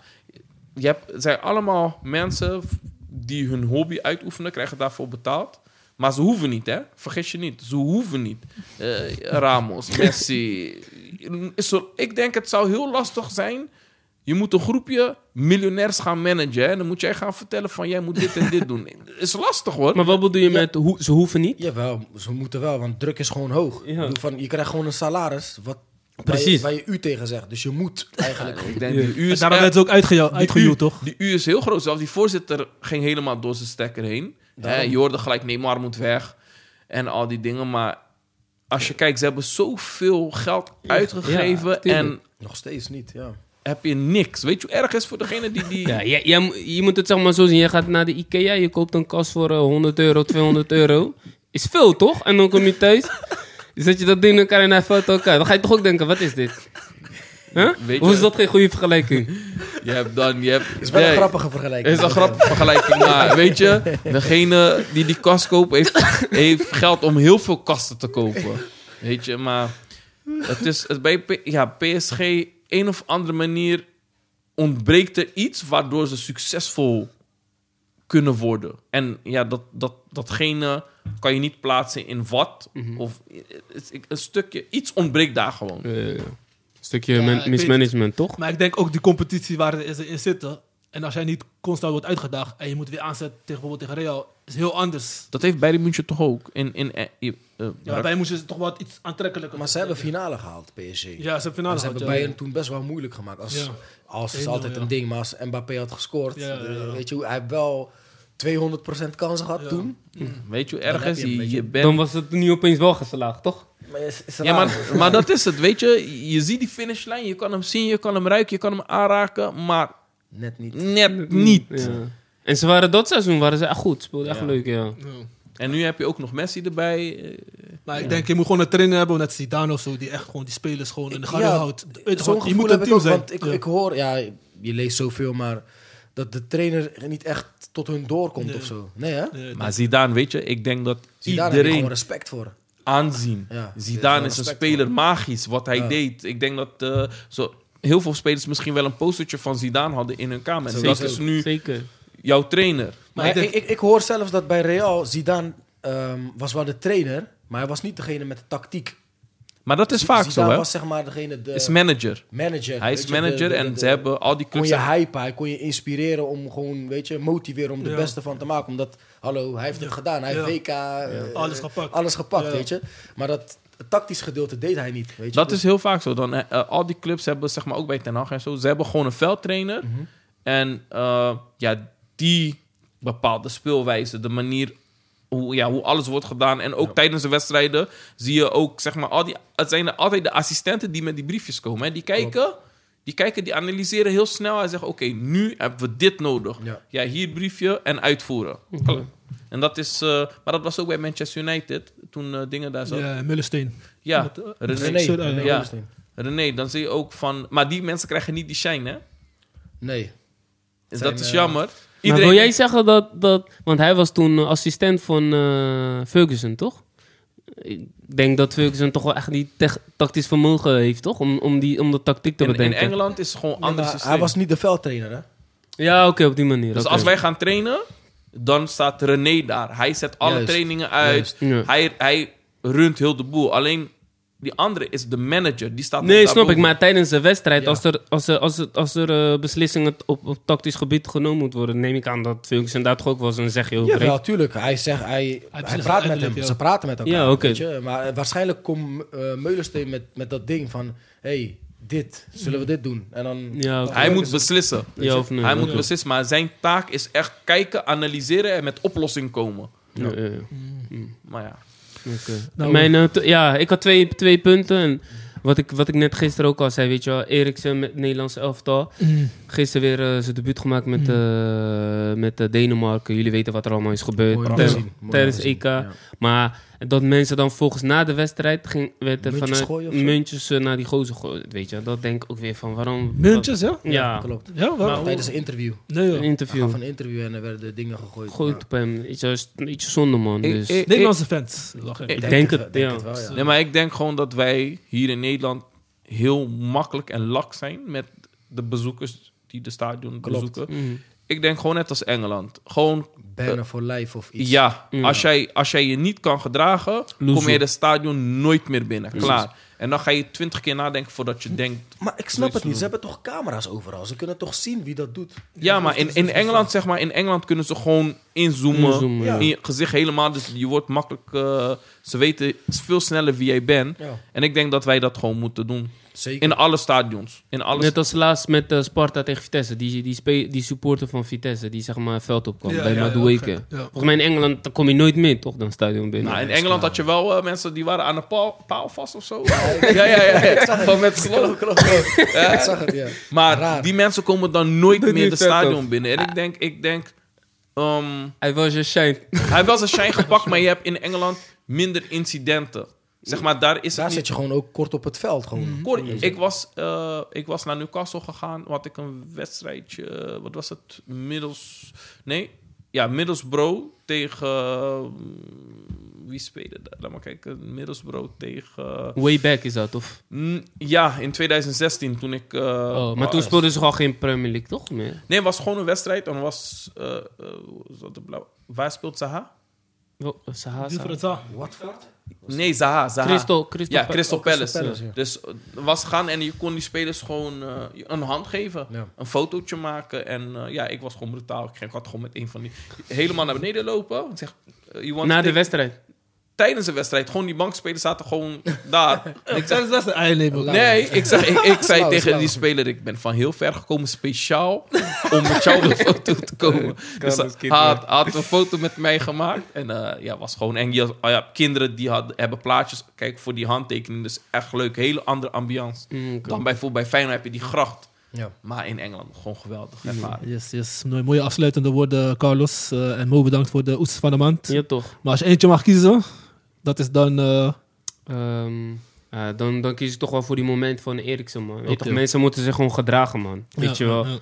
[SPEAKER 3] je hebt, het zijn allemaal mensen v- die hun hobby uitoefenen, krijgen daarvoor betaald. Maar ze hoeven niet, hè? Vergis je niet. Ze hoeven niet. Eh, Ramos, Messi. Is er- ik denk het zou heel lastig zijn Je moet een groepje miljonairs gaan managen. hè. En dan moet jij gaan vertellen van jij moet dit en dit doen. Is lastig hoor.
[SPEAKER 2] Maar wat bedoel je met hoe, ze hoeven niet?
[SPEAKER 5] Jawel, ze moeten wel, want druk is gewoon hoog. Ik bedoel, Van, je krijgt gewoon een salaris wat,
[SPEAKER 2] Precies.
[SPEAKER 5] Waar, je, waar je u tegen zegt. Dus je moet eigenlijk.
[SPEAKER 3] Ik denk, die U
[SPEAKER 1] En
[SPEAKER 3] is
[SPEAKER 1] daarom
[SPEAKER 3] echt-
[SPEAKER 1] werd ze ook uitgejo-
[SPEAKER 3] die U-
[SPEAKER 1] uitgejoeld, toch?
[SPEAKER 3] Die U is heel groot. Zelfs die voorzitter ging helemaal door zijn stekker heen. Hè, je hoorde gelijk, Neymar moet weg. En al die dingen. Maar als je kijkt, ze hebben zoveel geld uitgegeven.
[SPEAKER 2] tuurlijk.
[SPEAKER 3] en
[SPEAKER 5] Nog steeds niet, ja.
[SPEAKER 3] heb je niks. Weet je hoe erg is voor degene die... die...
[SPEAKER 2] Ja, jij- jij mo- je moet het zeg maar zo zien. Je gaat naar de Ikea, je koopt een kast voor eh, 100 euro, 200 euro. Is veel, toch? En dan kom je thuis, zet je dat ding in elkaar en hij valt elkaar. Dan ga je toch ook denken, wat is dit? Huh?
[SPEAKER 3] Weet je-
[SPEAKER 2] Hoe is dat geen goede vergelijking?
[SPEAKER 3] Je hebt dan... Je hebt,
[SPEAKER 5] Is wel een
[SPEAKER 3] Nee,
[SPEAKER 5] grappige vergelijking.
[SPEAKER 3] Is een grappige vergelijking. Maar weet je, degene die die kast koopt, heeft, heeft geld om heel veel kasten te kopen. Weet je, maar het is het, bij P- ja, PSG een of andere manier ontbreekt er iets waardoor ze succesvol kunnen worden. En ja, dat, dat, datgene kan je niet plaatsen in wat.
[SPEAKER 5] Mhm.
[SPEAKER 3] Of het is- een stukje, iets ontbreekt daar gewoon.
[SPEAKER 2] Eh, Stukje
[SPEAKER 1] man- ik weet mismanagement,
[SPEAKER 2] mismanagement, toch?
[SPEAKER 1] Maar ik denk ook die competitie waar ze in zitten. En als jij niet constant wordt uitgedaagd en je moet weer aanzetten tegen bijvoorbeeld tegen Real, is heel anders.
[SPEAKER 3] Dat heeft Bayern München toch ook? In, in, eh, je- eh,
[SPEAKER 1] Ja, wij moesten ze toch wat iets aantrekkelijker
[SPEAKER 5] Maar ze hebben finale gehaald, PSG.
[SPEAKER 1] Ja, nou, ze hebben finale
[SPEAKER 5] En ze hebben
[SPEAKER 1] gehad,
[SPEAKER 5] Bayern
[SPEAKER 1] ja.
[SPEAKER 5] toen best wel moeilijk gemaakt. Als,
[SPEAKER 1] Ja.
[SPEAKER 5] als is
[SPEAKER 1] 1-0,
[SPEAKER 5] altijd een
[SPEAKER 1] ja.
[SPEAKER 5] ding, maar als Mbappé had gescoord, eh,
[SPEAKER 1] Ja, ja, ja.
[SPEAKER 5] weet je, hoe, hij heeft wel 200% kansen gehad toen.
[SPEAKER 3] weet je hoe erg
[SPEAKER 5] Dan heb
[SPEAKER 3] is?
[SPEAKER 5] je een
[SPEAKER 3] Je,
[SPEAKER 5] beetje-
[SPEAKER 3] je bent...
[SPEAKER 2] Dan was het nu opeens wel geslaagd, toch?
[SPEAKER 5] Maar is, is
[SPEAKER 3] Ja,
[SPEAKER 5] raar.
[SPEAKER 3] maar, maar dat is het, weet je. Je ziet die finishlijn, je kan hem zien, je kan hem ruiken, je kan hem aanraken, maar
[SPEAKER 5] net niet.
[SPEAKER 3] net
[SPEAKER 5] Mm,
[SPEAKER 3] niet.
[SPEAKER 2] Ja. En ze waren dat seizoen waren ze echt goed. Speelden echt leuk, ja.
[SPEAKER 1] Ja.
[SPEAKER 3] En nu heb je ook nog Messi erbij. eh,
[SPEAKER 1] Maar ik denk, je moet gewoon een trainer hebben, net Zidane of zo, die echt gewoon die spelers gewoon in de garde
[SPEAKER 5] Ja,
[SPEAKER 1] houdt. Weet je,
[SPEAKER 5] Zo'n
[SPEAKER 1] gewoon, je
[SPEAKER 5] gevoel
[SPEAKER 1] moet
[SPEAKER 5] heb
[SPEAKER 1] een
[SPEAKER 5] ik
[SPEAKER 1] team
[SPEAKER 5] ook,
[SPEAKER 1] zijn.
[SPEAKER 5] want ik,
[SPEAKER 1] Ja.
[SPEAKER 5] ik hoor, ja, je leest zoveel, maar dat de trainer niet echt tot hun doorkomt
[SPEAKER 1] Nee.
[SPEAKER 5] of zo. Nee, hè?
[SPEAKER 1] Nee,
[SPEAKER 3] Maar Zidane, weet je, ik denk dat
[SPEAKER 5] Zidane heb ik
[SPEAKER 3] iedereen
[SPEAKER 5] gewoon respect voor.
[SPEAKER 3] aanzien.
[SPEAKER 5] Ja,
[SPEAKER 3] Zidane
[SPEAKER 5] ja,
[SPEAKER 3] is een
[SPEAKER 5] respect,
[SPEAKER 3] speler
[SPEAKER 5] man.
[SPEAKER 3] magisch, wat hij
[SPEAKER 5] Ja.
[SPEAKER 3] deed. Ik denk dat eh, zo, heel veel spelers misschien wel een postertje van Zidane hadden in hun kamer. En dat
[SPEAKER 5] Sowieso.
[SPEAKER 3] is nu
[SPEAKER 2] Zeker.
[SPEAKER 3] jouw trainer.
[SPEAKER 5] Maar
[SPEAKER 1] Maar
[SPEAKER 5] ik,
[SPEAKER 1] ik
[SPEAKER 5] ik, ik hoor zelfs dat bij Real Zidane ehm, was wel de trainer, maar hij was niet degene met de tactiek.
[SPEAKER 3] Maar dat is vaak
[SPEAKER 5] Zidane
[SPEAKER 3] zo, hè.
[SPEAKER 5] Dus was zeg maar degene, de
[SPEAKER 3] Is manager.
[SPEAKER 5] manager.
[SPEAKER 3] Hij
[SPEAKER 5] weet
[SPEAKER 3] is
[SPEAKER 5] je, de-
[SPEAKER 3] manager
[SPEAKER 5] de-
[SPEAKER 3] en
[SPEAKER 5] de-
[SPEAKER 3] ze hebben al die
[SPEAKER 5] kon
[SPEAKER 3] clubs...
[SPEAKER 5] je hypen, hij kon je inspireren om gewoon, weet je, motiveren om de
[SPEAKER 1] Ja.
[SPEAKER 5] beste van te maken. Omdat, hallo, hij heeft het gedaan. Hij heeft
[SPEAKER 1] Ja.
[SPEAKER 5] WK, eh,
[SPEAKER 1] Alles
[SPEAKER 5] eh,
[SPEAKER 1] gepakt.
[SPEAKER 5] alles gepakt,
[SPEAKER 1] Ja.
[SPEAKER 5] weet je. Maar dat tactisch gedeelte deed hij niet, weet je.
[SPEAKER 3] Dat
[SPEAKER 5] Dus-
[SPEAKER 3] is heel vaak zo. Dan, eh, eh, al die clubs hebben, zeg maar ook bij Ten Hag en zo, ze hebben gewoon een veldtrainer. En eh, ja, die bepaalt de speelwijze, de manier hoe, ja, hoe alles wordt gedaan. En ook tijdens de wedstrijden zie je ook, zeg maar, al die, het zijn er altijd de assistenten die met die briefjes komen. Hè. Die kijken. Die kijken, die analyseren heel snel en zeggen: Oké, nu hebben we dit nodig. Ja,
[SPEAKER 5] Ja.
[SPEAKER 3] hier het briefje en uitvoeren. Klaar. En dat is, eh, maar dat was ook bij Manchester United toen eh, dingen daar zat. Ja,
[SPEAKER 1] Ja, Mullensteen. Met, eh,
[SPEAKER 3] René.
[SPEAKER 5] Nee,
[SPEAKER 1] Zo-
[SPEAKER 5] nee,
[SPEAKER 1] eh,
[SPEAKER 5] nee,
[SPEAKER 3] ja.
[SPEAKER 5] Augustin.
[SPEAKER 3] René, dan zie je ook van... Maar die mensen krijgen niet die shine, hè?
[SPEAKER 5] Nee.
[SPEAKER 3] Dus
[SPEAKER 5] Zijn,
[SPEAKER 3] dat is
[SPEAKER 5] eh,
[SPEAKER 3] jammer.
[SPEAKER 2] Maar wil jij zeggen dat, dat... Want hij was toen eh, assistent van eh, Ferguson, toch? Ik denk dat Ferguson toch wel echt die tech- tactisch vermogen heeft, toch? Om, om, die, om de tactiek te
[SPEAKER 3] in, in
[SPEAKER 2] bedenken.
[SPEAKER 3] Engeland is het gewoon
[SPEAKER 5] Nee,
[SPEAKER 3] anders
[SPEAKER 5] maar hij was niet de veldtrainer, hè?
[SPEAKER 2] Ja, oké, op die manier.
[SPEAKER 3] Dus
[SPEAKER 2] oké.
[SPEAKER 3] als wij gaan trainen, dan staat René daar. Hij zet alle
[SPEAKER 5] Juist,
[SPEAKER 3] trainingen uit.
[SPEAKER 2] Ja.
[SPEAKER 3] Hij, hij runt heel de boel. Alleen die andere is de manager. Die staat
[SPEAKER 2] Nee,
[SPEAKER 3] daar
[SPEAKER 2] snap ik.
[SPEAKER 3] boven.
[SPEAKER 2] Maar tijdens de wedstrijd,
[SPEAKER 5] Ja.
[SPEAKER 2] als er, als er, als er, als er eh, beslissingen op, op tactisch gebied genomen moeten worden, neem ik aan dat Ferguson daar toch ook wel eens een zegje over
[SPEAKER 5] Ja,
[SPEAKER 2] heeft.
[SPEAKER 5] wel, tuurlijk. Hij, zegt, hij, hij,
[SPEAKER 1] precies,
[SPEAKER 5] praat met
[SPEAKER 1] eigenlijk,
[SPEAKER 5] hem.
[SPEAKER 1] ja.
[SPEAKER 5] Ze praten met elkaar.
[SPEAKER 2] Ja, oké.
[SPEAKER 5] weet je. Maar eh, waarschijnlijk komt eh Meulensteen met, met dat ding van... hey, dit. Zullen
[SPEAKER 1] Mm.
[SPEAKER 5] we dit doen? En dan...
[SPEAKER 2] Ja, oké.
[SPEAKER 3] Hij moet beslissen.
[SPEAKER 2] Ja of nee?
[SPEAKER 3] Hij moet
[SPEAKER 2] Ja.
[SPEAKER 3] beslissen. Maar zijn taak is echt kijken, analyseren en met oplossing komen.
[SPEAKER 2] Ja, ja, ja.
[SPEAKER 3] Maar ja.
[SPEAKER 2] Oké.
[SPEAKER 1] Nou,
[SPEAKER 2] Mijn, eh, t- ja, ik had twee, twee punten. En wat, ik, wat ik net gisteren ook al zei, weet je wel, Eriksen met het Nederlandse elftal. Gisteren weer eh, zijn debuut gemaakt met, eh, met eh, Denemarken. Jullie weten wat er allemaal is gebeurd
[SPEAKER 5] Mooi om te
[SPEAKER 2] tij-
[SPEAKER 5] zien. Mooi
[SPEAKER 2] tijdens
[SPEAKER 5] om te zien,
[SPEAKER 2] EK.
[SPEAKER 5] ja.
[SPEAKER 2] Maar dat mensen dan volgens na de wedstrijd ging, werd er
[SPEAKER 5] Muntjes
[SPEAKER 2] vanuit
[SPEAKER 5] gooien of zo?
[SPEAKER 2] muntjes eh, naar die gozer gegooid. Weet je, dat denk ik ook weer van waarom.
[SPEAKER 1] Muntjes, ja?
[SPEAKER 2] dat- ja,
[SPEAKER 5] Klopt.
[SPEAKER 1] Ja, waarom?
[SPEAKER 5] Tijdens een interview.
[SPEAKER 1] Nee,
[SPEAKER 2] een
[SPEAKER 1] joh.
[SPEAKER 5] Hij
[SPEAKER 2] interview.
[SPEAKER 5] gaf een interview en er werden dingen gegooid.
[SPEAKER 2] Gooi het op hem. Iets, is een ietsje zonde, man.
[SPEAKER 3] Ik-
[SPEAKER 2] Dus.
[SPEAKER 3] ik-
[SPEAKER 1] Nederlandse fans. Lach ik.
[SPEAKER 2] Ik
[SPEAKER 5] Ja,
[SPEAKER 2] denk het,
[SPEAKER 5] denk
[SPEAKER 2] ja.
[SPEAKER 5] het wel, ja.
[SPEAKER 3] Nee, maar ik denk gewoon dat wij hier in Nederland heel makkelijk en lak zijn met de bezoekers die de stadion bezoeken.
[SPEAKER 2] Mhm.
[SPEAKER 3] Ik denk gewoon net als Engeland. Gewoon,
[SPEAKER 5] Bijna voor lijf of iets.
[SPEAKER 3] ja,
[SPEAKER 2] Ja.
[SPEAKER 3] Als, jij, als jij je niet kan gedragen,
[SPEAKER 2] Loezoe.
[SPEAKER 3] kom je de stadion nooit meer binnen. Klaar. En dan ga je twintig keer nadenken voordat je denkt...
[SPEAKER 5] Maar ik snap het niet. Ze hebben toch camera's overal. Ze kunnen toch zien wie dat dus doet.
[SPEAKER 3] Ja, maar in, in Engeland, zeg maar, in Engeland kunnen ze gewoon inzoomen,
[SPEAKER 2] Inzoomen, ja.
[SPEAKER 3] in je gezicht helemaal. Dus je wordt makkelijk... eh, ze weten veel sneller wie jij bent.
[SPEAKER 5] Ja,
[SPEAKER 3] En ik denk dat wij dat gewoon moeten doen.
[SPEAKER 5] zeker.
[SPEAKER 3] In alle stadions. In alle
[SPEAKER 2] Net als laatst met eh, Sparta tegen Vitesse. Die, die, spe- die supporter van Vitesse, die zeg maar veld op kwam bij Madueke.
[SPEAKER 1] Ja.
[SPEAKER 2] Volgens mij in Engeland dan kom je nooit meer, toch? Dan stadion binnen.
[SPEAKER 3] Nou, in Engeland had je wel eh, mensen die waren aan een paal, paal vast of zo. ja, ja, ja. ja. Gewoon met slow.
[SPEAKER 5] Klopt, klopt, klopt. Ik zag het, ja.
[SPEAKER 3] Maar
[SPEAKER 5] Raar.
[SPEAKER 3] die mensen komen dan nooit
[SPEAKER 2] Dat
[SPEAKER 3] meer
[SPEAKER 2] niet
[SPEAKER 3] de
[SPEAKER 2] vet,
[SPEAKER 3] stadion
[SPEAKER 2] toch?
[SPEAKER 3] binnen. En ik denk, ik denk ehm,
[SPEAKER 2] Hij was je shine.
[SPEAKER 3] hij was een shine gepakt, maar je hebt in Engeland minder incidenten. Zeg maar, daar is het
[SPEAKER 5] Daar
[SPEAKER 3] niet- Mhm.
[SPEAKER 5] zit je gewoon ook kort op het veld.
[SPEAKER 2] Hm?
[SPEAKER 5] Gewoon.
[SPEAKER 3] Cor, ik, was, eh, ik was naar Newcastle gegaan. Had ik een wedstrijdje. eh, wat was het? Middels. Nee. Ja, Middlesbrough tegen. eh, wie speelde daar? Laat maar kijken. Middlesbrough tegen. eh,
[SPEAKER 2] Way back is dat, of?
[SPEAKER 3] mm, ja, in 2016 toen ik. eh,
[SPEAKER 2] Oh, maar
[SPEAKER 3] was.
[SPEAKER 2] toen speelden ze gewoon geen Premier League, toch? Meer.
[SPEAKER 3] Nee, het was gewoon een wedstrijd. En was. eh, eh, hoe is dat de blauw? Waar speelt Zaha?
[SPEAKER 2] Wel, eh, Saha,
[SPEAKER 1] Die voor
[SPEAKER 2] Saha.
[SPEAKER 1] het zaal.
[SPEAKER 3] Nee, Zaha. Zaha.
[SPEAKER 2] Crystal, Crystal
[SPEAKER 3] Ja,
[SPEAKER 2] Pa-
[SPEAKER 3] Crystal
[SPEAKER 5] oh, Crystal
[SPEAKER 3] Palace.
[SPEAKER 5] Palace, ja.
[SPEAKER 3] Dus eh, was gaan en je kon die spelers gewoon eh, een hand geven.
[SPEAKER 5] Ja.
[SPEAKER 3] Een fotootje maken. En eh, ja, ik was gewoon brutaal. Ik ging- ik had gewoon met een van die... Helemaal naar beneden lopen. Ik Zeg, eh, you want
[SPEAKER 2] Na
[SPEAKER 3] to
[SPEAKER 2] de
[SPEAKER 3] take-
[SPEAKER 2] wedstrijd.
[SPEAKER 3] Tijdens de wedstrijd. Gewoon die bankspelers zaten gewoon daar.
[SPEAKER 1] Ik zei dat is een ei, nee, bro.
[SPEAKER 3] Nee, ik, zeg, ik, ik zei
[SPEAKER 5] Slauw,
[SPEAKER 3] tegen
[SPEAKER 5] slauw.
[SPEAKER 3] die speler... Ik ben van heel ver gekomen speciaal om met jou op de foto te komen. Dus hij
[SPEAKER 2] als kind,
[SPEAKER 3] had, hij had een foto met mij gemaakt. En eh, ja, was gewoon eng. Je had- ah ja, kinderen die hadden, hebben plaatjes. Kijk, voor die handtekening. Dus echt leuk. Hele andere ambiance.
[SPEAKER 2] Mm, oké.
[SPEAKER 3] Dan bijvoorbeeld bij Feyenoord heb je die gracht.
[SPEAKER 5] Ja.
[SPEAKER 3] Maar in Engeland gewoon
[SPEAKER 2] Mm.
[SPEAKER 3] geweldig. ervaren.
[SPEAKER 1] Yes, yes. Mooi- Mooie afsluitende woorden, Carlos. Eh, en Mo, bedankt voor de oesters van de maand.
[SPEAKER 2] Ja, toch.
[SPEAKER 1] Maar als je eentje mag kiezen, dat is dan... eh,
[SPEAKER 2] Ehm, eh, dan, dan kies ik toch wel voor die moment van Eriksen, man. Weet je
[SPEAKER 1] Oké.
[SPEAKER 2] toch, mensen moeten zich gewoon gedragen, man. Weet
[SPEAKER 1] ja,
[SPEAKER 2] je wel.
[SPEAKER 1] ja,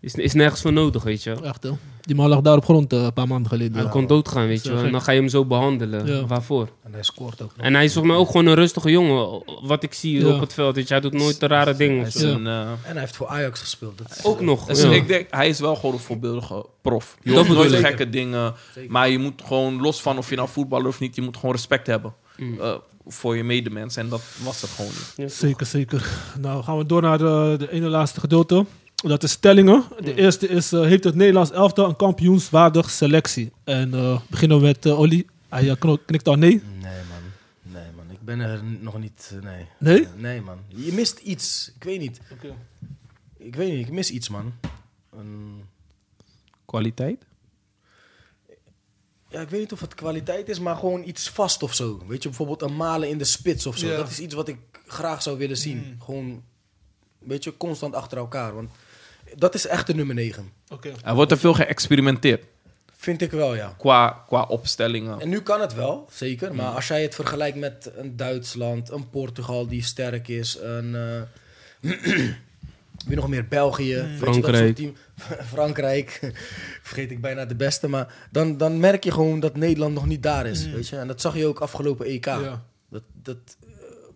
[SPEAKER 2] Is, is nergens voor nodig, weet je wel.
[SPEAKER 1] ja, echt, hè. Die man lag daar op grond eh, een paar maanden
[SPEAKER 2] Hij
[SPEAKER 1] geleden.
[SPEAKER 2] kon doodgaan, weet
[SPEAKER 1] Zo
[SPEAKER 2] je wel. En
[SPEAKER 1] gek.
[SPEAKER 2] dan ga je hem zo behandelen.
[SPEAKER 1] Ja.
[SPEAKER 2] Waarvoor?
[SPEAKER 5] En hij scoort ook nog.
[SPEAKER 2] En hij is volgens mij ook gewoon een rustige jongen. Wat ik zie
[SPEAKER 1] Ja.
[SPEAKER 2] op het veld, weet je. Hij doet nooit de rare dingen. of
[SPEAKER 3] Dus
[SPEAKER 2] zo.
[SPEAKER 1] Ja.
[SPEAKER 3] een, eh,
[SPEAKER 5] En hij heeft voor Ajax gespeeld. Dat is-
[SPEAKER 2] Ook nog.
[SPEAKER 3] dus
[SPEAKER 2] ja.
[SPEAKER 3] ik denk, hij is wel gewoon een voorbeeldige prof. Je
[SPEAKER 2] Dat
[SPEAKER 3] hoeft
[SPEAKER 2] bedoel
[SPEAKER 3] nooit
[SPEAKER 2] ik.
[SPEAKER 3] gekke dingen. Maar je moet gewoon, los van of je nou voetballer of niet... je moet gewoon respect hebben
[SPEAKER 2] Mm.
[SPEAKER 3] eh, voor je medemens. En dat was er gewoon niet.
[SPEAKER 2] Ja, toch.
[SPEAKER 1] Zeker, zeker. Nou, gaan we door naar de, de ene laatste gedeelte. Dat is stellingen. De eerste is, eh, heeft het Nederlands elftal een kampioenswaardig selectie? En eh, beginnen we met eh, Olly. Hij eh, kno- knikt al nee.
[SPEAKER 5] Nee, man. Nee, man. Ik ben er n- nog niet... eh, Nee.
[SPEAKER 1] Nee?
[SPEAKER 5] Nee, man. Je mist iets. Ik weet niet. Ik weet niet. Ik mis iets, man. Een-
[SPEAKER 3] Kwaliteit?
[SPEAKER 5] ja, ik weet niet of het kwaliteit is, maar gewoon iets vast of zo. Weet je, bijvoorbeeld een malen in de spits of zo. Dat is iets wat ik graag zou willen zien. Gewoon een beetje constant achter elkaar. Want dat is echt de nummer 9.
[SPEAKER 1] Oké.
[SPEAKER 3] Er wordt er veel geëxperimenteerd.
[SPEAKER 5] Vind ik wel, ja.
[SPEAKER 3] Qua, qua opstellingen.
[SPEAKER 5] En nu kan het wel, zeker.
[SPEAKER 1] Mm.
[SPEAKER 5] Maar als jij het vergelijkt met een Duitsland, een Portugal die sterk is, een. eh, wie nog meer? België,
[SPEAKER 1] Mm.
[SPEAKER 5] weet je, dat soort
[SPEAKER 2] Frankrijk.
[SPEAKER 5] team. Frankrijk, vergeet ik bijna de beste. Maar dan, dan merk je gewoon dat Nederland nog niet daar is. Weet je? En dat zag je ook afgelopen EK.
[SPEAKER 1] Mm. Ja.
[SPEAKER 5] Dat, dat, eh,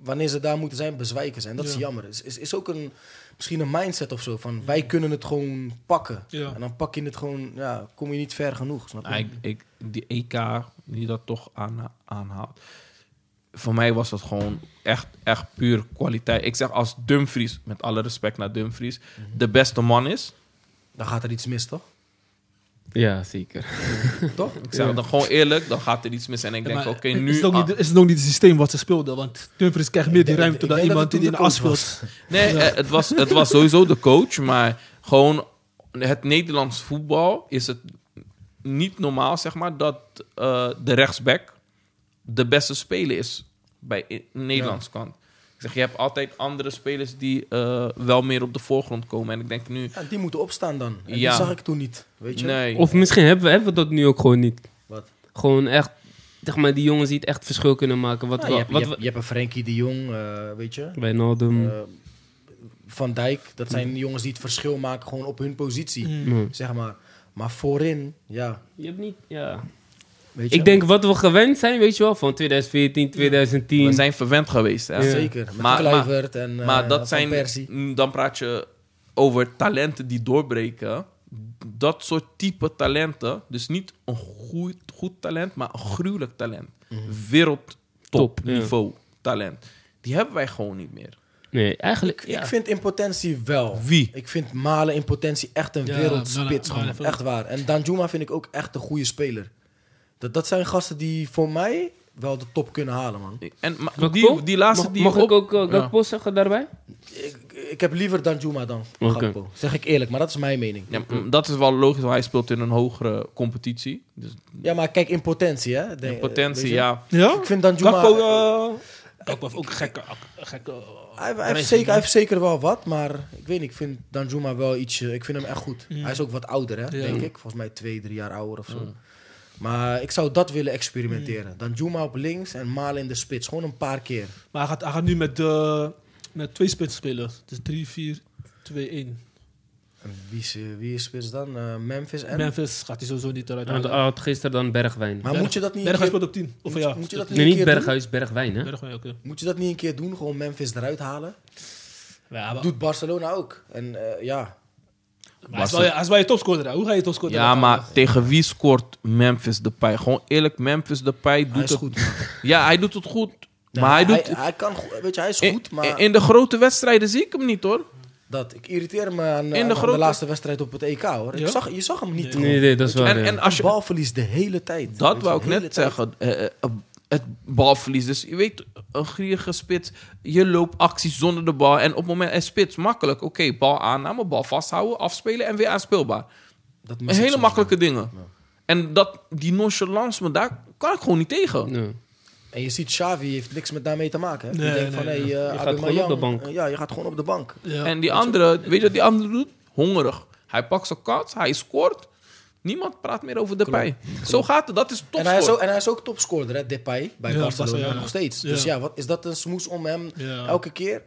[SPEAKER 5] wanneer ze daar moeten zijn, bezwijken ze. En dat is
[SPEAKER 1] Ja. Mm.
[SPEAKER 5] jammer. Het is, is, is ook een, misschien een mindset of zo. Van wij kunnen het gewoon pakken.
[SPEAKER 1] Ja.
[SPEAKER 5] En dan pak je het gewoon, ja, kom je niet ver genoeg. Snap je?
[SPEAKER 3] Nou, ik, ik, die EK die dat toch aan, aanhaalt. Voor mij was dat gewoon echt, echt puur kwaliteit. Ik zeg als Dumfries, met alle respect naar Dumfries, de beste man is.
[SPEAKER 5] Dan gaat er iets mis, toch?
[SPEAKER 2] Ja, zeker.
[SPEAKER 5] toch?
[SPEAKER 3] Ik zeg dan gewoon eerlijk, dan gaat er iets mis. En ik denk,
[SPEAKER 1] Maar
[SPEAKER 3] oké,
[SPEAKER 1] is
[SPEAKER 3] nu...
[SPEAKER 1] Het ook niet, is het ook niet het systeem wat ze speelden? Want Dumfries krijgt meer die
[SPEAKER 5] denk-
[SPEAKER 1] ruimte
[SPEAKER 5] ik
[SPEAKER 1] dan
[SPEAKER 5] denk dat
[SPEAKER 1] iemand
[SPEAKER 5] het
[SPEAKER 1] die in
[SPEAKER 5] toen
[SPEAKER 1] de
[SPEAKER 5] de
[SPEAKER 1] as
[SPEAKER 5] coach
[SPEAKER 1] speelt.
[SPEAKER 3] Nee, eh, het, was, het was sowieso de coach, maar gewoon het Nederlands voetbal is het niet normaal, zeg maar, dat eh, de rechtsback de beste speler is bij i- Nederlands kant. Ik zeg, je hebt altijd andere spelers die eh, wel meer op de voorgrond komen. En ik denk nu,
[SPEAKER 5] Ja, die moeten opstaan dan. En
[SPEAKER 3] Ja.
[SPEAKER 5] Die zag ik toen niet, weet je?
[SPEAKER 3] nee.
[SPEAKER 2] Of misschien hebben we, hebben we dat nu ook gewoon niet.
[SPEAKER 5] Wat?
[SPEAKER 2] Gewoon echt, zeg maar, die jongens die het echt verschil kunnen maken. Wat
[SPEAKER 5] Nou,
[SPEAKER 2] we-
[SPEAKER 5] je, hebt,
[SPEAKER 2] wat
[SPEAKER 5] je, hebt, je hebt een Frenkie de Jong, eh, weet je?
[SPEAKER 2] we- Wijnaldum.
[SPEAKER 5] Eh, Van Dijk, dat zijn jongens die het verschil maken gewoon op hun positie,
[SPEAKER 2] Mm.
[SPEAKER 5] zeg maar. Maar voorin, ja,
[SPEAKER 2] Je hebt niet, ja.
[SPEAKER 5] weet je?
[SPEAKER 2] Ik denk wat we gewend zijn, weet je wel, van 2014, 2010.
[SPEAKER 3] we zijn verwend geweest. Hè?
[SPEAKER 5] Ja, zeker. Met
[SPEAKER 3] Maar-
[SPEAKER 5] Kluivert en eh,
[SPEAKER 3] Maar dat
[SPEAKER 5] Van
[SPEAKER 3] zijn,
[SPEAKER 5] Persie.
[SPEAKER 3] mm, dan praat je over talenten die doorbreken. Dat soort type talenten, dus niet een goed,
[SPEAKER 5] Mhm.
[SPEAKER 3] goed talent, maar een gruwelijk talent. Wereldtop
[SPEAKER 2] Top, ja.
[SPEAKER 3] niveau talent. Die hebben wij gewoon niet meer.
[SPEAKER 2] Nee, eigenlijk. ja.
[SPEAKER 5] Ik vind in potentie wel.
[SPEAKER 3] Wie?
[SPEAKER 5] Ik vind Malen in potentie echt een
[SPEAKER 1] Ja, Malen-
[SPEAKER 5] wereldspits.
[SPEAKER 1] Malen
[SPEAKER 5] gewoon.
[SPEAKER 1] vind ik-
[SPEAKER 5] echt waar. En Danjuma vind ik ook echt een goede speler. Dat, dat zijn gasten die voor mij wel de top kunnen halen, man.
[SPEAKER 3] En maar
[SPEAKER 2] Gakpo?
[SPEAKER 3] die, die laatste
[SPEAKER 2] mag,
[SPEAKER 3] die
[SPEAKER 2] mag
[SPEAKER 3] op...
[SPEAKER 2] ik ook uh,
[SPEAKER 3] Ja.
[SPEAKER 2] Gakpo zeggen daarbij?
[SPEAKER 5] Ik, ik heb liever Danjuma dan
[SPEAKER 2] Oké.
[SPEAKER 5] Gakpo. Zeg ik eerlijk, maar dat is mijn mening.
[SPEAKER 3] Ja, maar dat is wel logisch, want hij speelt in een hogere competitie. Dus
[SPEAKER 5] Ja, maar kijk, in potentie, hè. De-
[SPEAKER 3] in
[SPEAKER 5] eh, weet
[SPEAKER 3] potentie,
[SPEAKER 5] je?
[SPEAKER 3] ja.
[SPEAKER 1] Ja?
[SPEAKER 5] Ik vind Danjuma...
[SPEAKER 1] Gakpo, eh, Gakpo heeft ook gekke... gekke
[SPEAKER 5] Hij, hij
[SPEAKER 1] Racing,
[SPEAKER 5] heeft zeker,
[SPEAKER 1] hè?
[SPEAKER 5] hij heeft zeker wel wat, maar ik weet niet. Ik vind Danjuma wel iets... eh, Ik vind hem echt goed. Hij is ook wat ouder, hè,
[SPEAKER 1] Mm. Ja. Mm.
[SPEAKER 5] denk ik. Volgens mij twee, drie jaar ouder of zo. Maar ik zou dat willen experimenteren.
[SPEAKER 1] Mm.
[SPEAKER 5] Danjuma op links en Malen in de spits. Gewoon een paar keer.
[SPEAKER 1] maar hij gaat, hij gaat nu met, eh, met twee spitsen spelen. Dus 3, 4, 2, 1.
[SPEAKER 5] En wie is, eh, wie is spits dan? Eh, Memphis en...
[SPEAKER 1] Memphis gaat hij sowieso niet eruit
[SPEAKER 2] Want
[SPEAKER 1] halen.
[SPEAKER 2] hij had gisteren dan Bergwijn.
[SPEAKER 5] Maar
[SPEAKER 1] Berg-
[SPEAKER 5] moet je dat niet... een
[SPEAKER 1] Berghuis
[SPEAKER 5] keer-
[SPEAKER 1] speelt op 10. Of ja.
[SPEAKER 5] moet je dat
[SPEAKER 1] speelt-
[SPEAKER 5] niet
[SPEAKER 2] Nee,
[SPEAKER 5] een
[SPEAKER 2] niet
[SPEAKER 5] keer doen?
[SPEAKER 2] Berghuis, Bergwijn, hè?
[SPEAKER 1] Berghuis, oké.
[SPEAKER 5] Moet je dat niet een keer doen? Gewoon Memphis eruit halen?
[SPEAKER 1] Ja, maar-
[SPEAKER 5] Doet Barcelona ook. En eh, ja...
[SPEAKER 1] maar hij is wel je- hij is wel je topscorer. hè. Hoe ga je topscorer
[SPEAKER 3] Ja,
[SPEAKER 1] halen?
[SPEAKER 3] maar tegen wie scoort Memphis Depay? Gewoon eerlijk, Memphis Depay doet
[SPEAKER 5] Hij is
[SPEAKER 3] het
[SPEAKER 5] goed.
[SPEAKER 3] Ja, hij doet het goed.
[SPEAKER 5] Ja,
[SPEAKER 3] maar hij doet...
[SPEAKER 5] Hij, kan goed. Weet je, hij is
[SPEAKER 3] in-
[SPEAKER 5] goed, maar...
[SPEAKER 3] in, in de grote wedstrijden zie ik hem niet, hoor.
[SPEAKER 5] Dat, ik irriteer me aan, eh,
[SPEAKER 3] de
[SPEAKER 5] aan de,
[SPEAKER 3] grote-
[SPEAKER 5] laatste wedstrijd op het EK hoor.
[SPEAKER 1] Ja?
[SPEAKER 5] Ik zag, je zag hem niet.
[SPEAKER 2] Nee, nee, dat is wel.
[SPEAKER 3] En,
[SPEAKER 2] ja.
[SPEAKER 3] en als je...
[SPEAKER 5] balverlies de hele tijd.
[SPEAKER 3] Dat
[SPEAKER 5] Weet
[SPEAKER 3] wou
[SPEAKER 5] je,
[SPEAKER 3] ik
[SPEAKER 5] de
[SPEAKER 3] net
[SPEAKER 5] hele tijd.
[SPEAKER 3] zeggen. Eh, eh, eh, het balverlies. Dus je weet, een gierige spits. Je loopt acties zonder de bal. En op het moment... En spits, makkelijk. Oké, bal aanname, bal vasthouden, afspelen en weer aanspeelbaar.
[SPEAKER 5] Dat mis ik
[SPEAKER 3] Hele
[SPEAKER 5] soms,
[SPEAKER 3] makkelijke dingen. En dat, die nonchalance, maar daar kan ik gewoon niet tegen.
[SPEAKER 2] Ja.
[SPEAKER 5] man. En je ziet, Xavi heeft niks met daarmee te maken. Hè?
[SPEAKER 1] Nee,
[SPEAKER 5] Die denkt van,
[SPEAKER 1] nee,
[SPEAKER 5] hey, eh,
[SPEAKER 2] gaat
[SPEAKER 5] Aubameyang,
[SPEAKER 2] gewoon op de bank.
[SPEAKER 5] eh, ja, je gaat gewoon op de bank.
[SPEAKER 1] Ja.
[SPEAKER 3] En die andere, weet je wat die andere doet? Hongerig. Hij pakt zijn kans, hij scoort. Niemand praat meer over de pij. Zo gaat het, dat is
[SPEAKER 5] En hij, is ook,
[SPEAKER 3] topsport.
[SPEAKER 5] en hij is ook topscorer, hè, Depay, bij
[SPEAKER 1] Ja,
[SPEAKER 5] Barcelona
[SPEAKER 1] Barcelona, ja.
[SPEAKER 5] nog steeds. Dus
[SPEAKER 1] Ja.
[SPEAKER 5] ja, wat, is dat een smoes om hem
[SPEAKER 1] Ja.
[SPEAKER 5] elke keer?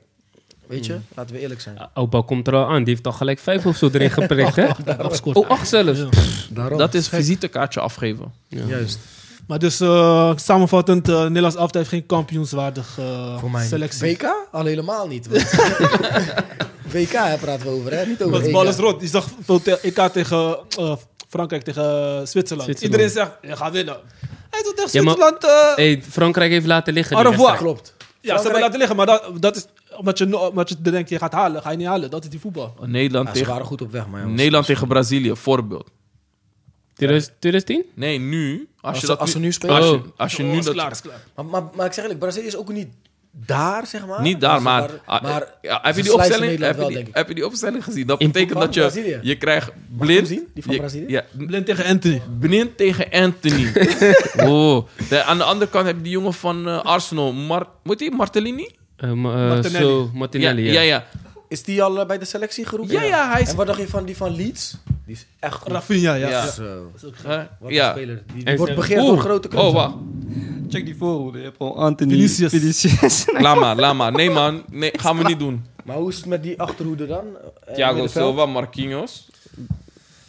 [SPEAKER 5] Weet
[SPEAKER 3] Hmm.
[SPEAKER 5] je, laten we eerlijk zijn.
[SPEAKER 2] Opa komt er al aan. Die heeft al gelijk vijf of zo erin geprikt, hè?
[SPEAKER 1] Daarom scoort
[SPEAKER 2] Oh,
[SPEAKER 1] hij.
[SPEAKER 2] acht zelfs.
[SPEAKER 1] Ja.
[SPEAKER 5] Daarom.
[SPEAKER 3] Dat is visitekaartje afgeven.
[SPEAKER 5] Juist.
[SPEAKER 1] Maar dus eh, samenvattend, eh Nederlands elftal heeft geen kampioenswaardig eh,
[SPEAKER 5] Voor mij.
[SPEAKER 1] selectie.
[SPEAKER 5] WK? Al helemaal niet. want- WK hè, praten we over, hè? Niet over
[SPEAKER 1] Want de
[SPEAKER 5] EK.
[SPEAKER 1] bal is rond. Je zag veel te- EK tegen eh, Frankrijk tegen eh, Zwitserland.
[SPEAKER 2] Zwitserland.
[SPEAKER 1] Iedereen zegt, je gaat winnen. En toen tegen
[SPEAKER 2] Ja, maar-
[SPEAKER 1] Zwitserland, eh,
[SPEAKER 2] Hey, Frankrijk heeft laten liggen.
[SPEAKER 1] Au
[SPEAKER 2] die
[SPEAKER 1] revoir.
[SPEAKER 2] wedstrijd.
[SPEAKER 5] Klopt.
[SPEAKER 1] ja, ze hebben laten liggen. Maar dat, dat is omdat je, no- omdat je denkt, je gaat halen, ga je niet halen. Dat is die voetbal.
[SPEAKER 3] Nederland,
[SPEAKER 5] Ja, ze
[SPEAKER 3] tegen,
[SPEAKER 5] waren goed op weg, maar jongens.
[SPEAKER 3] Nederland tegen Brazilië, voorbeeld.
[SPEAKER 2] 2000- 2010?
[SPEAKER 3] Nee, nu, als,
[SPEAKER 5] Als
[SPEAKER 3] je
[SPEAKER 5] ze-
[SPEAKER 3] dat
[SPEAKER 5] als ze nu spelen?
[SPEAKER 3] Als
[SPEAKER 2] Oh.
[SPEAKER 3] je, als je
[SPEAKER 1] Oh,
[SPEAKER 3] nu
[SPEAKER 1] is
[SPEAKER 3] dat...
[SPEAKER 1] klaar, is klaar.
[SPEAKER 5] Maar, maar, maar ik zeg eerlijk, Brazilië is ook niet daar, zeg maar.
[SPEAKER 3] Niet daar,
[SPEAKER 5] Ze
[SPEAKER 3] maar,
[SPEAKER 5] waren-
[SPEAKER 3] ah,
[SPEAKER 5] maar
[SPEAKER 3] ja, heb, je
[SPEAKER 5] ze
[SPEAKER 3] die
[SPEAKER 5] slijten
[SPEAKER 3] opstelling,
[SPEAKER 5] Nederland
[SPEAKER 3] heb, je
[SPEAKER 5] wel,
[SPEAKER 3] die,
[SPEAKER 5] denk ik.
[SPEAKER 3] heb je die opstelling gezien? Dat
[SPEAKER 2] In-
[SPEAKER 3] betekent
[SPEAKER 5] van
[SPEAKER 3] dat je,
[SPEAKER 5] Brazilië?
[SPEAKER 3] je krijgt
[SPEAKER 5] ik hem
[SPEAKER 3] blind...
[SPEAKER 5] zien? Die van
[SPEAKER 3] je-
[SPEAKER 5] Brazilië?
[SPEAKER 3] Ja,
[SPEAKER 1] Blind tegen Anthony.
[SPEAKER 3] blind tegen Anthony. oh. De- aan de andere kant heb je die jongen van eh, Arsenal. Mar moet hij Martellini?
[SPEAKER 2] Eh, ma- eh,
[SPEAKER 1] Martinelli.
[SPEAKER 2] Zo, Martinelli,
[SPEAKER 3] ja, ja. ja.
[SPEAKER 5] Is die al eh, bij de selectie geroepen?
[SPEAKER 3] Ja, ja, hij is-
[SPEAKER 5] En wat dacht je van die van Leeds? Die is echt goed.
[SPEAKER 1] Rafinha, ja.
[SPEAKER 3] Ja.
[SPEAKER 5] Zo.
[SPEAKER 3] Hè?
[SPEAKER 5] Wat
[SPEAKER 3] ja.
[SPEAKER 5] een speler. Die
[SPEAKER 2] En-
[SPEAKER 5] wordt begeerd door
[SPEAKER 3] Oeh.
[SPEAKER 5] grote
[SPEAKER 3] Oh,
[SPEAKER 5] clubs.
[SPEAKER 3] wacht.
[SPEAKER 4] Check die voorhoede. Je hebt gewoon Anthony.
[SPEAKER 1] Vinicius.
[SPEAKER 4] Vinicius.
[SPEAKER 3] Laat maar, laat maar. Nee, man. Nee, gaan we niet doen.
[SPEAKER 5] Maar hoe is het met die achterhoede dan? Eh,
[SPEAKER 3] Thiago
[SPEAKER 5] middenveld?
[SPEAKER 3] Silva, Marquinhos.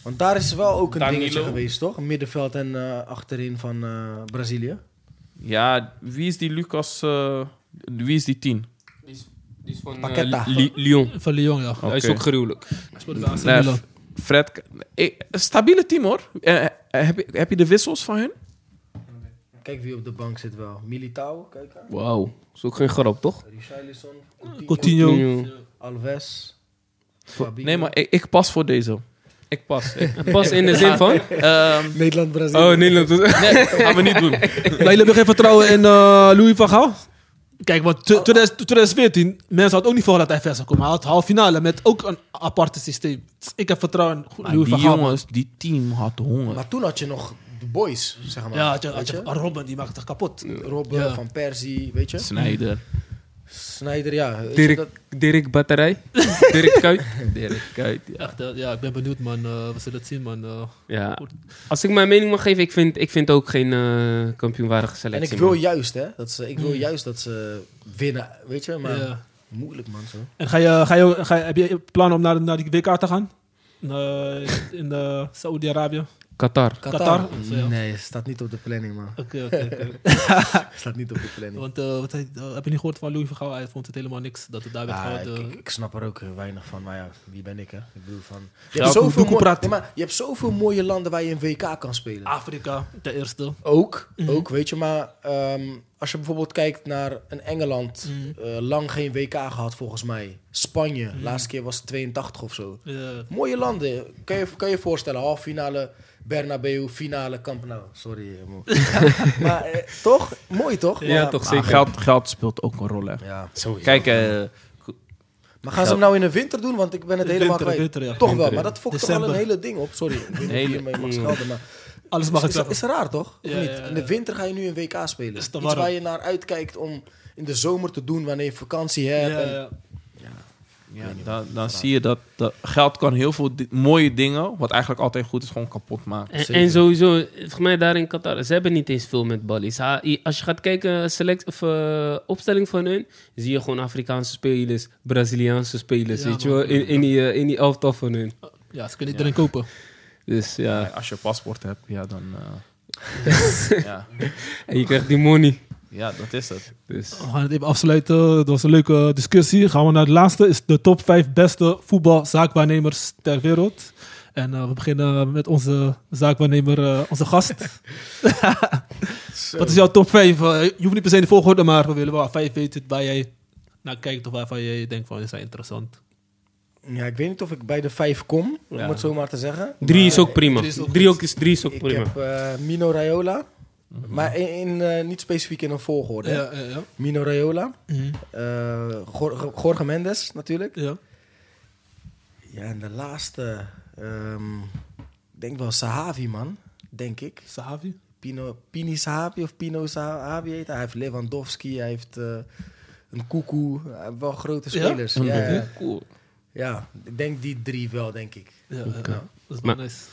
[SPEAKER 5] Want daar is wel ook een
[SPEAKER 3] Danilo.
[SPEAKER 5] dingetje geweest, toch? Middenveld en eh, achterin van eh, Brazilië.
[SPEAKER 3] Ja, wie is die Lucas... eh, wie is die tien?
[SPEAKER 2] Die is- die is van eh,
[SPEAKER 5] Paqueta.
[SPEAKER 2] Li- Lyon.
[SPEAKER 1] Van Lyon, ja.
[SPEAKER 2] Hij is
[SPEAKER 3] Oké.
[SPEAKER 2] ook gruwelijk.
[SPEAKER 1] Hij speelt bij AC
[SPEAKER 3] Nee,
[SPEAKER 1] Milan.
[SPEAKER 3] Fred... Eh, stabiele team, hoor. Eh, eh, heb, je, heb je de wissels van hun?
[SPEAKER 5] Kijk wie op de bank zit wel. Militao, kijk aan.
[SPEAKER 2] Wauw. is ook geen grap, toch?
[SPEAKER 5] Richarlison, Coutinho,
[SPEAKER 1] Coutinho.
[SPEAKER 5] Alves. Fabinho.
[SPEAKER 3] Nee, maar ik, ik pas voor deze. Ik pas. Ik-
[SPEAKER 2] Pas in de zin van?
[SPEAKER 3] Ehm,
[SPEAKER 5] Nederland-Brazilië.
[SPEAKER 2] Oh, Nederland.
[SPEAKER 3] nee, gaan we niet doen.
[SPEAKER 1] Maar jullie hebben geen vertrouwen in eh, Louis van Gaal? Kijk, want tu- 2000 2014, mensen hadden ook niet voor dat hij ver zou komen. Hij had halve finale met ook een aparte systeem. Dus ik heb vertrouwen in
[SPEAKER 3] Maar
[SPEAKER 1] Louis
[SPEAKER 3] die
[SPEAKER 1] van Gaal. man.
[SPEAKER 3] jongens, die team had honger.
[SPEAKER 5] Maar toen had je nog de boys, zeg maar.
[SPEAKER 1] Ja, had je,
[SPEAKER 5] Weet
[SPEAKER 1] had je,
[SPEAKER 5] je?
[SPEAKER 1] Robben, die maakte het kapot.
[SPEAKER 5] Robben,
[SPEAKER 1] Ja.
[SPEAKER 5] Van Persie, weet je?
[SPEAKER 3] Snijder.
[SPEAKER 5] Snyder, ja. Weet je
[SPEAKER 2] Dirk,
[SPEAKER 5] dat-
[SPEAKER 2] Dirk Batterij. Dirk Kuyt.
[SPEAKER 3] Dirk, kijk. Ja.
[SPEAKER 1] Echt, eh, ja, ik ben benieuwd, man. Eh, we zullen het zien, man. Eh,
[SPEAKER 2] Ja. Als ik mijn mening mag geven, ik vind, ik vind ook geen eh, kampioenwaardige
[SPEAKER 5] En
[SPEAKER 2] selectie.
[SPEAKER 5] ik wil
[SPEAKER 2] man.
[SPEAKER 5] juist, hè? Dat ze, ik wil juist dat ze winnen, weet je? Maar
[SPEAKER 1] Mm. ja.
[SPEAKER 5] moeilijk, man. Zo.
[SPEAKER 1] En ga je, ga je, ga je, heb je plannen om naar, naar die WK te gaan? Eh, in eh Saudi-Arabië?
[SPEAKER 2] Qatar.
[SPEAKER 1] Qatar. Ja.
[SPEAKER 5] Nee, staat niet op de planning, man.
[SPEAKER 1] Oké, oké, oké.
[SPEAKER 5] Staat niet op de planning.
[SPEAKER 1] Want eh, wat hij- eh, heb je niet gehoord van Louis van Gaal? Hij vond het helemaal niks dat het daar werd
[SPEAKER 5] Ah,
[SPEAKER 1] gehouden.
[SPEAKER 5] ik, ik snap er ook eh, weinig van, maar ja, wie ben ik, hè? Ik bedoel van... Je
[SPEAKER 1] Ja,
[SPEAKER 5] hebt,
[SPEAKER 1] goed,
[SPEAKER 5] zoveel,
[SPEAKER 1] doe
[SPEAKER 5] mooi-
[SPEAKER 1] praten.
[SPEAKER 5] Nee, maar je hebt zoveel mooie landen waar je een WK kan spelen.
[SPEAKER 1] eh, Ah. Afrika, ten eerste.
[SPEAKER 5] Ook,
[SPEAKER 2] Mhm.
[SPEAKER 5] ook, weet je, maar ehm, als je bijvoorbeeld kijkt naar een Engeland,
[SPEAKER 2] Mhm.
[SPEAKER 5] eh, lang geen WK gehad volgens mij. Spanje, laatste keer was het 82 of zo.
[SPEAKER 1] Eh,
[SPEAKER 5] Mooie landen, kan je kan je voorstellen, halve finale Bernabeu, finale Camp Nou. Sorry, eh, mo- maar eh, toch, mooi toch?
[SPEAKER 2] Ja,
[SPEAKER 5] Maar- Ah,
[SPEAKER 2] toch
[SPEAKER 3] Maar
[SPEAKER 2] zeker.
[SPEAKER 3] geld, geld speelt ook een rol, hè.
[SPEAKER 5] Ja, sowieso.
[SPEAKER 3] Kijk, eh,
[SPEAKER 5] maar gaan ze hem nou in de winter doen? Want ik ben het helemaal
[SPEAKER 1] winter,
[SPEAKER 5] kwijt.
[SPEAKER 1] winter, ja.
[SPEAKER 5] Toch wel,
[SPEAKER 1] Winter,
[SPEAKER 5] maar
[SPEAKER 1] ja.
[SPEAKER 5] dat fokt toch wel
[SPEAKER 1] December.
[SPEAKER 5] een hele ding op. Sorry, ik weet niet of je mee mag schelden, maar
[SPEAKER 1] alles mag
[SPEAKER 5] is,
[SPEAKER 1] het
[SPEAKER 5] is, is raar toch? Of
[SPEAKER 1] Ja,
[SPEAKER 5] niet?
[SPEAKER 1] ja, ja.
[SPEAKER 5] In de winter ga je nu een WK spelen.
[SPEAKER 1] Is
[SPEAKER 5] Iets
[SPEAKER 1] te warm.
[SPEAKER 5] waar je naar uitkijkt om in de zomer te doen wanneer je vakantie
[SPEAKER 1] Ja,
[SPEAKER 5] hebt. en-
[SPEAKER 1] ja.
[SPEAKER 3] ja, dan, dan zie je dat dat geld kan heel veel di- mooie dingen, wat eigenlijk altijd goed is, gewoon kapot maken.
[SPEAKER 2] En, en sowieso, volgens mij daar in Qatar, ze hebben niet eens veel met ballies. Ha- i- Als je gaat kijken, select, of, eh, opstelling van hun, zie je gewoon Afrikaanse spelers, Braziliaanse spelers,
[SPEAKER 1] Ja,
[SPEAKER 2] weet je
[SPEAKER 1] man.
[SPEAKER 2] wel, in, in, die, eh, in die elftal van hun.
[SPEAKER 1] Ja, ze kunnen iedereen kopen.
[SPEAKER 2] Dus ja,
[SPEAKER 3] Als je een paspoort hebt, ja, dan... eh, ja.
[SPEAKER 2] en je krijgt die money.
[SPEAKER 3] ja, dat is het.
[SPEAKER 2] Dus.
[SPEAKER 1] We gaan het even afsluiten. Dat was een leuke discussie. Gaan we naar het laatste. Is de top 5 beste voetbalzaakwaarnemers ter wereld. En eh, we beginnen met onze zaakwaarnemer, eh, onze gast. Wat is jouw top 5? Eh, je hoeft niet per se in de volgorde, maar we willen wel vijf weten waar jij naar kijkt of waarvan jij denkt van, is dat interessant?
[SPEAKER 5] Ja, ik weet niet of ik bij de vijf kom, om het zo maar te zeggen.
[SPEAKER 2] Drie is ook prima.
[SPEAKER 1] drie is ook Mhm.
[SPEAKER 2] Drie ook is, drie is ook
[SPEAKER 5] Ik
[SPEAKER 2] prima.
[SPEAKER 5] heb eh, Mino Raiola, maar in, in, eh, niet specifiek in een volgorde. hè.
[SPEAKER 1] ja, ja.
[SPEAKER 5] Mino Raiola,
[SPEAKER 1] Mhm.
[SPEAKER 5] eh, Jor- Jorge Mendes natuurlijk.
[SPEAKER 1] ja.
[SPEAKER 5] Ja, en de laatste, ehm, ik denk wel Sahavi man, denk ik.
[SPEAKER 1] Sahavi?
[SPEAKER 5] Pino, Pini Sahabi of Pino Sahabi heet hij. Hij heeft Lewandowski, hij heeft eh, een Koekoe. Hij heeft wel grote
[SPEAKER 1] Ja?
[SPEAKER 5] spelers. Ja, ja, ja.
[SPEAKER 3] Cool.
[SPEAKER 5] Ja, ik denk die drie wel, denk ik.
[SPEAKER 1] Ja, ja, ja. dat is wel
[SPEAKER 2] Maar-
[SPEAKER 1] nice.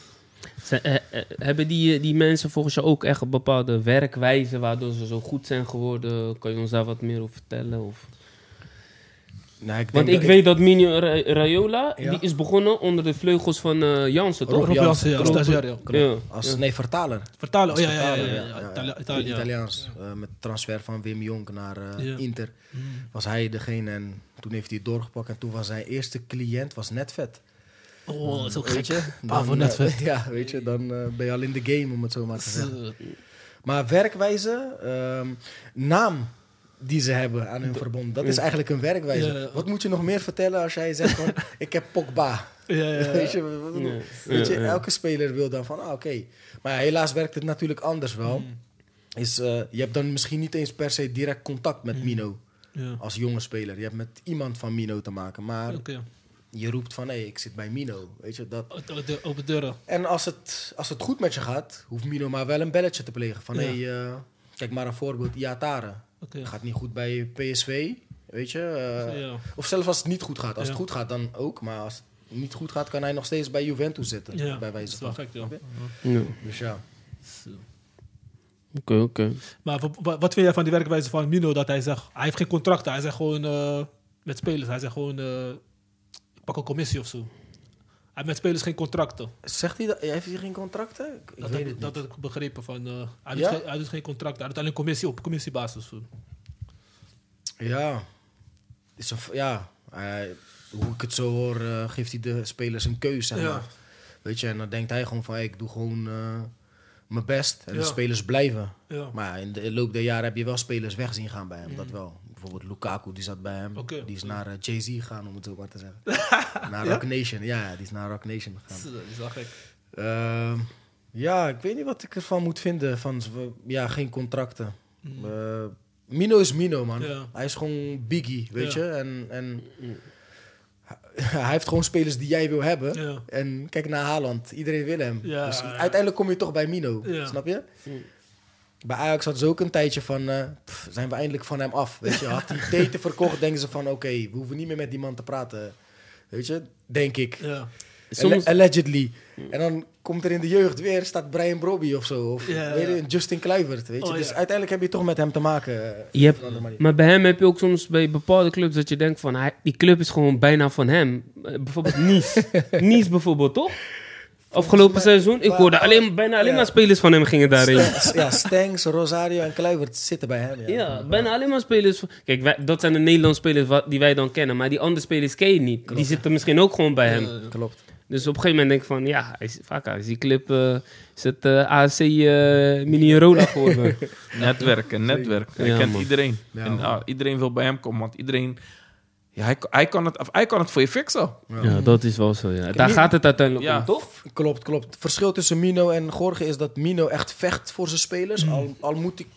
[SPEAKER 2] Zijn- eh, eh, hebben die, eh, die mensen volgens jou ook echt een bepaalde werkwijze waardoor ze zo goed zijn geworden? Kan je ons daar wat meer over vertellen? Of?
[SPEAKER 5] Nou, ik
[SPEAKER 2] Want
[SPEAKER 5] denk
[SPEAKER 2] ik weet dat Mino Ra- Raiola,
[SPEAKER 5] Ja.
[SPEAKER 2] die is begonnen onder de vleugels van eh Jansen, toch?
[SPEAKER 5] Rob
[SPEAKER 1] Rob Jansen, ja,
[SPEAKER 5] Jansen,
[SPEAKER 1] stagiair, ja.
[SPEAKER 2] Ja.
[SPEAKER 5] Als, nee, vertaler.
[SPEAKER 1] Vertalen, oh ja, ja, ja.
[SPEAKER 5] Vertaler,
[SPEAKER 1] ja, ja,
[SPEAKER 5] ja, ja.
[SPEAKER 1] Italië- Italië, ja.
[SPEAKER 5] Italiaans. eh, met transfer van Wim Jonk naar eh,
[SPEAKER 1] Ja. Mm.
[SPEAKER 5] Inter. Was hij degene en toen heeft hij het doorgepakt. En toen was zijn eerste cliënt was Netvet.
[SPEAKER 1] Oh, dat is ook
[SPEAKER 5] Weet
[SPEAKER 1] gek.
[SPEAKER 5] je?
[SPEAKER 1] Paar voor
[SPEAKER 5] Dan, eh,
[SPEAKER 1] Netvet.
[SPEAKER 5] ja, weet je, dan eh, ben je al in de game, om het zo maar te zeggen.
[SPEAKER 1] Eh,
[SPEAKER 5] Maar werkwijze, ehm, naam die ze hebben aan hun verbond, dat is eigenlijk een werkwijze.
[SPEAKER 1] Ja, ja.
[SPEAKER 5] Wat moet je nog meer vertellen als jij zegt van, ik heb Pogba.
[SPEAKER 1] Ja, ja, ja.
[SPEAKER 5] Weet je, wat-
[SPEAKER 2] Ja.
[SPEAKER 5] weet je,
[SPEAKER 2] Ja, ja.
[SPEAKER 5] elke speler wil dan van, ah, oké. Maar ja, helaas werkt het natuurlijk anders wel. Is, eh, je hebt dan misschien niet eens per se direct contact met Mino
[SPEAKER 1] Ja,
[SPEAKER 5] als jonge speler. Je hebt met iemand van Mino te maken, maar
[SPEAKER 1] oké.
[SPEAKER 5] je roept van, hé, ik zit bij Mino. Weet je, dat,
[SPEAKER 1] Op de- de- Open deuren.
[SPEAKER 5] en als het, als het goed met je gaat, hoeft Mino maar wel een belletje te plegen. Van
[SPEAKER 1] Ja.
[SPEAKER 5] hey, eh, kijk maar een voorbeeld, Iatare.
[SPEAKER 1] Oké.
[SPEAKER 5] Gaat niet goed bij PSV, weet je. eh,
[SPEAKER 1] Ja.
[SPEAKER 5] Of zelfs als het niet goed gaat. Als het
[SPEAKER 1] Ja.
[SPEAKER 5] goed gaat dan ook, maar als het niet goed gaat, kan hij nog steeds bij Juventus zitten.
[SPEAKER 1] Ja,
[SPEAKER 5] eh, bij
[SPEAKER 1] dat
[SPEAKER 5] wijze
[SPEAKER 1] is wel
[SPEAKER 5] van.
[SPEAKER 1] gek, joh.
[SPEAKER 2] Ja.
[SPEAKER 5] Dus ja.
[SPEAKER 2] Oké, oké.
[SPEAKER 1] Maar wa- wa- wat vind jij van die werkwijze van Mino? Dat hij zegt, hij heeft geen contracten. Hij zegt gewoon eh, met spelers. Hij zegt gewoon, eh, ik pak een commissie of zo. Hij heeft met spelers geen contracten.
[SPEAKER 5] Zegt hij dat? Heeft hij geen contracten? Ik- Ik
[SPEAKER 1] Dat,
[SPEAKER 5] weet
[SPEAKER 1] heb,
[SPEAKER 5] het
[SPEAKER 1] dat
[SPEAKER 5] niet.
[SPEAKER 1] heb ik begrepen van, eh, hij,
[SPEAKER 5] Ja?
[SPEAKER 1] doet geen, hij doet geen contracten. Hij doet alleen commissie op commissiebasis. Zo.
[SPEAKER 5] Ja. Is een, v- ja. hij- hoe ik het zo hoor, eh, geeft hij de spelers een keuze, zeg
[SPEAKER 1] Ja.
[SPEAKER 5] maar. Weet je, en dan denkt hij gewoon van, hey, ik doe gewoon eh, mijn best. En de
[SPEAKER 1] Ja.
[SPEAKER 5] spelers blijven.
[SPEAKER 1] Ja, oké.
[SPEAKER 5] Maar in de loop der jaren heb je wel spelers weg zien gaan bij hem. Dat wel. Bijvoorbeeld Lukaku, die zat bij hem.
[SPEAKER 1] Oké.
[SPEAKER 5] Die is naar eh, Jay-Z gegaan, om het zo maar te zeggen. naar Rock Nation. Ja, ja, die is naar Rock Nation gegaan.
[SPEAKER 1] Dat is wel gek.
[SPEAKER 5] Ehm, ja, ik weet niet wat ik ervan moet vinden. Van, z- ja, geen contracten. Eh, Mino is Mino, man.
[SPEAKER 1] Mm. Ja.
[SPEAKER 5] Hij is gewoon biggie, weet
[SPEAKER 1] Ja.
[SPEAKER 5] je. En, en hij heeft gewoon spelers die jij wil hebben.
[SPEAKER 1] Ja.
[SPEAKER 5] En kijk naar Haaland. Iedereen wil hem.
[SPEAKER 1] Ja.
[SPEAKER 5] Dus uiteindelijk kom je toch bij Mino.
[SPEAKER 1] Ja.
[SPEAKER 5] Snap je? Bij Ajax hadden ze ook een tijdje van... eh, pff, zijn we eindelijk van hem af? Weet je? Had hij Tete verkocht, denken ze van... Oké, we hoeven niet meer met die man te praten. Weet je? Denk ik.
[SPEAKER 1] Ja.
[SPEAKER 2] Soms-
[SPEAKER 5] Alle- allegedly. En dan komt er in de jeugd weer, staat Brian Brobby of zo. Of
[SPEAKER 1] Ja,
[SPEAKER 5] weet je,
[SPEAKER 1] ja.
[SPEAKER 5] Justin Kluivert. Weet je?
[SPEAKER 1] Oh,
[SPEAKER 5] dus
[SPEAKER 1] ja.
[SPEAKER 5] uiteindelijk heb je toch met hem te maken. eh,
[SPEAKER 2] Je hebt,
[SPEAKER 5] op een andere manier.
[SPEAKER 2] maar bij hem heb je ook soms bij bepaalde clubs dat je denkt van, hij, die club is gewoon bijna van hem. Eh, Bijvoorbeeld Nice. Nice bijvoorbeeld, toch? Afgelopen
[SPEAKER 5] mij-
[SPEAKER 2] seizoen, ik hoorde alleen, bijna alleen
[SPEAKER 5] Ja.
[SPEAKER 2] maar spelers van hem gingen daarin.
[SPEAKER 5] Ja, Stengs, Rosario en Kluivert zitten bij hem. Ja.
[SPEAKER 2] Ja, bijna alleen maar spelers. van- Kijk, wij- dat zijn de Nederlandse spelers wa- die wij dan kennen. Maar die andere spelers ken je niet. Die zitten misschien ook gewoon bij hem.
[SPEAKER 5] Klopt.
[SPEAKER 2] Dus op een gegeven moment denk ik van, ja, hij is, vaak is die clip, eh, is het eh ASC eh Mini-Rola geworden.
[SPEAKER 3] Netwerk, een netwerk. Hij
[SPEAKER 2] Ja,
[SPEAKER 3] kent
[SPEAKER 2] man.
[SPEAKER 3] iedereen.
[SPEAKER 5] Ja,
[SPEAKER 3] en
[SPEAKER 5] man.
[SPEAKER 3] ah, iedereen wil bij hem komen, want iedereen... Ja, hij, hij, kan het, of hij kan het voor je fixen.
[SPEAKER 2] ja, dat is wel zo, ja. Daar gaat het uiteindelijk
[SPEAKER 3] Ja.
[SPEAKER 2] om, toch?
[SPEAKER 5] Klopt, klopt. Het verschil tussen Mino en Gorge is dat Mino echt vecht voor zijn spelers.
[SPEAKER 1] Hmm.
[SPEAKER 5] Al, al moet, hij,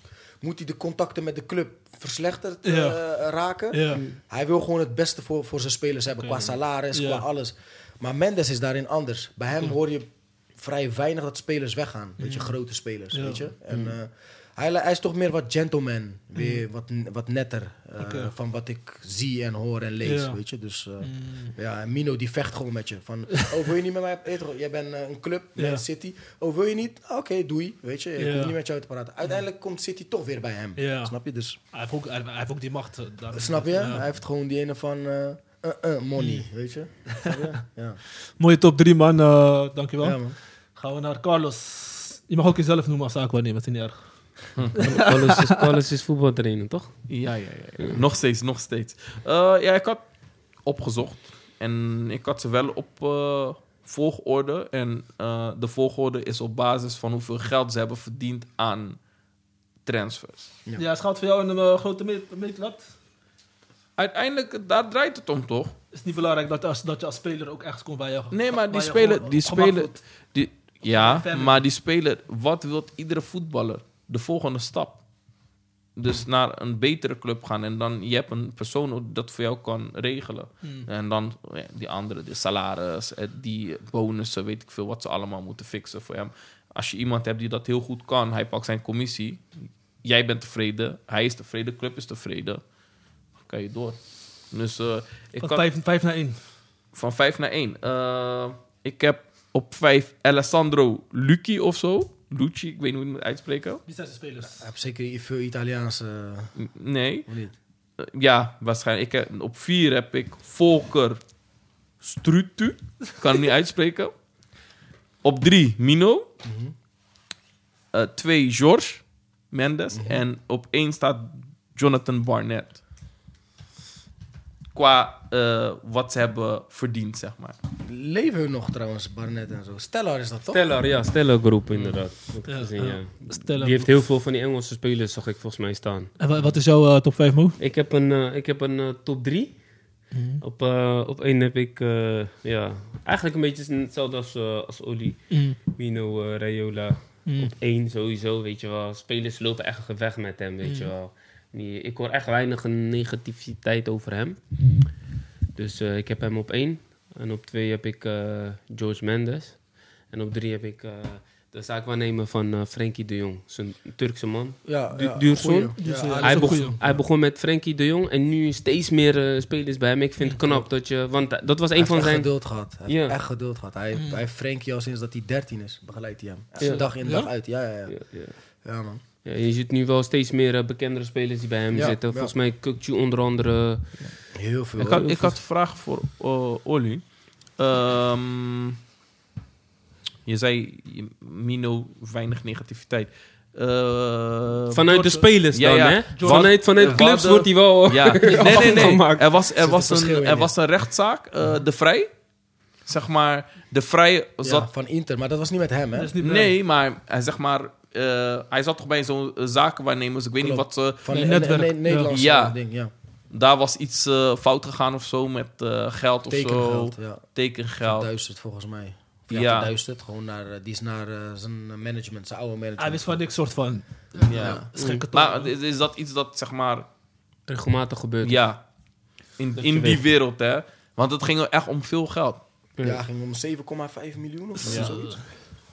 [SPEAKER 5] moet hij de contacten met de club verslechterd eh,
[SPEAKER 1] Ja.
[SPEAKER 5] raken.
[SPEAKER 1] Ja.
[SPEAKER 5] Hij wil gewoon het beste voor, voor zijn spelers hebben. Qua salaris,
[SPEAKER 1] Ja.
[SPEAKER 5] qua alles. Maar Mendes is daarin anders. Bij hem hoor je vrij weinig dat spelers weggaan. Weet je, grote spelers,
[SPEAKER 1] Ja.
[SPEAKER 5] weet je. En, eh, hij, hij is toch meer wat gentleman. Weer wat, wat netter. eh,
[SPEAKER 1] Oké.
[SPEAKER 5] Van wat ik zie en hoor en lees,
[SPEAKER 1] Ja.
[SPEAKER 5] weet je. Dus... eh, ja, en Mino die vecht gewoon met je. Van, oh wil je niet met mij eten? Jij bent eh, een club,
[SPEAKER 1] Ja.
[SPEAKER 5] Man City. Oh wil je niet? Oké, doei. Weet je, ik
[SPEAKER 1] Ja.
[SPEAKER 5] hoef niet met jou te praten. Uiteindelijk komt City toch weer bij hem.
[SPEAKER 1] Ja.
[SPEAKER 5] Snap je? Dus,
[SPEAKER 1] Hij heeft ook, hij, hij heeft ook die macht. eh, daar-
[SPEAKER 5] snap je?
[SPEAKER 1] Ja. Mm.
[SPEAKER 5] Hij heeft gewoon die ene van eh eh, eh, money, weet je? Snap je? ja.
[SPEAKER 1] Mooie top 3, man. eh, dankjewel.
[SPEAKER 5] ja, man.
[SPEAKER 1] Gaan we naar Carlos. Je mag ook jezelf noemen als Aquaneem, dat is niet erg.
[SPEAKER 2] Alles is, alles is voetbaltrainer, toch?
[SPEAKER 3] Ja, ja, ja. ja. Nog steeds, nog steeds. Eh, ja, ik had opgezocht. En ik had ze wel op eh, volgorde. En eh, de volgorde is op basis van hoeveel geld ze hebben verdiend aan transfers.
[SPEAKER 1] Ja, het schaalt voor jou in een eh, grote meet- meetlat.
[SPEAKER 3] Uiteindelijk, daar draait het om, toch?
[SPEAKER 1] Het is niet belangrijk dat, als, dat je als speler ook echt komt bij je.
[SPEAKER 3] Nee, maar die
[SPEAKER 1] waar je
[SPEAKER 3] spelen...
[SPEAKER 1] gewoon
[SPEAKER 3] Die
[SPEAKER 1] gewacht
[SPEAKER 3] spelen
[SPEAKER 1] wordt.
[SPEAKER 3] die, ja,
[SPEAKER 1] Verder.
[SPEAKER 3] maar die speler... Wat wil iedere voetballer? De volgende stap. Dus naar een betere club gaan. En dan, je hebt een persoon dat voor jou kan regelen. En dan ja, die andere, de salaris, eh, die bonussen, weet ik veel, wat ze allemaal moeten fixen voor hem. Als je iemand hebt die dat heel goed kan, hij pakt zijn commissie. Jij bent tevreden, hij is tevreden, de club is tevreden. Dan kan je door. Dus eh, ik
[SPEAKER 1] Van
[SPEAKER 3] kan
[SPEAKER 1] 5 vijf naar 1.
[SPEAKER 3] van 5 naar 1. ik heb op 5 Alessandro Lucchi of zo. Lucci, ik weet niet hoe je het moet uitspreken.
[SPEAKER 1] Die zijn de spelers.
[SPEAKER 5] Hij heeft zeker veel Italiaans, eh,
[SPEAKER 3] N- Nee.
[SPEAKER 5] of niet?
[SPEAKER 3] Eh, ja, waarschijnlijk. Ik heb, op 4 heb ik Volker Strutu. Kan het niet uitspreken. Op 3 Mino. 2 George Mendes. En op 1 staat Jonathan Barnett. Qua eh, wat ze hebben verdiend, zeg maar.
[SPEAKER 5] Leven hun nog trouwens, Barnett en zo. Stellar is dat toch?
[SPEAKER 2] Stellar, ja, Stellar Groep inderdaad. Heb ik
[SPEAKER 1] Ja,
[SPEAKER 2] gezien,
[SPEAKER 1] ja.
[SPEAKER 2] ja.
[SPEAKER 1] Stella.
[SPEAKER 2] Die heeft heel veel van die Engelse spelers, zag ik volgens mij staan.
[SPEAKER 1] En wa- wat is jouw eh, top 5 move?
[SPEAKER 2] Ik heb een, eh, ik heb een eh, top 3.
[SPEAKER 3] Mm.
[SPEAKER 2] Op, eh, op één heb ik eh, ja, eigenlijk een beetje hetzelfde als, eh als Oli.
[SPEAKER 1] Mm.
[SPEAKER 2] Mino, eh, Rayola. Op
[SPEAKER 5] Hmm.
[SPEAKER 2] één sowieso, weet je wel. Spelers lopen echt weg met hem, weet
[SPEAKER 5] Hmm.
[SPEAKER 2] je wel. Die, ik hoor echt weinig negativiteit over hem. Dus eh, ik heb hem op één. En op twee heb ik eh, George Mendes. En op drie heb ik eh, de zaakwaarnemer van eh, Frenkie de Jong. Zijn Turkse man.
[SPEAKER 5] Ja,
[SPEAKER 2] Du-
[SPEAKER 5] ja,
[SPEAKER 2] Duurzoon?
[SPEAKER 5] goeie.
[SPEAKER 1] Duurzoon,
[SPEAKER 5] Ja,
[SPEAKER 1] ja.
[SPEAKER 5] hij-
[SPEAKER 2] Hij
[SPEAKER 1] is een
[SPEAKER 2] begon,
[SPEAKER 1] goeie.
[SPEAKER 2] hij begon met Frenkie de Jong en nu steeds meer eh, spelers bij hem. Ik vind het knap dat je. Want eh, dat was
[SPEAKER 5] hij
[SPEAKER 2] een
[SPEAKER 5] heeft
[SPEAKER 2] van
[SPEAKER 5] echt
[SPEAKER 2] zijn.
[SPEAKER 5] geduld gehad. Hij heeft
[SPEAKER 2] Ja.
[SPEAKER 5] echt geduld gehad. Hij,
[SPEAKER 1] Mm.
[SPEAKER 5] hij heeft Frenkie al sinds dat hij 13 is, begeleidt hij hem. Echt
[SPEAKER 2] Ja.
[SPEAKER 5] Dag in,
[SPEAKER 1] Ja?
[SPEAKER 5] dag uit. Ja, ja, ja.
[SPEAKER 2] Ja, ja.
[SPEAKER 5] ja man.
[SPEAKER 2] Ja, je ziet nu wel steeds meer eh, bekendere spelers die bij hem
[SPEAKER 5] Ja,
[SPEAKER 2] zitten.
[SPEAKER 5] ja.
[SPEAKER 2] Volgens mij Kukcu onder andere.
[SPEAKER 5] Heel veel.
[SPEAKER 3] Ik
[SPEAKER 5] hoor.
[SPEAKER 3] had, ik had een vraag voor eh, Oli. Ehm, je zei, je- Mino, weinig negativiteit. Ehm, Eh,
[SPEAKER 2] Vanuit de spelers
[SPEAKER 3] Ja,
[SPEAKER 2] dan,
[SPEAKER 3] ja.
[SPEAKER 2] hè?
[SPEAKER 3] Jordan-
[SPEAKER 2] Vanuit, vanuit
[SPEAKER 3] eh,
[SPEAKER 2] clubs
[SPEAKER 3] Wadden-
[SPEAKER 2] wordt hij wel.
[SPEAKER 5] Oh,
[SPEAKER 3] Ja, nee, nee, nee.
[SPEAKER 2] Afgemaakt.
[SPEAKER 3] Er was, er
[SPEAKER 5] een
[SPEAKER 3] was,
[SPEAKER 5] verschil
[SPEAKER 3] een,
[SPEAKER 5] in,
[SPEAKER 3] er
[SPEAKER 5] ja.
[SPEAKER 3] was een rechtszaak, eh, de Vrij. Zeg maar, de Vrij
[SPEAKER 5] Ja,
[SPEAKER 3] zat
[SPEAKER 5] van Inter, maar dat was niet met hem, hè?
[SPEAKER 1] Dat is niet belangrijk.
[SPEAKER 3] Nee, maar hij, zeg maar, eh, hij zat toch bij zo'n eh, zakenwaarnemers. Ik weet niet
[SPEAKER 5] Klopt.
[SPEAKER 3] wat ze.
[SPEAKER 5] Van
[SPEAKER 1] Nee,
[SPEAKER 5] een,
[SPEAKER 1] netwerk.
[SPEAKER 5] een- een Nederlands
[SPEAKER 3] Ja.
[SPEAKER 5] eh, ding, ja.
[SPEAKER 3] Daar was iets eh, fout gegaan of zo met eh, geld of
[SPEAKER 5] Tekengeld,
[SPEAKER 3] zo.
[SPEAKER 5] ja.
[SPEAKER 3] Tekengeld.
[SPEAKER 5] Verduisterd volgens mij. Of
[SPEAKER 3] Ja.
[SPEAKER 5] Ja, verduisterd. Gewoon naar, eh, die is naar eh, zijn management, zijn oude management.
[SPEAKER 1] Hij wist van niks soort van.
[SPEAKER 3] Ja.
[SPEAKER 1] Schenk het
[SPEAKER 3] Mm. Maar
[SPEAKER 1] op.
[SPEAKER 3] is, is dat iets dat, zeg maar,
[SPEAKER 2] Regelmatig gebeurt.
[SPEAKER 3] ja, in,
[SPEAKER 2] Dat je
[SPEAKER 3] in die
[SPEAKER 2] weet.
[SPEAKER 3] wereld, hè? Want het ging echt om veel geld.
[SPEAKER 5] Ja, hij ging om 7,5 miljoen of zo, zoiets.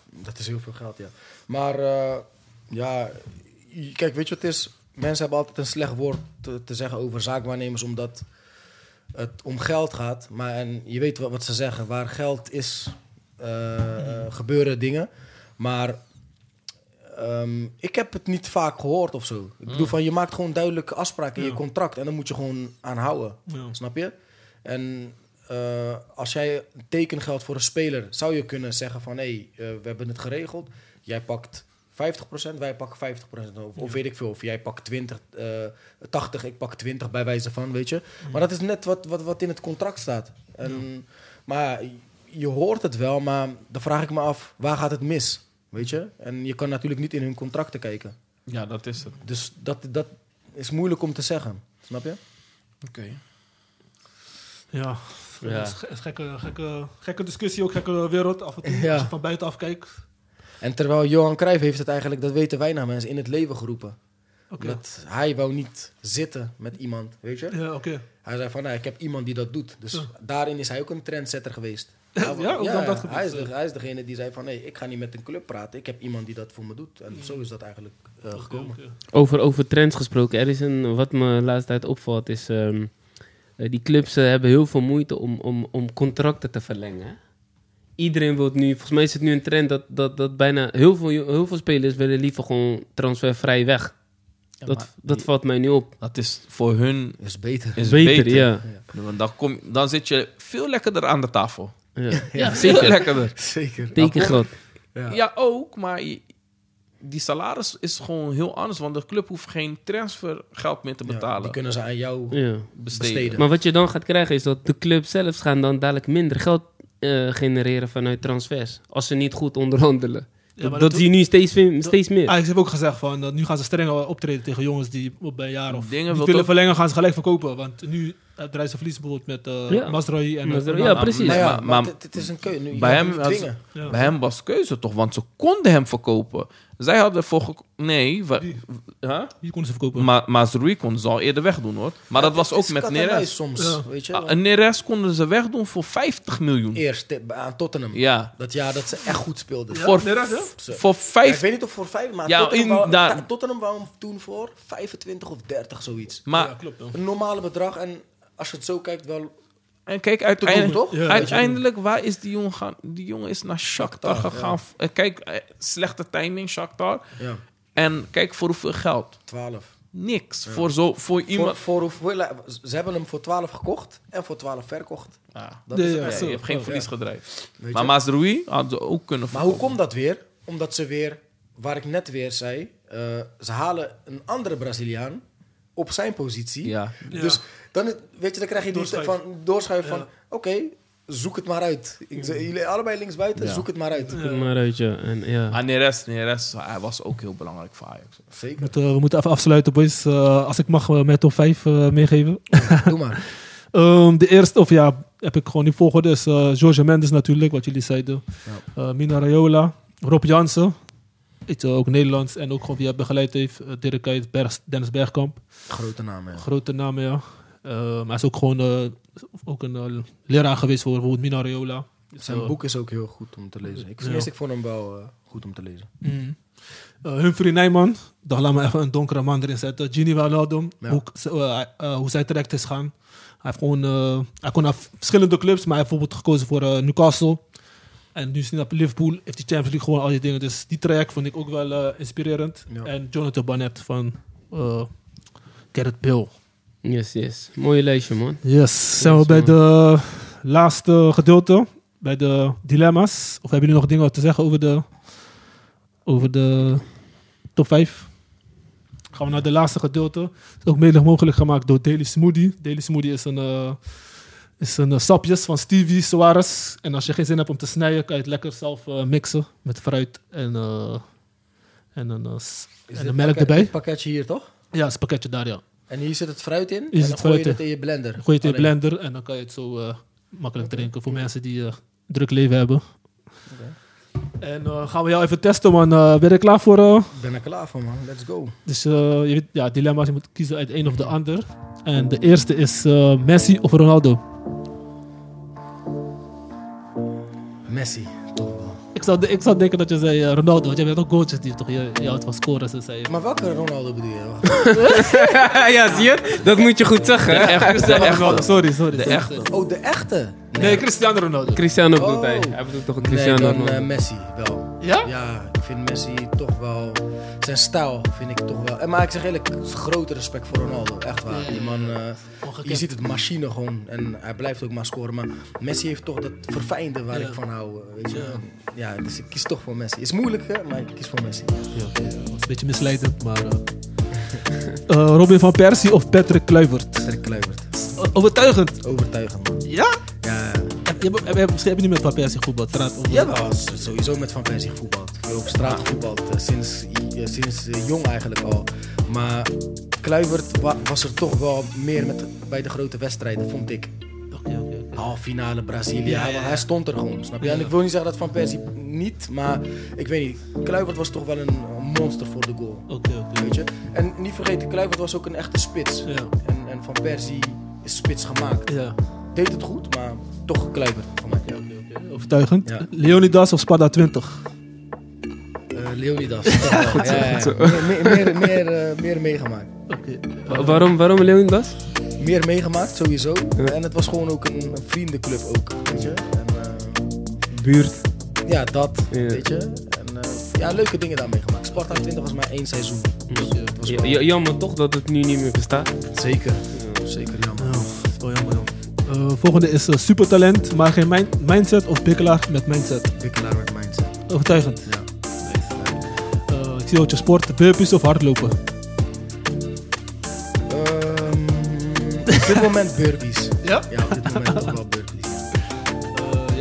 [SPEAKER 5] Dat is heel veel geld, ja. Maar eh, ja, je- kijk, weet je wat het is? Mensen hebben altijd een slecht woord te, te zeggen over zaakwaarnemers, omdat het om geld gaat. Maar en je weet wat, wat ze zeggen, waar geld is, eh, eh, gebeuren dingen. Maar ehm, ik heb het niet vaak gehoord of zo. Ik bedoel, van, je maakt gewoon duidelijke afspraken in je contract en dan moet je gewoon aan houden.
[SPEAKER 1] Ja.
[SPEAKER 5] Snap je? En eh, eh, als jij een tekengeld voor een speler... zou je kunnen zeggen van... hé, hey, eh, we hebben het geregeld. Jij pakt 50%, wij pakken 50%. Of, of weet ik veel. Of jij pakt 20, eh 80, ik pak 20 bij wijze van, weet je. Maar dat is net wat, wat, wat in het contract staat. En, Maar je hoort het wel, maar dan vraag ik me af... waar gaat het mis, weet je? En je kan natuurlijk niet in hun contracten kijken.
[SPEAKER 3] Ja, dat is het.
[SPEAKER 5] Dus dat, dat is moeilijk om te zeggen. Snap je?
[SPEAKER 3] Oké.
[SPEAKER 1] Ja,
[SPEAKER 2] Ja.
[SPEAKER 1] dat is ge- is gekke, gekke, gekke discussie, ook gekke wereld af en toe.
[SPEAKER 5] Ja.
[SPEAKER 1] Als je van buitenaf kijkt.
[SPEAKER 5] En terwijl Johan Cruijff heeft het eigenlijk, dat weten weinig mensen, in het leven geroepen.
[SPEAKER 1] Oké.
[SPEAKER 5] Dat hij wou niet zitten met iemand, weet je?
[SPEAKER 1] Ja, oké.
[SPEAKER 5] Hij zei van, nou, ik heb iemand die dat doet. Dus
[SPEAKER 1] Ja.
[SPEAKER 5] daarin is hij ook een trendsetter geweest.
[SPEAKER 1] Ja, ook op dat eh. gebied,
[SPEAKER 5] hij, is
[SPEAKER 1] ja.
[SPEAKER 5] de, hij is degene die zei van, nee, ik ga niet met een club praten. Ik heb iemand die dat voor me doet. En zo is dat eigenlijk eh, gekomen.
[SPEAKER 1] Oké, oké.
[SPEAKER 2] Over, over trends gesproken. Er is een, wat me de laatste tijd opvalt, is... ehm, eh, die clubs eh, hebben heel veel moeite om, om, om contracten te verlengen. hè. Iedereen wil nu... Volgens mij is het nu een trend dat, dat, dat bijna... Heel veel, heel veel spelers willen liever gewoon transfervrij weg. dat
[SPEAKER 3] maar
[SPEAKER 2] dat
[SPEAKER 3] die-
[SPEAKER 2] valt mij nu op.
[SPEAKER 3] Dat is voor hun
[SPEAKER 5] Is beter.
[SPEAKER 3] is
[SPEAKER 2] Beter,
[SPEAKER 3] beter.
[SPEAKER 2] ja.
[SPEAKER 3] Want dan, kom, dan zit je veel lekkerder aan de tafel.
[SPEAKER 2] Ja,
[SPEAKER 3] Ja, Veel
[SPEAKER 2] zeker.
[SPEAKER 3] lekkerder.
[SPEAKER 5] Zeker.
[SPEAKER 2] Tekengeld.
[SPEAKER 5] Ja.
[SPEAKER 3] Ja. ook, maar je- die salaris is gewoon heel anders. Want de club hoeft geen transfergeld meer te
[SPEAKER 5] Ja,
[SPEAKER 3] betalen.
[SPEAKER 5] die kunnen ze aan jou
[SPEAKER 2] Ja.
[SPEAKER 3] besteden.
[SPEAKER 5] besteden.
[SPEAKER 2] Maar wat je dan gaat krijgen is dat de club zelfs gaan dan dadelijk minder geld eh, genereren vanuit transfers. Als ze niet goed onderhandelen. dat,
[SPEAKER 1] maar
[SPEAKER 2] dat
[SPEAKER 1] dat- Ah,
[SPEAKER 2] zie je nu steeds, veel- steeds meer.
[SPEAKER 1] Ajax heeft ook gezegd van, eh, nu gaan ze strenger optreden tegen jongens die op bij een jaar of
[SPEAKER 3] Dingen
[SPEAKER 1] niet
[SPEAKER 3] wil
[SPEAKER 1] willen
[SPEAKER 3] toch-
[SPEAKER 1] verlengen, gaan ze gelijk verkopen. Want nu eh, drijft ze verlies bijvoorbeeld met eh
[SPEAKER 2] Ja.
[SPEAKER 1] Masraoui en
[SPEAKER 2] Masraoui,
[SPEAKER 1] Fernandes.
[SPEAKER 2] ja, precies.
[SPEAKER 5] Nou ja,
[SPEAKER 3] Maar-
[SPEAKER 5] maar
[SPEAKER 3] maar-
[SPEAKER 5] het, het is een keuze. Nu, je
[SPEAKER 3] Bij
[SPEAKER 5] gaat
[SPEAKER 3] hem
[SPEAKER 5] niet
[SPEAKER 3] had ze-
[SPEAKER 5] dwingen.
[SPEAKER 1] Ja.
[SPEAKER 3] Bij hem was keuze toch, want ze konden hem verkopen. Zij hadden voor... gek- Nee, we,
[SPEAKER 1] Wie?
[SPEAKER 3] huh?
[SPEAKER 1] Die konden ze verkopen.
[SPEAKER 3] maar Mazrui kon ze al eerder wegdoen hoor. Maar dat was
[SPEAKER 5] Het
[SPEAKER 3] ook
[SPEAKER 5] is
[SPEAKER 3] met
[SPEAKER 5] kat en muis
[SPEAKER 3] Neres.
[SPEAKER 5] soms,
[SPEAKER 1] Ja.
[SPEAKER 5] weet je.
[SPEAKER 3] Ah,
[SPEAKER 5] want
[SPEAKER 3] En Neres konden ze wegdoen voor 50 miljoen.
[SPEAKER 5] Eerst eh, aan Tottenham.
[SPEAKER 3] Ja.
[SPEAKER 5] Dat jaar dat ze echt goed speelden.
[SPEAKER 1] Ja,
[SPEAKER 3] voor-
[SPEAKER 1] Neres, hè?
[SPEAKER 5] Zo.
[SPEAKER 3] Voor
[SPEAKER 5] Ja, ik
[SPEAKER 3] 5
[SPEAKER 5] weet niet of voor vijf, maar
[SPEAKER 3] Ja,
[SPEAKER 5] Tottenham,
[SPEAKER 3] in-
[SPEAKER 5] wou,
[SPEAKER 3] daar-
[SPEAKER 5] Ta- Tottenham wou hem toen voor 25 of 30 zoiets.
[SPEAKER 1] Ja,
[SPEAKER 3] Maar
[SPEAKER 1] klopt. ja.
[SPEAKER 5] Een normale bedrag en als je het zo kijkt wel...
[SPEAKER 3] en kijk, uiteindelijk,
[SPEAKER 5] toch?
[SPEAKER 1] Ja,
[SPEAKER 3] uiteindelijk waar is die jongen gaan? Die jongen is naar Shakhtar
[SPEAKER 5] Shakhtar,
[SPEAKER 3] gegaan. Eh, Kijk, eh, slechte timing Shakhtar.
[SPEAKER 5] Ja,
[SPEAKER 3] En kijk voor hoeveel geld.
[SPEAKER 5] 12.
[SPEAKER 3] Niks. Voor, zo, voor
[SPEAKER 5] Voor,
[SPEAKER 3] iemand.
[SPEAKER 5] voor hoeveel, ze hebben hem voor 12 gekocht en voor 12 verkocht.
[SPEAKER 3] Ja,
[SPEAKER 5] Ah, Dat
[SPEAKER 1] Ja,
[SPEAKER 5] is
[SPEAKER 1] ja,
[SPEAKER 5] het.
[SPEAKER 1] ja.
[SPEAKER 3] je hebt geen
[SPEAKER 1] Oh,
[SPEAKER 3] verlies gedraaid.
[SPEAKER 5] Weet je?
[SPEAKER 3] Maar Mazrui hadden ze ook kunnen
[SPEAKER 5] Maar hoe komt dat weer? Omdat ze weer, waar ik net weer zei, eh, ze halen een andere Braziliaan op zijn positie.
[SPEAKER 3] Ja.
[SPEAKER 1] Ja.
[SPEAKER 5] Dus dan, is- weet je, dan krijg je die
[SPEAKER 1] Doorschuif.
[SPEAKER 5] van, doorschuiven
[SPEAKER 1] Ja.
[SPEAKER 5] van, oké, zoek het maar uit. Ik, zeg, jullie allebei linksbuiten,
[SPEAKER 3] Ja.
[SPEAKER 5] zoek het maar uit.
[SPEAKER 2] Zoek het maar uit, ja. En, ja.
[SPEAKER 3] Maar Neres, Neres hij was ook heel belangrijk voor Ajax.
[SPEAKER 5] Zeker,
[SPEAKER 1] Met, eh, we moeten even afsluiten, boys. Eh, als ik mag, met mijn top 5 meegeven.
[SPEAKER 5] doe maar.
[SPEAKER 1] Ehm, de eerste, of ja, heb ik gewoon in volgorde, is eh Jorge Mendes natuurlijk, wat jullie zeiden. Eh, Mina Raiola, Rob Jansen, iets, eh, ook Nederlands en ook gewoon wie hij begeleid heeft. eh, Dirk Kuyt, Berg- Dennis Bergkamp,
[SPEAKER 5] Grote naam, ja.
[SPEAKER 1] grote namen ja. Ehm, hij is ook gewoon eh, ook een eh, leraar geweest voor bijvoorbeeld Mina Raiola. Dus,
[SPEAKER 5] Zijn
[SPEAKER 1] eh,
[SPEAKER 5] boek is ook heel goed om te lezen. Ik,
[SPEAKER 1] Ja.
[SPEAKER 5] eerst, ik vond hem wel eh, goed om te lezen.
[SPEAKER 1] Mm. Eh, Humphrey Nijman, daar laat me even een donkere man erin zetten. Gini Wijnaldum,
[SPEAKER 5] Ja.
[SPEAKER 1] hoe, ze- eh, eh, hoe zij terecht is gaan. Hij, heeft gewoon, eh, hij kon naar verschillende clubs, maar hij heeft bijvoorbeeld gekozen voor eh, Newcastle. En nu is hij naar Liverpool, heeft die Champions League gewoon al die dingen. Dus die traject vond ik ook wel eh, inspirerend.
[SPEAKER 5] Ja.
[SPEAKER 1] En Jonathan Barnett van eh Gerrit Bill.
[SPEAKER 2] Yes, yes. Mooie lijstje, man.
[SPEAKER 1] Yes, zijn we bij de laatste gedeelte, bij de dilemma's. Of hebben jullie nog dingen te zeggen over de, over de top 5? Gaan we naar de laatste gedeelte. Het is ook mede mogelijk gemaakt door Daily Smoothie. Daily Smoothie is een, eh, is een eh, sapjes van Stevie Suarez. En als je geen zin hebt om te snijden, kan je het lekker zelf eh, mixen met fruit en, eh, en een, eh, s- en een melk erbij.
[SPEAKER 5] Dit pakketje hier, toch?
[SPEAKER 1] Ja, het is een pakketje daar, ja.
[SPEAKER 5] En hier zit het fruit in.
[SPEAKER 1] het
[SPEAKER 5] en dan gooi
[SPEAKER 1] fruit
[SPEAKER 5] je het
[SPEAKER 1] in.
[SPEAKER 5] in je blender.
[SPEAKER 1] Gooi het in de
[SPEAKER 5] Alleen.
[SPEAKER 1] blender en dan kan je het zo eh, makkelijk drinken voor mensen die eh, druk leven hebben. En eh, gaan we jou even testen, man. Eh, ben je er klaar voor? eh?
[SPEAKER 5] Ik ben er klaar voor, man. Let's go.
[SPEAKER 1] Dus eh, je weet, ja, dilemma's, je moet kiezen uit een of de ander. En de eerste is eh, Messi of Ronaldo.
[SPEAKER 5] Messi. Toch wel.
[SPEAKER 1] Ik zou, de- ik zou denken dat je zei eh, Ronaldo, want jij bent ook goaltjes die toch je, je houdt van scoren, ze zei. je.
[SPEAKER 5] Maar welke Ronaldo bedoel je? Wacht.
[SPEAKER 2] ja, zie je? Dat moet je goed zeggen.
[SPEAKER 1] Cristiano Ronaldo, sorry, sorry. sorry.
[SPEAKER 5] Oh, de echte?
[SPEAKER 1] Nee, Cristiano Ronaldo.
[SPEAKER 2] Cristiano bedoelt
[SPEAKER 5] Oh.
[SPEAKER 2] hij. Hij bedoelt toch een
[SPEAKER 5] Nee,
[SPEAKER 2] Cristiano
[SPEAKER 5] dan
[SPEAKER 2] Ronaldo.
[SPEAKER 5] eh, Messi wel.
[SPEAKER 3] Ja?
[SPEAKER 5] Ja, ik vind Messi toch wel... Zijn stijl vind ik toch wel... En maar ik zeg eerlijk, grote respect voor Ronaldo. Echt waar. Die man... eh, je ziet het machine gewoon. En hij blijft ook maar scoren. Maar Messi heeft toch dat verfijnde waar
[SPEAKER 1] Ja.
[SPEAKER 5] ik van hou. eh, Weet je?
[SPEAKER 1] Ja.
[SPEAKER 5] Ja. dus ik kies toch voor Messi. Is moeilijk, hè? Maar ik kies voor Messi.
[SPEAKER 1] Ja, oké, ja, dat was een beetje misleidend, maar... eh. Eh, Robin van Persie of Patrick Kluivert?
[SPEAKER 5] Patrick Kluivert.
[SPEAKER 1] O- Overtuigend.
[SPEAKER 5] Overtuigend, man.
[SPEAKER 1] Ja?
[SPEAKER 5] Ja,
[SPEAKER 1] Heb, heb, heb, heb- misschien heb je niet met Van Persie voetbal. Straat, of-
[SPEAKER 5] Jawel, s- sowieso met Van Persie gevoetbald. Ik heb op straat gevoetbald, eh, sinds, eh, sinds eh, jong eigenlijk al. Maar Kluivert wa- was er toch wel meer met, bij de grote wedstrijden, vond ik.
[SPEAKER 1] Oké, oké, oké.
[SPEAKER 5] Half finale Brazilië,
[SPEAKER 1] Ja,
[SPEAKER 5] hij,
[SPEAKER 1] ja, ja.
[SPEAKER 5] hij stond er gewoon, snap je? En
[SPEAKER 1] Ja.
[SPEAKER 5] ik wil niet zeggen dat Van Persie niet, maar ik weet niet. Kluivert was toch wel een eh, monster voor de goal,
[SPEAKER 1] Oké, oké.
[SPEAKER 5] weet je? En niet vergeten, Kluivert was ook een echte spits.
[SPEAKER 1] Ja.
[SPEAKER 5] En, en Van Persie is spits gemaakt.
[SPEAKER 1] Ja.
[SPEAKER 5] Deed het goed, maar toch Kluivert van mij. Ja.
[SPEAKER 1] Overtuigend.
[SPEAKER 5] Ja.
[SPEAKER 1] Leonidas of Sparta 20?
[SPEAKER 5] Eh, Leonidas. toch wel. ja, ja, ja. Meer, meer, meer, meer, eh, meer meegemaakt.
[SPEAKER 1] Oké. dus,
[SPEAKER 2] Wa- waarom, waarom Leonidas?
[SPEAKER 5] Meer meegemaakt, sowieso. En het was gewoon ook een, een vriendenclub ook, weet je. En, eh,
[SPEAKER 2] Buurt.
[SPEAKER 5] ja, dat,
[SPEAKER 2] Ja.
[SPEAKER 5] weet je. En, eh, ja, leuke dingen daar meegemaakt. Sparta 20 was maar één seizoen. Dus, eh, het was wel-
[SPEAKER 2] jammer toch dat het nu niet meer bestaat.
[SPEAKER 5] Zeker, zeker jammer.
[SPEAKER 1] Nou, dat is wel jammer, joh. Eh, volgende is eh, supertalent, maar geen min- mindset of pikkelaar met mindset.
[SPEAKER 5] Wikkelaar met mindset,
[SPEAKER 1] Overtuigend.
[SPEAKER 5] ja.
[SPEAKER 1] Eh, ik zie ook je sport, burpees of hardlopen.
[SPEAKER 5] Ehm, op dit moment burpees.
[SPEAKER 1] Ja?
[SPEAKER 5] Ja, op dit moment toch wel burpees.
[SPEAKER 1] Eh,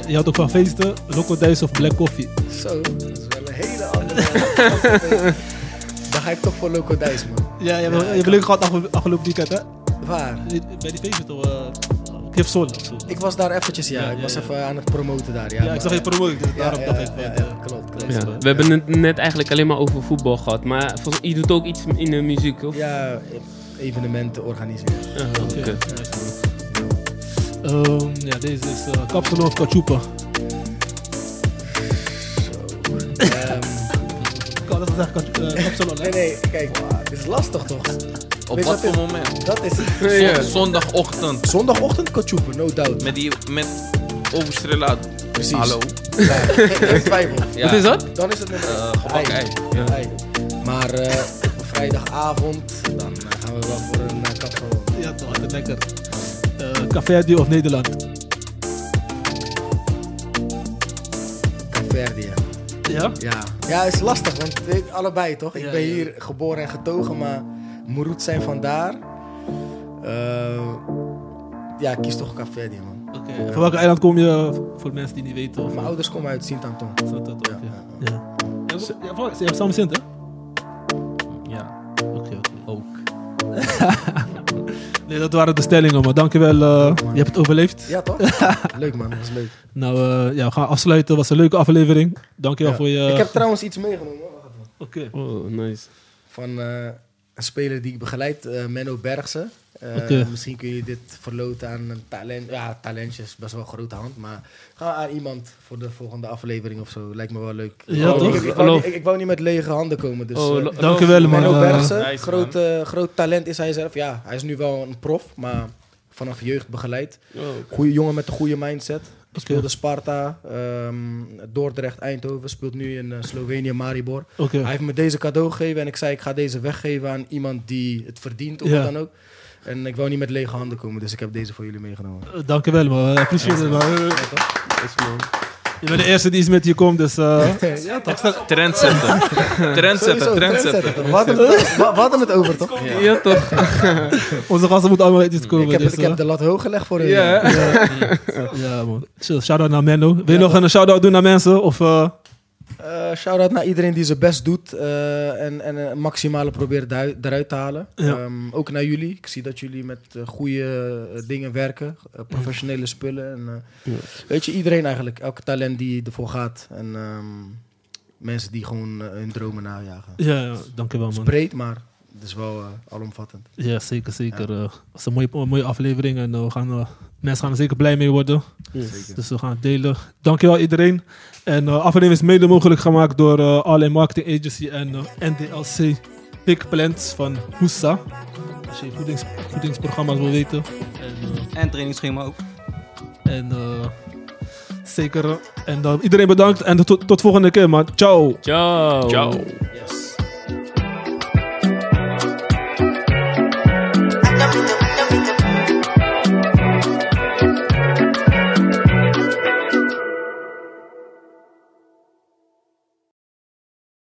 [SPEAKER 1] je, je had ook van feesten, loco dice of black coffee.
[SPEAKER 5] Zo, dat is wel een hele andere... Dan ga ik toch voor Loco Dijs, man.
[SPEAKER 1] Ja, je hebt
[SPEAKER 5] Ja,
[SPEAKER 1] je hebt leuk gehad afge- afgelopen weekend, hè?
[SPEAKER 5] Waar?
[SPEAKER 1] Bij die feesten toch? eh Cliff Sol. of zo.
[SPEAKER 5] Ik was daar eventjes, ja.
[SPEAKER 1] Ja,
[SPEAKER 5] ik
[SPEAKER 1] ja,
[SPEAKER 5] was
[SPEAKER 1] ja.
[SPEAKER 5] even aan het promoten daar, ja.
[SPEAKER 1] Ja, ik zag je promoten, dus
[SPEAKER 5] Ja,
[SPEAKER 1] daarom
[SPEAKER 5] ja,
[SPEAKER 1] dacht ik.
[SPEAKER 5] ja,
[SPEAKER 1] wat,
[SPEAKER 5] ja,
[SPEAKER 1] eh,
[SPEAKER 5] klopt, klopt.
[SPEAKER 1] Ja.
[SPEAKER 5] Ja,
[SPEAKER 2] We hebben het net eigenlijk alleen maar over voetbal gehad. Maar volgens, je doet ook iets in de muziek, of?
[SPEAKER 5] evenementen organiseren.
[SPEAKER 2] Ah, oké.
[SPEAKER 1] oké. Ehm, ja, deze is eh kapsalon of kachupa.
[SPEAKER 5] Ehm,
[SPEAKER 1] Ik had dat gezegd, kachu- eh, kapsalon, hè?
[SPEAKER 5] nee, nee, kijk, het is lastig toch?
[SPEAKER 3] Op
[SPEAKER 5] Weet
[SPEAKER 3] wat
[SPEAKER 5] je
[SPEAKER 3] voor
[SPEAKER 5] wat
[SPEAKER 3] moment?
[SPEAKER 5] Dat is het.
[SPEAKER 3] Zon-
[SPEAKER 2] Ja.
[SPEAKER 3] Zondagochtend.
[SPEAKER 5] Zondagochtend kachupen, no doubt.
[SPEAKER 3] Met die, met overstrilla.
[SPEAKER 5] Precies.
[SPEAKER 3] Hallo.
[SPEAKER 5] Ja, geen- geen twijfel.
[SPEAKER 3] Ja.
[SPEAKER 2] Wat is dat?
[SPEAKER 5] Dan is het nummer
[SPEAKER 3] Eh,
[SPEAKER 5] één.
[SPEAKER 3] gebakken
[SPEAKER 5] Ei.
[SPEAKER 3] ei.
[SPEAKER 2] Ja.
[SPEAKER 5] Ei. Maar eh, op een vrijdagavond, dan eh, gaan we wel voor een uh, kapsalon.
[SPEAKER 1] Ja, toch, altijd lekker. Eh Caverdi of Nederland?
[SPEAKER 5] Caverdië.
[SPEAKER 1] Ja?
[SPEAKER 5] Ja. ja, is lastig, want weet, allebei toch? Ik
[SPEAKER 1] Ja,
[SPEAKER 5] ben
[SPEAKER 1] ja.
[SPEAKER 5] hier geboren en getogen, maar mijn roots zijn vandaar. Eh ja, ik kies toch Caverdië, man.
[SPEAKER 1] Oké. Van welk eiland kom je, eh, voor de mensen die niet weten? Of
[SPEAKER 5] Mijn ouders komen uit Sint-Anton.
[SPEAKER 1] Zo dat ook,
[SPEAKER 5] Ja.
[SPEAKER 1] ja. Ja. Ja, voor- ja, voor- Ze hebben samen Sint, hè?
[SPEAKER 3] Ja,
[SPEAKER 1] Oké, oké.
[SPEAKER 3] ook.
[SPEAKER 1] Nee, dat waren de stellingen, maar dankjewel. eh, je hebt het overleefd.
[SPEAKER 5] Ja, toch? leuk, man. Dat is leuk.
[SPEAKER 1] Nou, eh, ja, we gaan afsluiten. was een leuke aflevering. Dankjewel
[SPEAKER 5] Ja.
[SPEAKER 1] voor je...
[SPEAKER 5] Ik heb trouwens iets meegenomen. hoor. Wacht even.
[SPEAKER 1] Oké.
[SPEAKER 2] Oh, nice.
[SPEAKER 5] Van eh, een speler die ik begeleid, eh, Menno Bergsen. Eh,
[SPEAKER 1] Oké.
[SPEAKER 5] Misschien kun je dit verloten aan een talent. Ja, talentje is best wel een grote hand. Maar ga aan iemand voor de volgende aflevering of zo. Lijkt me wel leuk.
[SPEAKER 1] Ja,
[SPEAKER 5] ik,
[SPEAKER 1] toch?
[SPEAKER 5] ik, ik wou,
[SPEAKER 2] Hallo.
[SPEAKER 5] niet- ik, ik wou niet met lege handen komen. Dus,
[SPEAKER 2] Oh,
[SPEAKER 5] eh,
[SPEAKER 2] lo-
[SPEAKER 1] Dankjewel, man.
[SPEAKER 5] Menno
[SPEAKER 1] eh,
[SPEAKER 5] Bergsen,
[SPEAKER 3] nice,
[SPEAKER 5] groot, eh, groot talent is hij zelf. Ja, hij is nu wel een prof, maar vanaf jeugd begeleid.
[SPEAKER 2] Oh.
[SPEAKER 5] Goeie jongen met een goede mindset.
[SPEAKER 1] Oké.
[SPEAKER 5] Speelde Sparta, ehm, Dordrecht, Eindhoven. Speelt nu in eh, Slovenië, Maribor.
[SPEAKER 1] Oké.
[SPEAKER 5] Hij heeft me deze cadeau gegeven en ik zei ik ga deze weggeven aan iemand die het verdient of
[SPEAKER 1] Ja.
[SPEAKER 5] wat dan ook. En ik wou niet met lege handen komen, dus ik heb deze voor jullie meegenomen.
[SPEAKER 1] Eh, Dankjewel, man. Eh, Appreciate het, man. Eh,
[SPEAKER 2] man.
[SPEAKER 1] Je bent de eerste die iets met je komt, dus... eh,
[SPEAKER 5] ja, toch?
[SPEAKER 3] Trendsetter. Trendsetter, trendsetter.
[SPEAKER 5] We hadden het- we- we hadden het over, toch?
[SPEAKER 2] Ja, toch?
[SPEAKER 1] onze gasten moeten allemaal met iets komen.
[SPEAKER 5] Ik heb,
[SPEAKER 1] dus,
[SPEAKER 5] ik heb
[SPEAKER 1] eh,
[SPEAKER 5] de lat hoog gelegd voor hun.
[SPEAKER 2] Ja. hè?
[SPEAKER 1] Ja, man. Chill, Shout-out naar Menno. Wil je nog een shout-out doen naar mensen? Of... eh,
[SPEAKER 5] Eh, shout-out naar iedereen die zijn best doet eh, en, en eh, maximale probeert dui- eruit te halen.
[SPEAKER 1] Ja.
[SPEAKER 5] Ehm, ook naar jullie. Ik zie dat jullie met eh, goede eh, dingen werken, eh, professionele spullen. En, eh, Weet je, iedereen eigenlijk. Elke talent die ervoor gaat. En ehm, mensen die gewoon eh, hun dromen najagen. Het
[SPEAKER 1] Ja, ja, dankjewel,
[SPEAKER 5] is
[SPEAKER 1] man.
[SPEAKER 5] breed, maar het is wel eh, alomvattend.
[SPEAKER 1] Ja, zeker, zeker. Eh, Het is een mooie, een mooie aflevering en eh, we gaan, eh, mensen gaan er zeker blij mee worden. Dus we gaan het delen. Dankjewel iedereen. En eh, aflevering is mede mogelijk gemaakt door eh Alleen Marketing Agency en eh, NDLC Pick Plants van Hoesa. Als je voedings, voedingsprogramma's wil weten. En, eh,
[SPEAKER 4] En trainingsschema ook.
[SPEAKER 1] en eh, Zeker. En dan iedereen bedankt en tot, tot volgende keer, man. Ciao.
[SPEAKER 2] Ciao.
[SPEAKER 3] Ciao.